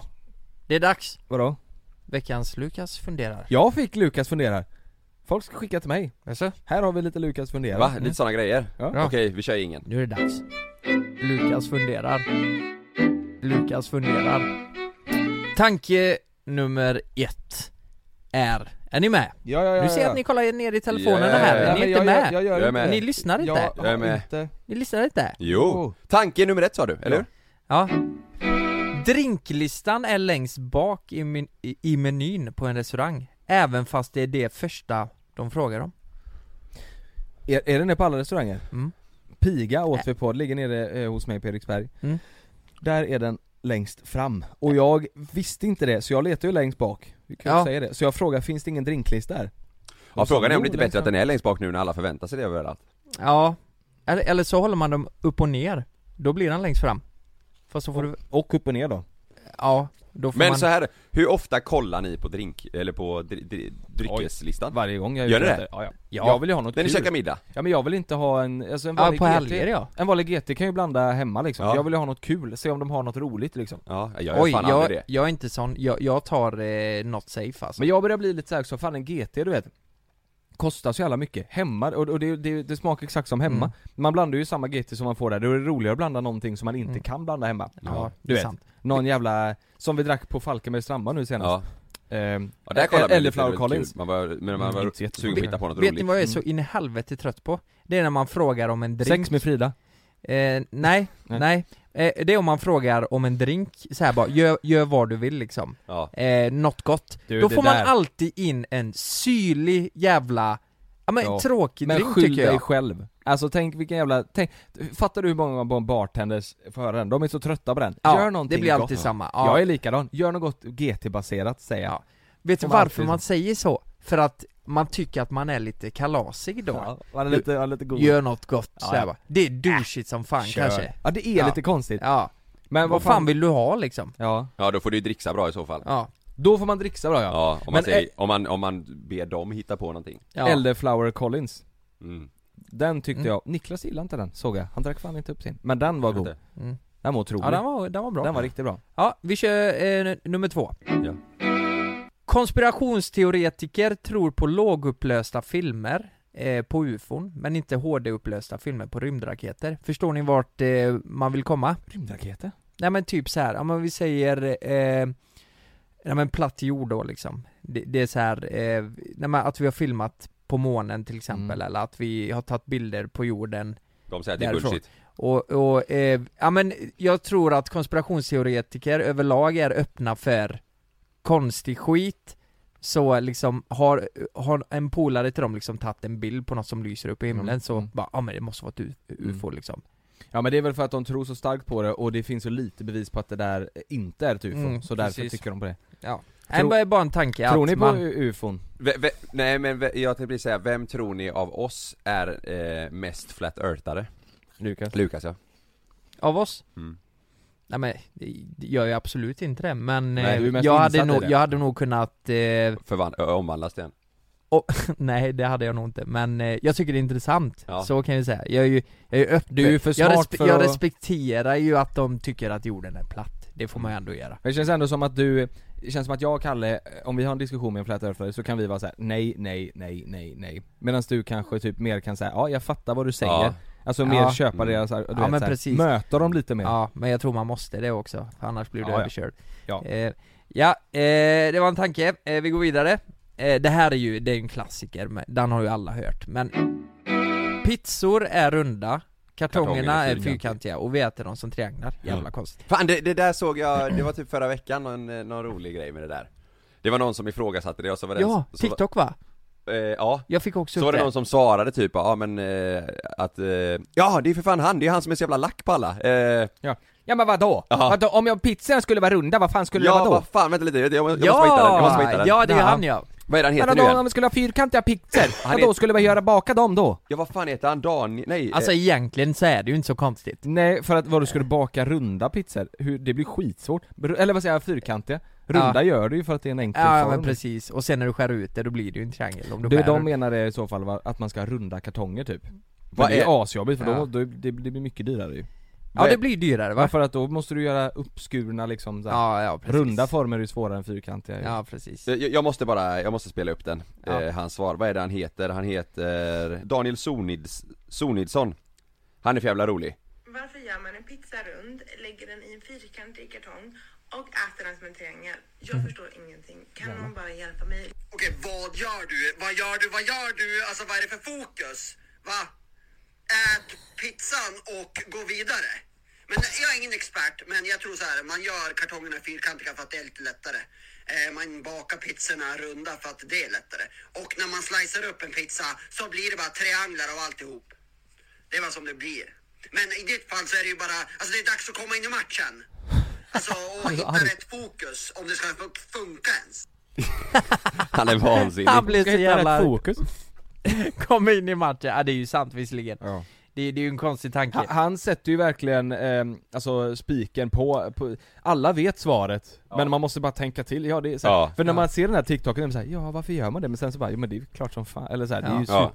[SPEAKER 5] Det är dags.
[SPEAKER 6] Vadå?
[SPEAKER 5] Veckans Lukas funderar.
[SPEAKER 6] Jag fick Lukas funderar Folk ska skicka till mig
[SPEAKER 5] Jaså?
[SPEAKER 6] Här har vi lite Lukas funderar
[SPEAKER 3] Va? Lite sådana grejer?
[SPEAKER 6] Mm. Ja.
[SPEAKER 3] Okej, vi kör ingen
[SPEAKER 5] Nu är det dags. Lukas funderar. Lukas funderar. Tanke nummer ett är, är ni med?
[SPEAKER 6] Ja, ja, ja,
[SPEAKER 5] Nu ser jag
[SPEAKER 6] ja.
[SPEAKER 5] att ni kollar ner i telefonerna
[SPEAKER 3] Ja, ja, ja,
[SPEAKER 5] här,
[SPEAKER 3] ja,
[SPEAKER 5] ni är
[SPEAKER 6] men
[SPEAKER 5] inte
[SPEAKER 6] jag-
[SPEAKER 5] med.
[SPEAKER 6] jag- jag gör
[SPEAKER 3] Eh, Jag är inte. med.
[SPEAKER 5] Ni lyssnar inte.
[SPEAKER 6] Jag,
[SPEAKER 3] Jag är med.
[SPEAKER 6] inte
[SPEAKER 5] Ni lyssnar inte.
[SPEAKER 3] Jo!
[SPEAKER 6] Oh.
[SPEAKER 3] Tanke nummer ett sa du, eller hur?
[SPEAKER 5] Ja. Drinklistan är längst bak i, men- i, i menyn på en restaurang, även fast det är det första de frågar om.
[SPEAKER 6] Är, är den det på alla restauranger?
[SPEAKER 5] Mm.
[SPEAKER 6] Piga åt vi på, det ligger nere eh, hos mig på Eriksberg
[SPEAKER 5] Mm.
[SPEAKER 6] Där är den längst fram, och jag visste inte det så jag letar ju längst bak Vi kan ju
[SPEAKER 5] Ja.
[SPEAKER 6] säga det, så jag frågar finns det ingen drinklista där?
[SPEAKER 3] Ja, frågan är om det
[SPEAKER 6] Jo,
[SPEAKER 3] inte är
[SPEAKER 6] längst
[SPEAKER 3] bättre att
[SPEAKER 6] fram.
[SPEAKER 3] den är längst bak nu när alla förväntar sig det överallt
[SPEAKER 5] Ja, eller, eller så håller man dem upp och ner, då blir den längst fram. Fast så får du,
[SPEAKER 6] Och upp och ner då?
[SPEAKER 5] ja, då får
[SPEAKER 3] Men
[SPEAKER 5] man...
[SPEAKER 3] så här, hur ofta kollar ni på drink, eller på dri, dri, dryckeslistan?
[SPEAKER 6] Varje gång jag
[SPEAKER 3] Gör
[SPEAKER 6] ute
[SPEAKER 3] ni det?
[SPEAKER 6] efter- Ja, ja.
[SPEAKER 5] Ja.
[SPEAKER 6] Jag vill ju ha något
[SPEAKER 3] När ni
[SPEAKER 6] kul.
[SPEAKER 3] käkar middag?
[SPEAKER 6] Ja men jag vill inte ha en, alltså en
[SPEAKER 5] Ja,
[SPEAKER 6] vanlig
[SPEAKER 5] på
[SPEAKER 6] GT
[SPEAKER 5] helger, ja.
[SPEAKER 6] En vanlig GT kan ju blanda hemma liksom,
[SPEAKER 3] Ja.
[SPEAKER 6] jag vill ju ha något kul, se om de har något roligt liksom
[SPEAKER 3] Ja, jag gör
[SPEAKER 5] Oj,
[SPEAKER 3] fan
[SPEAKER 5] jag,
[SPEAKER 3] aldrig det
[SPEAKER 5] jag är inte sån, jag, jag tar eh, något safe alltså.
[SPEAKER 6] Men jag börjar bli lite såhär också, fan en GT du vet kostar så jävla mycket. Hemma, och, och det, det, det smakar exakt som hemma. Man blandar ju samma getty som man får där, då är det roligare att blanda någonting som man inte kan blanda hemma.
[SPEAKER 5] Ja, det
[SPEAKER 6] du
[SPEAKER 5] är
[SPEAKER 6] vet,
[SPEAKER 5] sant.
[SPEAKER 6] någon jävla, som vi drack på Falkenbergs strandbar nu senast. Ehm,
[SPEAKER 3] Ja, där kollade man
[SPEAKER 6] eller
[SPEAKER 3] lite, det var
[SPEAKER 6] Flower
[SPEAKER 3] lite kul.
[SPEAKER 6] Collins. Mm,
[SPEAKER 3] Man var- men man var
[SPEAKER 6] Inte så
[SPEAKER 3] sugen
[SPEAKER 6] jättemånga.
[SPEAKER 3] på att hitta på något
[SPEAKER 5] Vet ni
[SPEAKER 3] roligt.
[SPEAKER 5] vad jag är
[SPEAKER 3] Mm.
[SPEAKER 5] så in i helvete trött på? Det är när man frågar om en drink
[SPEAKER 6] Sex med Frida?
[SPEAKER 5] Eh, nej,
[SPEAKER 6] Nej.
[SPEAKER 5] nej, Eh, Det är om man frågar om en drink, så här bara, gör, gör vad du vill liksom
[SPEAKER 3] ja.
[SPEAKER 5] eh, Något gott
[SPEAKER 6] Du,
[SPEAKER 5] Då
[SPEAKER 6] det
[SPEAKER 5] får man
[SPEAKER 6] där-
[SPEAKER 5] alltid in en syrlig jävla, ja men
[SPEAKER 6] Ja.
[SPEAKER 5] tråkig
[SPEAKER 6] Men
[SPEAKER 5] drink
[SPEAKER 6] skyll
[SPEAKER 5] tycker jag
[SPEAKER 6] dig själv. Alltså tänk vilken jävla, tänk, fattar du hur många barn- bartenders får höra den? De är så trötta på den.
[SPEAKER 5] Ja,
[SPEAKER 6] Gör någonting
[SPEAKER 5] det blir alltid
[SPEAKER 6] gott.
[SPEAKER 5] samma. Ja.
[SPEAKER 6] Jag är likadan, gör något gott GT-baserat säger jag.
[SPEAKER 5] Vet du
[SPEAKER 6] Som
[SPEAKER 5] varför
[SPEAKER 6] alltid.
[SPEAKER 5] man säger så? För att man tycker att man är lite kalasig då
[SPEAKER 6] Ja, man är lite- man är lite god.
[SPEAKER 5] Gör något gott
[SPEAKER 6] Ja,
[SPEAKER 5] så
[SPEAKER 6] ja.
[SPEAKER 5] här bara. Det är douchigt som fan
[SPEAKER 6] Kör.
[SPEAKER 5] kanske
[SPEAKER 6] Ja det är lite konstigt.
[SPEAKER 5] Ja
[SPEAKER 6] Men
[SPEAKER 5] Vad fan vill du ha liksom?
[SPEAKER 6] Ja
[SPEAKER 3] Ja då får du ju dricksa bra i så fall
[SPEAKER 5] Ja
[SPEAKER 6] Då får man dricksa bra ja,
[SPEAKER 3] Ja, om man,
[SPEAKER 6] Men
[SPEAKER 3] säger,
[SPEAKER 6] ä-
[SPEAKER 3] om, man, om man ber dem hitta på någonting
[SPEAKER 6] Elderflower Collins
[SPEAKER 3] Mm.
[SPEAKER 6] Den tyckte
[SPEAKER 5] Mm.
[SPEAKER 6] jag, Niklas gillade inte den såg jag, han drack fan inte upp sin Men den var
[SPEAKER 3] Jag
[SPEAKER 6] god
[SPEAKER 3] vet
[SPEAKER 5] Mm.
[SPEAKER 6] Den var otrolig
[SPEAKER 5] Ja den var, den var bra
[SPEAKER 6] Den var riktigt bra
[SPEAKER 5] Ja, vi kör eh, n- nummer två
[SPEAKER 3] Ja.
[SPEAKER 5] Konspirationsteoretiker tror på lågupplösta filmer eh, på ufon, men inte HD-upplösta filmer på rymdraketer Förstår ni vart eh, man vill komma?
[SPEAKER 6] Rymdraketer?
[SPEAKER 5] Nej men typ så här, ja men vi säger eh, Nej men platt jord då liksom Det, det är så här, eh, nej, men att vi har filmat på månen till exempel
[SPEAKER 6] Mm.
[SPEAKER 5] eller att vi har tagit bilder på jorden
[SPEAKER 3] De säger att det är
[SPEAKER 5] därifrån.
[SPEAKER 3] bullshit
[SPEAKER 5] Och, och eh, ja men jag tror att konspirationsteoretiker överlag är öppna för konstig skit så liksom har, har en polare till dem liksom tagit en bild på något som lyser upp i himlen
[SPEAKER 6] Mm.
[SPEAKER 5] så
[SPEAKER 6] Mm.
[SPEAKER 5] bara, ja men det måste vara ett u- ufo liksom
[SPEAKER 6] Ja men det är väl för att de tror så starkt på det och det finns så lite bevis på att det där inte är ett ufo,
[SPEAKER 5] Mm,
[SPEAKER 6] så därför
[SPEAKER 5] precis.
[SPEAKER 6] tycker de på det
[SPEAKER 5] Ja,
[SPEAKER 6] Tror-
[SPEAKER 5] tror, det är bara en tanke
[SPEAKER 6] Tror
[SPEAKER 5] att
[SPEAKER 6] ni på
[SPEAKER 5] man,
[SPEAKER 6] u- ufon?
[SPEAKER 3] Ve- ve- Nej men ve- jag tänkte precis säga, vem tror ni av oss är eh, mest flat earthare?
[SPEAKER 6] Lukas?
[SPEAKER 3] Lukas ja
[SPEAKER 5] Av oss?
[SPEAKER 3] Mm.
[SPEAKER 5] Nej men, det gör ju absolut inte det, men
[SPEAKER 3] Nej,
[SPEAKER 5] eh,
[SPEAKER 3] du är mest
[SPEAKER 5] jag, hade
[SPEAKER 3] insatt i
[SPEAKER 5] nog,
[SPEAKER 3] det.
[SPEAKER 5] jag hade nog kunnat, eh,
[SPEAKER 3] Förvan- ö, omvandlas den?
[SPEAKER 5] nej det hade jag nog inte, men eh, jag tycker det är intressant,
[SPEAKER 3] Ja.
[SPEAKER 5] så kan jag säga. Jag är ju, jag är ju öppen.
[SPEAKER 6] Du är ju för
[SPEAKER 5] jag,
[SPEAKER 6] smart för
[SPEAKER 5] jag
[SPEAKER 6] att-
[SPEAKER 5] respekterar ju att de tycker att jorden är platt, det får man ju ändå göra.
[SPEAKER 6] Men det känns ändå som att du, det känns som att jag och Kalle, eh, om vi har en diskussion med en flat earthare så kan vi vara så här: nej, nej, nej, nej, nej Medan du kanske typ mer kan säga, ja jag fattar vad du säger
[SPEAKER 3] Ja.
[SPEAKER 6] Alltså mer
[SPEAKER 5] Ja.
[SPEAKER 6] köpa deras, du vet,
[SPEAKER 5] Ja, men
[SPEAKER 6] så här,
[SPEAKER 5] precis.
[SPEAKER 6] möta dem lite mer
[SPEAKER 5] Ja, men jag tror man måste det också, för annars blir du
[SPEAKER 6] Ja, ja.
[SPEAKER 5] överkörd.
[SPEAKER 6] Ja.
[SPEAKER 5] Eh, ja, eh, det var en tanke. Eh, vi går vidare. Eh, det här är ju, det är ju en klassiker, men den har ju alla hört, men Pizzor är runda, kartongerna är fyrkantiga och vi äter dem som trianglar. Jävla konstigt.
[SPEAKER 3] Fan det, det där såg jag, det var typ förra veckan någon, eh, någon rolig grej med det där Det var någon som ifrågasatte det och så var det en-
[SPEAKER 5] Ja,
[SPEAKER 3] så var-
[SPEAKER 5] TikTok va?
[SPEAKER 3] eh, Ja
[SPEAKER 5] Jag fick också
[SPEAKER 3] Så var
[SPEAKER 5] upp
[SPEAKER 3] det
[SPEAKER 5] det.
[SPEAKER 3] någon som svarade typ, ja men eh, att, eh, ja det är för fan han, det är han som är så jävla lack på alla eh,
[SPEAKER 6] Ja, ja men vadå?
[SPEAKER 3] Jaha.
[SPEAKER 6] vadå? Om jag pizzan skulle vara runda, vad fan skulle det
[SPEAKER 3] Ja
[SPEAKER 6] vara då?
[SPEAKER 3] vad fan, vänta lite, jag, jag, måste- jag måste hitta den, jag måste hitta
[SPEAKER 5] Ja,
[SPEAKER 3] den
[SPEAKER 5] ja det är
[SPEAKER 6] Jaha.
[SPEAKER 5] han ja.
[SPEAKER 3] Vad är det han heter
[SPEAKER 6] Men
[SPEAKER 3] nu
[SPEAKER 6] vadå om
[SPEAKER 3] igen?
[SPEAKER 6] vi skulle ha fyrkantiga pizzor?
[SPEAKER 3] Han
[SPEAKER 6] Vadå
[SPEAKER 3] heter-
[SPEAKER 6] skulle man göra baka dem då?
[SPEAKER 3] Ja vad fan heter han, Dan, nej eh,
[SPEAKER 5] Alltså egentligen så är det ju inte så konstigt.
[SPEAKER 6] Nej, för att vad du skulle baka runda pizzor, hur, det blir skitsvårt. Br- Eller vad säger jag, fyrkantiga? Runda
[SPEAKER 5] Ja.
[SPEAKER 6] gör du ju för att det är en enkel
[SPEAKER 5] Ja
[SPEAKER 6] form.
[SPEAKER 5] men precis, och sen när du skär ut det då blir det ju en triangel om du
[SPEAKER 6] Du,
[SPEAKER 5] skär
[SPEAKER 6] de menar det i så fall va, att man ska ha runda kartonger typ. Men
[SPEAKER 3] Vad
[SPEAKER 6] det
[SPEAKER 3] är-
[SPEAKER 6] är asjobbigt för
[SPEAKER 5] Ja.
[SPEAKER 6] då, då det, det blir mycket dyrare ju.
[SPEAKER 5] Ja det blir dyrare va?
[SPEAKER 6] För att då måste du göra uppskurna liksom så här.
[SPEAKER 5] Ja, ja precis.
[SPEAKER 6] Runda former är ju svårare än fyrkantiga ju.
[SPEAKER 5] Ja precis.
[SPEAKER 3] jag, jag måste bara, jag måste spela upp den,
[SPEAKER 5] Ja.
[SPEAKER 3] eh, hans svar, vad är det han heter? Han heter Daniel Sonids, Sonidsson Han är för jävla rolig
[SPEAKER 17] Varför gör man en pizza rund, lägger den i en fyrkantig kartong och äter den som en triangel? Jag förstår ingenting. Kan någon bara hjälpa mig?
[SPEAKER 15] Okej, vad gör du? Vad gör du? Vad gör du? Alltså vad är det för fokus? Va? Ät pizzan och gå vidare. Men jag är ingen expert, men jag tror så här, man gör kartongerna fyrkantiga för att det är lite lättare. Eh, Man bakar pizzorna runda för att det är lättare. Och när man slicer upp en pizza så blir det bara trianglar av alltihop. Det är vad som det blir. Men i ditt fall så är det ju bara, alltså det är dags att komma in i matchen. Alltså och hitta rätt fokus om det ska fun- funka ens.
[SPEAKER 3] Han är vansinnig
[SPEAKER 5] Han blev
[SPEAKER 6] Ska
[SPEAKER 5] så
[SPEAKER 6] hitta rätt
[SPEAKER 5] jävla...
[SPEAKER 6] fokus.
[SPEAKER 5] Kom in i matchen, ja det är ju sant visserligen.
[SPEAKER 6] Ja.
[SPEAKER 5] Det, det är ju en konstig tanke.
[SPEAKER 6] Han, han sätter ju verkligen eh, alltså spiken på, på, alla vet svaret men man måste bara tänka till, ja det är så här,
[SPEAKER 3] Ja.
[SPEAKER 6] För när
[SPEAKER 5] Ja.
[SPEAKER 6] man ser den här TikToken, är man så här, ja varför gör man det? Men sen så bara, jo men det är ju klart som fan, eller så här, det är
[SPEAKER 5] Ja.
[SPEAKER 6] ju
[SPEAKER 3] Ja.
[SPEAKER 6] ja.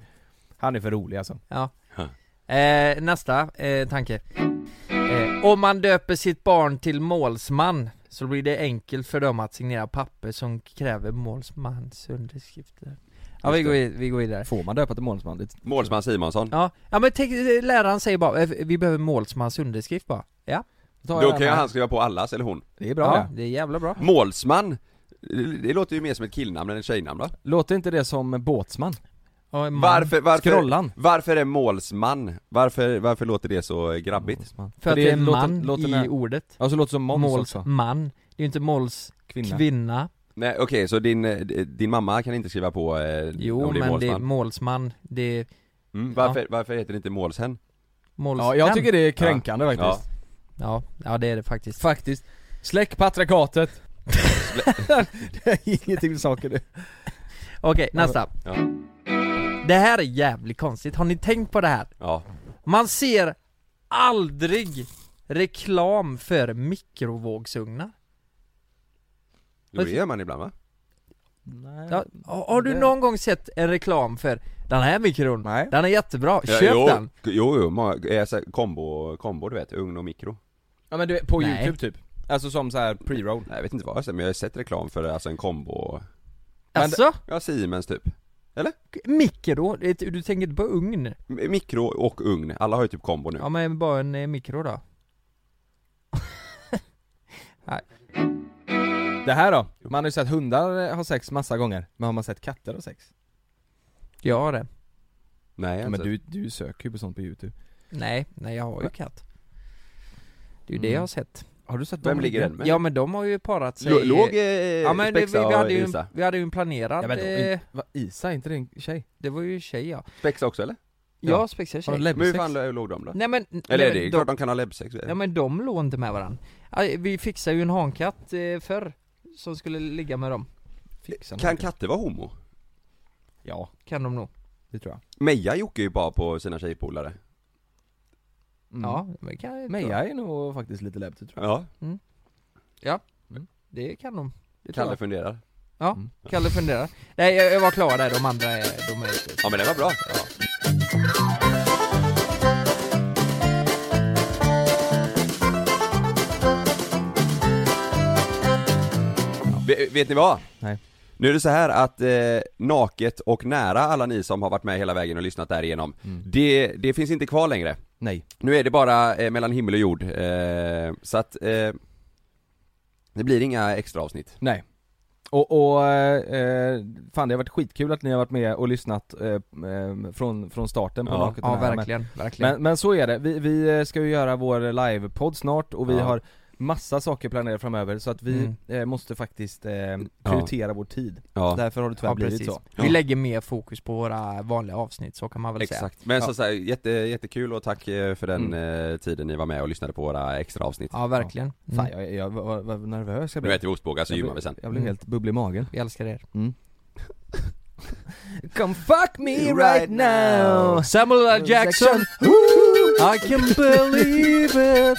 [SPEAKER 6] Han är för rolig alltså
[SPEAKER 5] Ja.
[SPEAKER 3] Huh.
[SPEAKER 5] Eh, nästa eh, tanke. Eh, om man döper sitt barn till målsman så blir det enkelt för dem att signera papper som kräver målsmans underskrifter. Ja vi går, vid- vi går vidare
[SPEAKER 6] Får man döpa till målsman? Det-
[SPEAKER 3] Målsman Simonsson
[SPEAKER 5] Ja, ja men tänk, läraren säger bara eh, vi behöver målsmans underskrift bara Ja
[SPEAKER 3] Då kan ju han skriva på allas, eller hon
[SPEAKER 6] Det är
[SPEAKER 5] Ja, det är jävla bra
[SPEAKER 3] Målsman Det- Det låter ju mer som ett killnamn än ett tjejnamn va?
[SPEAKER 6] Låter inte det som båtsman?
[SPEAKER 5] Ja, en man.
[SPEAKER 3] Varför, varför,
[SPEAKER 6] Skrollan.
[SPEAKER 3] varför är målsman? Varför, varför låter det så eh, grabbigt?
[SPEAKER 5] För att det, är en
[SPEAKER 6] låter-
[SPEAKER 5] man
[SPEAKER 6] låter
[SPEAKER 5] i
[SPEAKER 6] nä-
[SPEAKER 5] ordet
[SPEAKER 6] Ja, så låter det som Måns också.
[SPEAKER 5] Målsman Det är ju inte måls
[SPEAKER 6] Kvinna.
[SPEAKER 5] kvinna,
[SPEAKER 3] Nej okej, så din, eh, din mamma kan inte skriva på eh,
[SPEAKER 5] Jo
[SPEAKER 3] om det är
[SPEAKER 5] men det är
[SPEAKER 3] målsman?
[SPEAKER 5] målsman, det är
[SPEAKER 3] mm, varför, varför heter det inte målshen?
[SPEAKER 5] måls...
[SPEAKER 6] Ja, jag tycker det är kränkande faktiskt.
[SPEAKER 5] Ja. ja, det är det faktiskt
[SPEAKER 6] Faktiskt. Släck patriarkatet! det har ingenting med saker nu.
[SPEAKER 5] Okej, nästa Det här är jävligt konstigt, har ni tänkt på det här?
[SPEAKER 3] Ja
[SPEAKER 5] Man ser aldrig reklam för mikrovågsugnar
[SPEAKER 3] Jo det gör man ibland va?
[SPEAKER 5] Ja, har har du någon gång sett en reklam för den här mikron? Den är jättebra,
[SPEAKER 3] Ja,
[SPEAKER 5] köp
[SPEAKER 3] jo,
[SPEAKER 5] den!
[SPEAKER 3] Jo, jo, många, eh, så här, kombo, kombo du vet, ugn och mikro
[SPEAKER 6] Ja men du, på
[SPEAKER 5] Nej.
[SPEAKER 6] youtube typ. Alltså som så här pre-roll.
[SPEAKER 3] Nej, Jag vet inte vad jag har sett, men jag har sett reklam för alltså en kombo
[SPEAKER 5] Alltså?
[SPEAKER 3] Ja, Siemens typ
[SPEAKER 5] Mikro? Det- Du tänker inte på ugn?
[SPEAKER 3] M- Mikro och ugn, alla har ju typ kombo nu
[SPEAKER 5] Ja men bara en eh, mikro då Nej.
[SPEAKER 6] Det här då? Man har ju sett hundar eh, ha sex massa gånger, men har man sett katter ha sex?
[SPEAKER 5] Jag har det
[SPEAKER 3] Nej
[SPEAKER 6] Ja, men du, du söker ju på sånt på youtube.
[SPEAKER 5] Nej, nej jag har ju katt Det är ju det
[SPEAKER 6] Mm.
[SPEAKER 5] jag har sett
[SPEAKER 6] Har du sett
[SPEAKER 3] Vem ligger den med?
[SPEAKER 5] Ja men de har ju parat sig
[SPEAKER 3] Lå- låg, eh,
[SPEAKER 5] Ja men det, vi,
[SPEAKER 3] Spexa
[SPEAKER 5] vi, hade
[SPEAKER 3] och
[SPEAKER 5] ju,
[SPEAKER 3] Isa?
[SPEAKER 5] vi hade ju en planerad
[SPEAKER 6] Ja, men då,
[SPEAKER 5] eh,
[SPEAKER 6] Vad, Isa, är inte det en tjej?
[SPEAKER 5] Det var ju tjej ja
[SPEAKER 3] Spexa också eller?
[SPEAKER 5] Ja, ja Spexa
[SPEAKER 6] Har
[SPEAKER 5] är tjej
[SPEAKER 6] de
[SPEAKER 3] Men hur fan
[SPEAKER 6] läbbsex?
[SPEAKER 3] lo- låg de då?
[SPEAKER 5] Nej men,
[SPEAKER 3] eller
[SPEAKER 5] nej,
[SPEAKER 3] är det
[SPEAKER 5] men
[SPEAKER 3] klart
[SPEAKER 5] de,
[SPEAKER 3] de kan ha läbbsex
[SPEAKER 5] ja, men de låg inte med varandra Vi fixade ju en hankatt eh, förr Som skulle ligga med dem
[SPEAKER 6] Fixar
[SPEAKER 3] Kan
[SPEAKER 6] något.
[SPEAKER 3] katter vara homo?
[SPEAKER 6] Ja,
[SPEAKER 5] Kan de nog
[SPEAKER 6] det tror jag.
[SPEAKER 3] Meja jockar ju bara på sina tjejpolare
[SPEAKER 6] Mm.
[SPEAKER 5] Ja, men kan jag
[SPEAKER 6] Men jag är nog faktiskt lite läbbig tror jag.
[SPEAKER 3] Ja,
[SPEAKER 5] Ja, det kan de det tror
[SPEAKER 3] Mm. Kalle Mm.
[SPEAKER 5] jag.
[SPEAKER 3] funderar
[SPEAKER 5] Ja, Kalle funderar Nej jag, jag var klar där, de andra är, de är inte
[SPEAKER 3] Ja men det var bra Ve- Vet ni vad?
[SPEAKER 6] Nej.
[SPEAKER 3] Nu är det så här att eh, naket och nära alla ni som har varit med hela vägen och lyssnat därigenom det, det finns inte kvar längre
[SPEAKER 6] Nej.
[SPEAKER 3] Nu är det bara eh, mellan himmel och jord eh, Så att eh, Det blir inga extra avsnitt
[SPEAKER 6] Nej. Och, och eh, fan det har varit skitkul att ni har varit med och lyssnat eh, eh, från, från starten på
[SPEAKER 3] Ja.
[SPEAKER 6] Naket och
[SPEAKER 5] Ja
[SPEAKER 6] Nära, men-
[SPEAKER 5] verkligen, verkligen
[SPEAKER 6] Men, men så är det, vi, vi eh, ska ju göra vår livepodd snart och vi
[SPEAKER 3] Ja.
[SPEAKER 6] har massa saker planerade framöver så att vi
[SPEAKER 5] Mm.
[SPEAKER 6] eh, måste faktiskt eh, prioritera vår tid.
[SPEAKER 3] Ja.
[SPEAKER 6] Därför har det tyvärr
[SPEAKER 5] Ja,
[SPEAKER 6] blivit
[SPEAKER 5] precis.
[SPEAKER 6] så.
[SPEAKER 5] Vi lägger mer fokus på våra vanliga avsnitt, så kan man väl säga
[SPEAKER 3] Exakt, men som sagt, jätte, jättekul och tack eh, för den eh, tiden ni var med och lyssnade på våra extra avsnitt
[SPEAKER 5] Ja verkligen,
[SPEAKER 6] Fan
[SPEAKER 5] mm.
[SPEAKER 6] jag, jag, vad, vad nervös jag
[SPEAKER 3] Nu
[SPEAKER 6] blev.
[SPEAKER 3] äter vi ostbågar så
[SPEAKER 6] Jag
[SPEAKER 3] gymmar
[SPEAKER 6] blev-
[SPEAKER 3] vi sen
[SPEAKER 6] Jag blev
[SPEAKER 5] Mm.
[SPEAKER 6] helt bubblig i magen.
[SPEAKER 5] vi älskar er
[SPEAKER 6] Come fuck me right now!
[SPEAKER 5] Samuel L. Jackson, I can believe it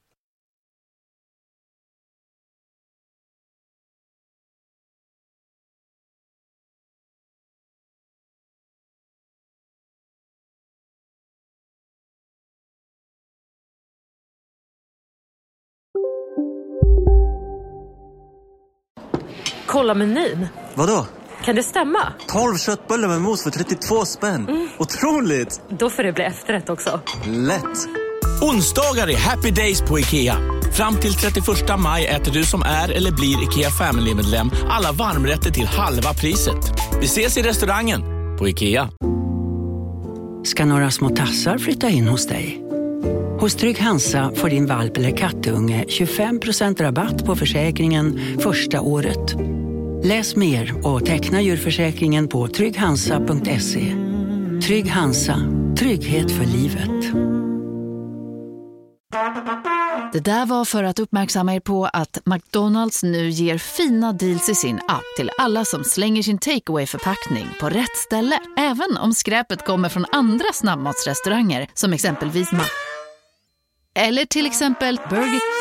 [SPEAKER 18] Kolla menyn.
[SPEAKER 19] Vadå?
[SPEAKER 18] Kan det stämma? Mm.
[SPEAKER 19] 12 köttbullar med mos för 32 spänn. Otroligt!
[SPEAKER 18] Då får det bli efterrätt också.
[SPEAKER 19] Lätt!
[SPEAKER 20] Onsdagar är happy days på IKEA. Fram till 31 maj äter du som är eller blir IKEA Family-medlem alla varmrätter till halva priset. Vi ses i restaurangen på IKEA.
[SPEAKER 21] ska några små tassar flytta in hos dig. Hos Trygg Hansa får din valp eller kattunge 25% rabatt på försäkringen första året. Läs mer och teckna djurförsäkringen på trygghansa.se. Trygg Hansa, trygghet för livet.
[SPEAKER 22] Det där var för att uppmärksamma er på att McDonalds nu ger fina deals i sin app till alla som slänger sin takeaway förpackning på rätt ställe. Även om skräpet kommer från andra snabbmatsrestauranger som exempelvis Ma... Eller till exempel Burger...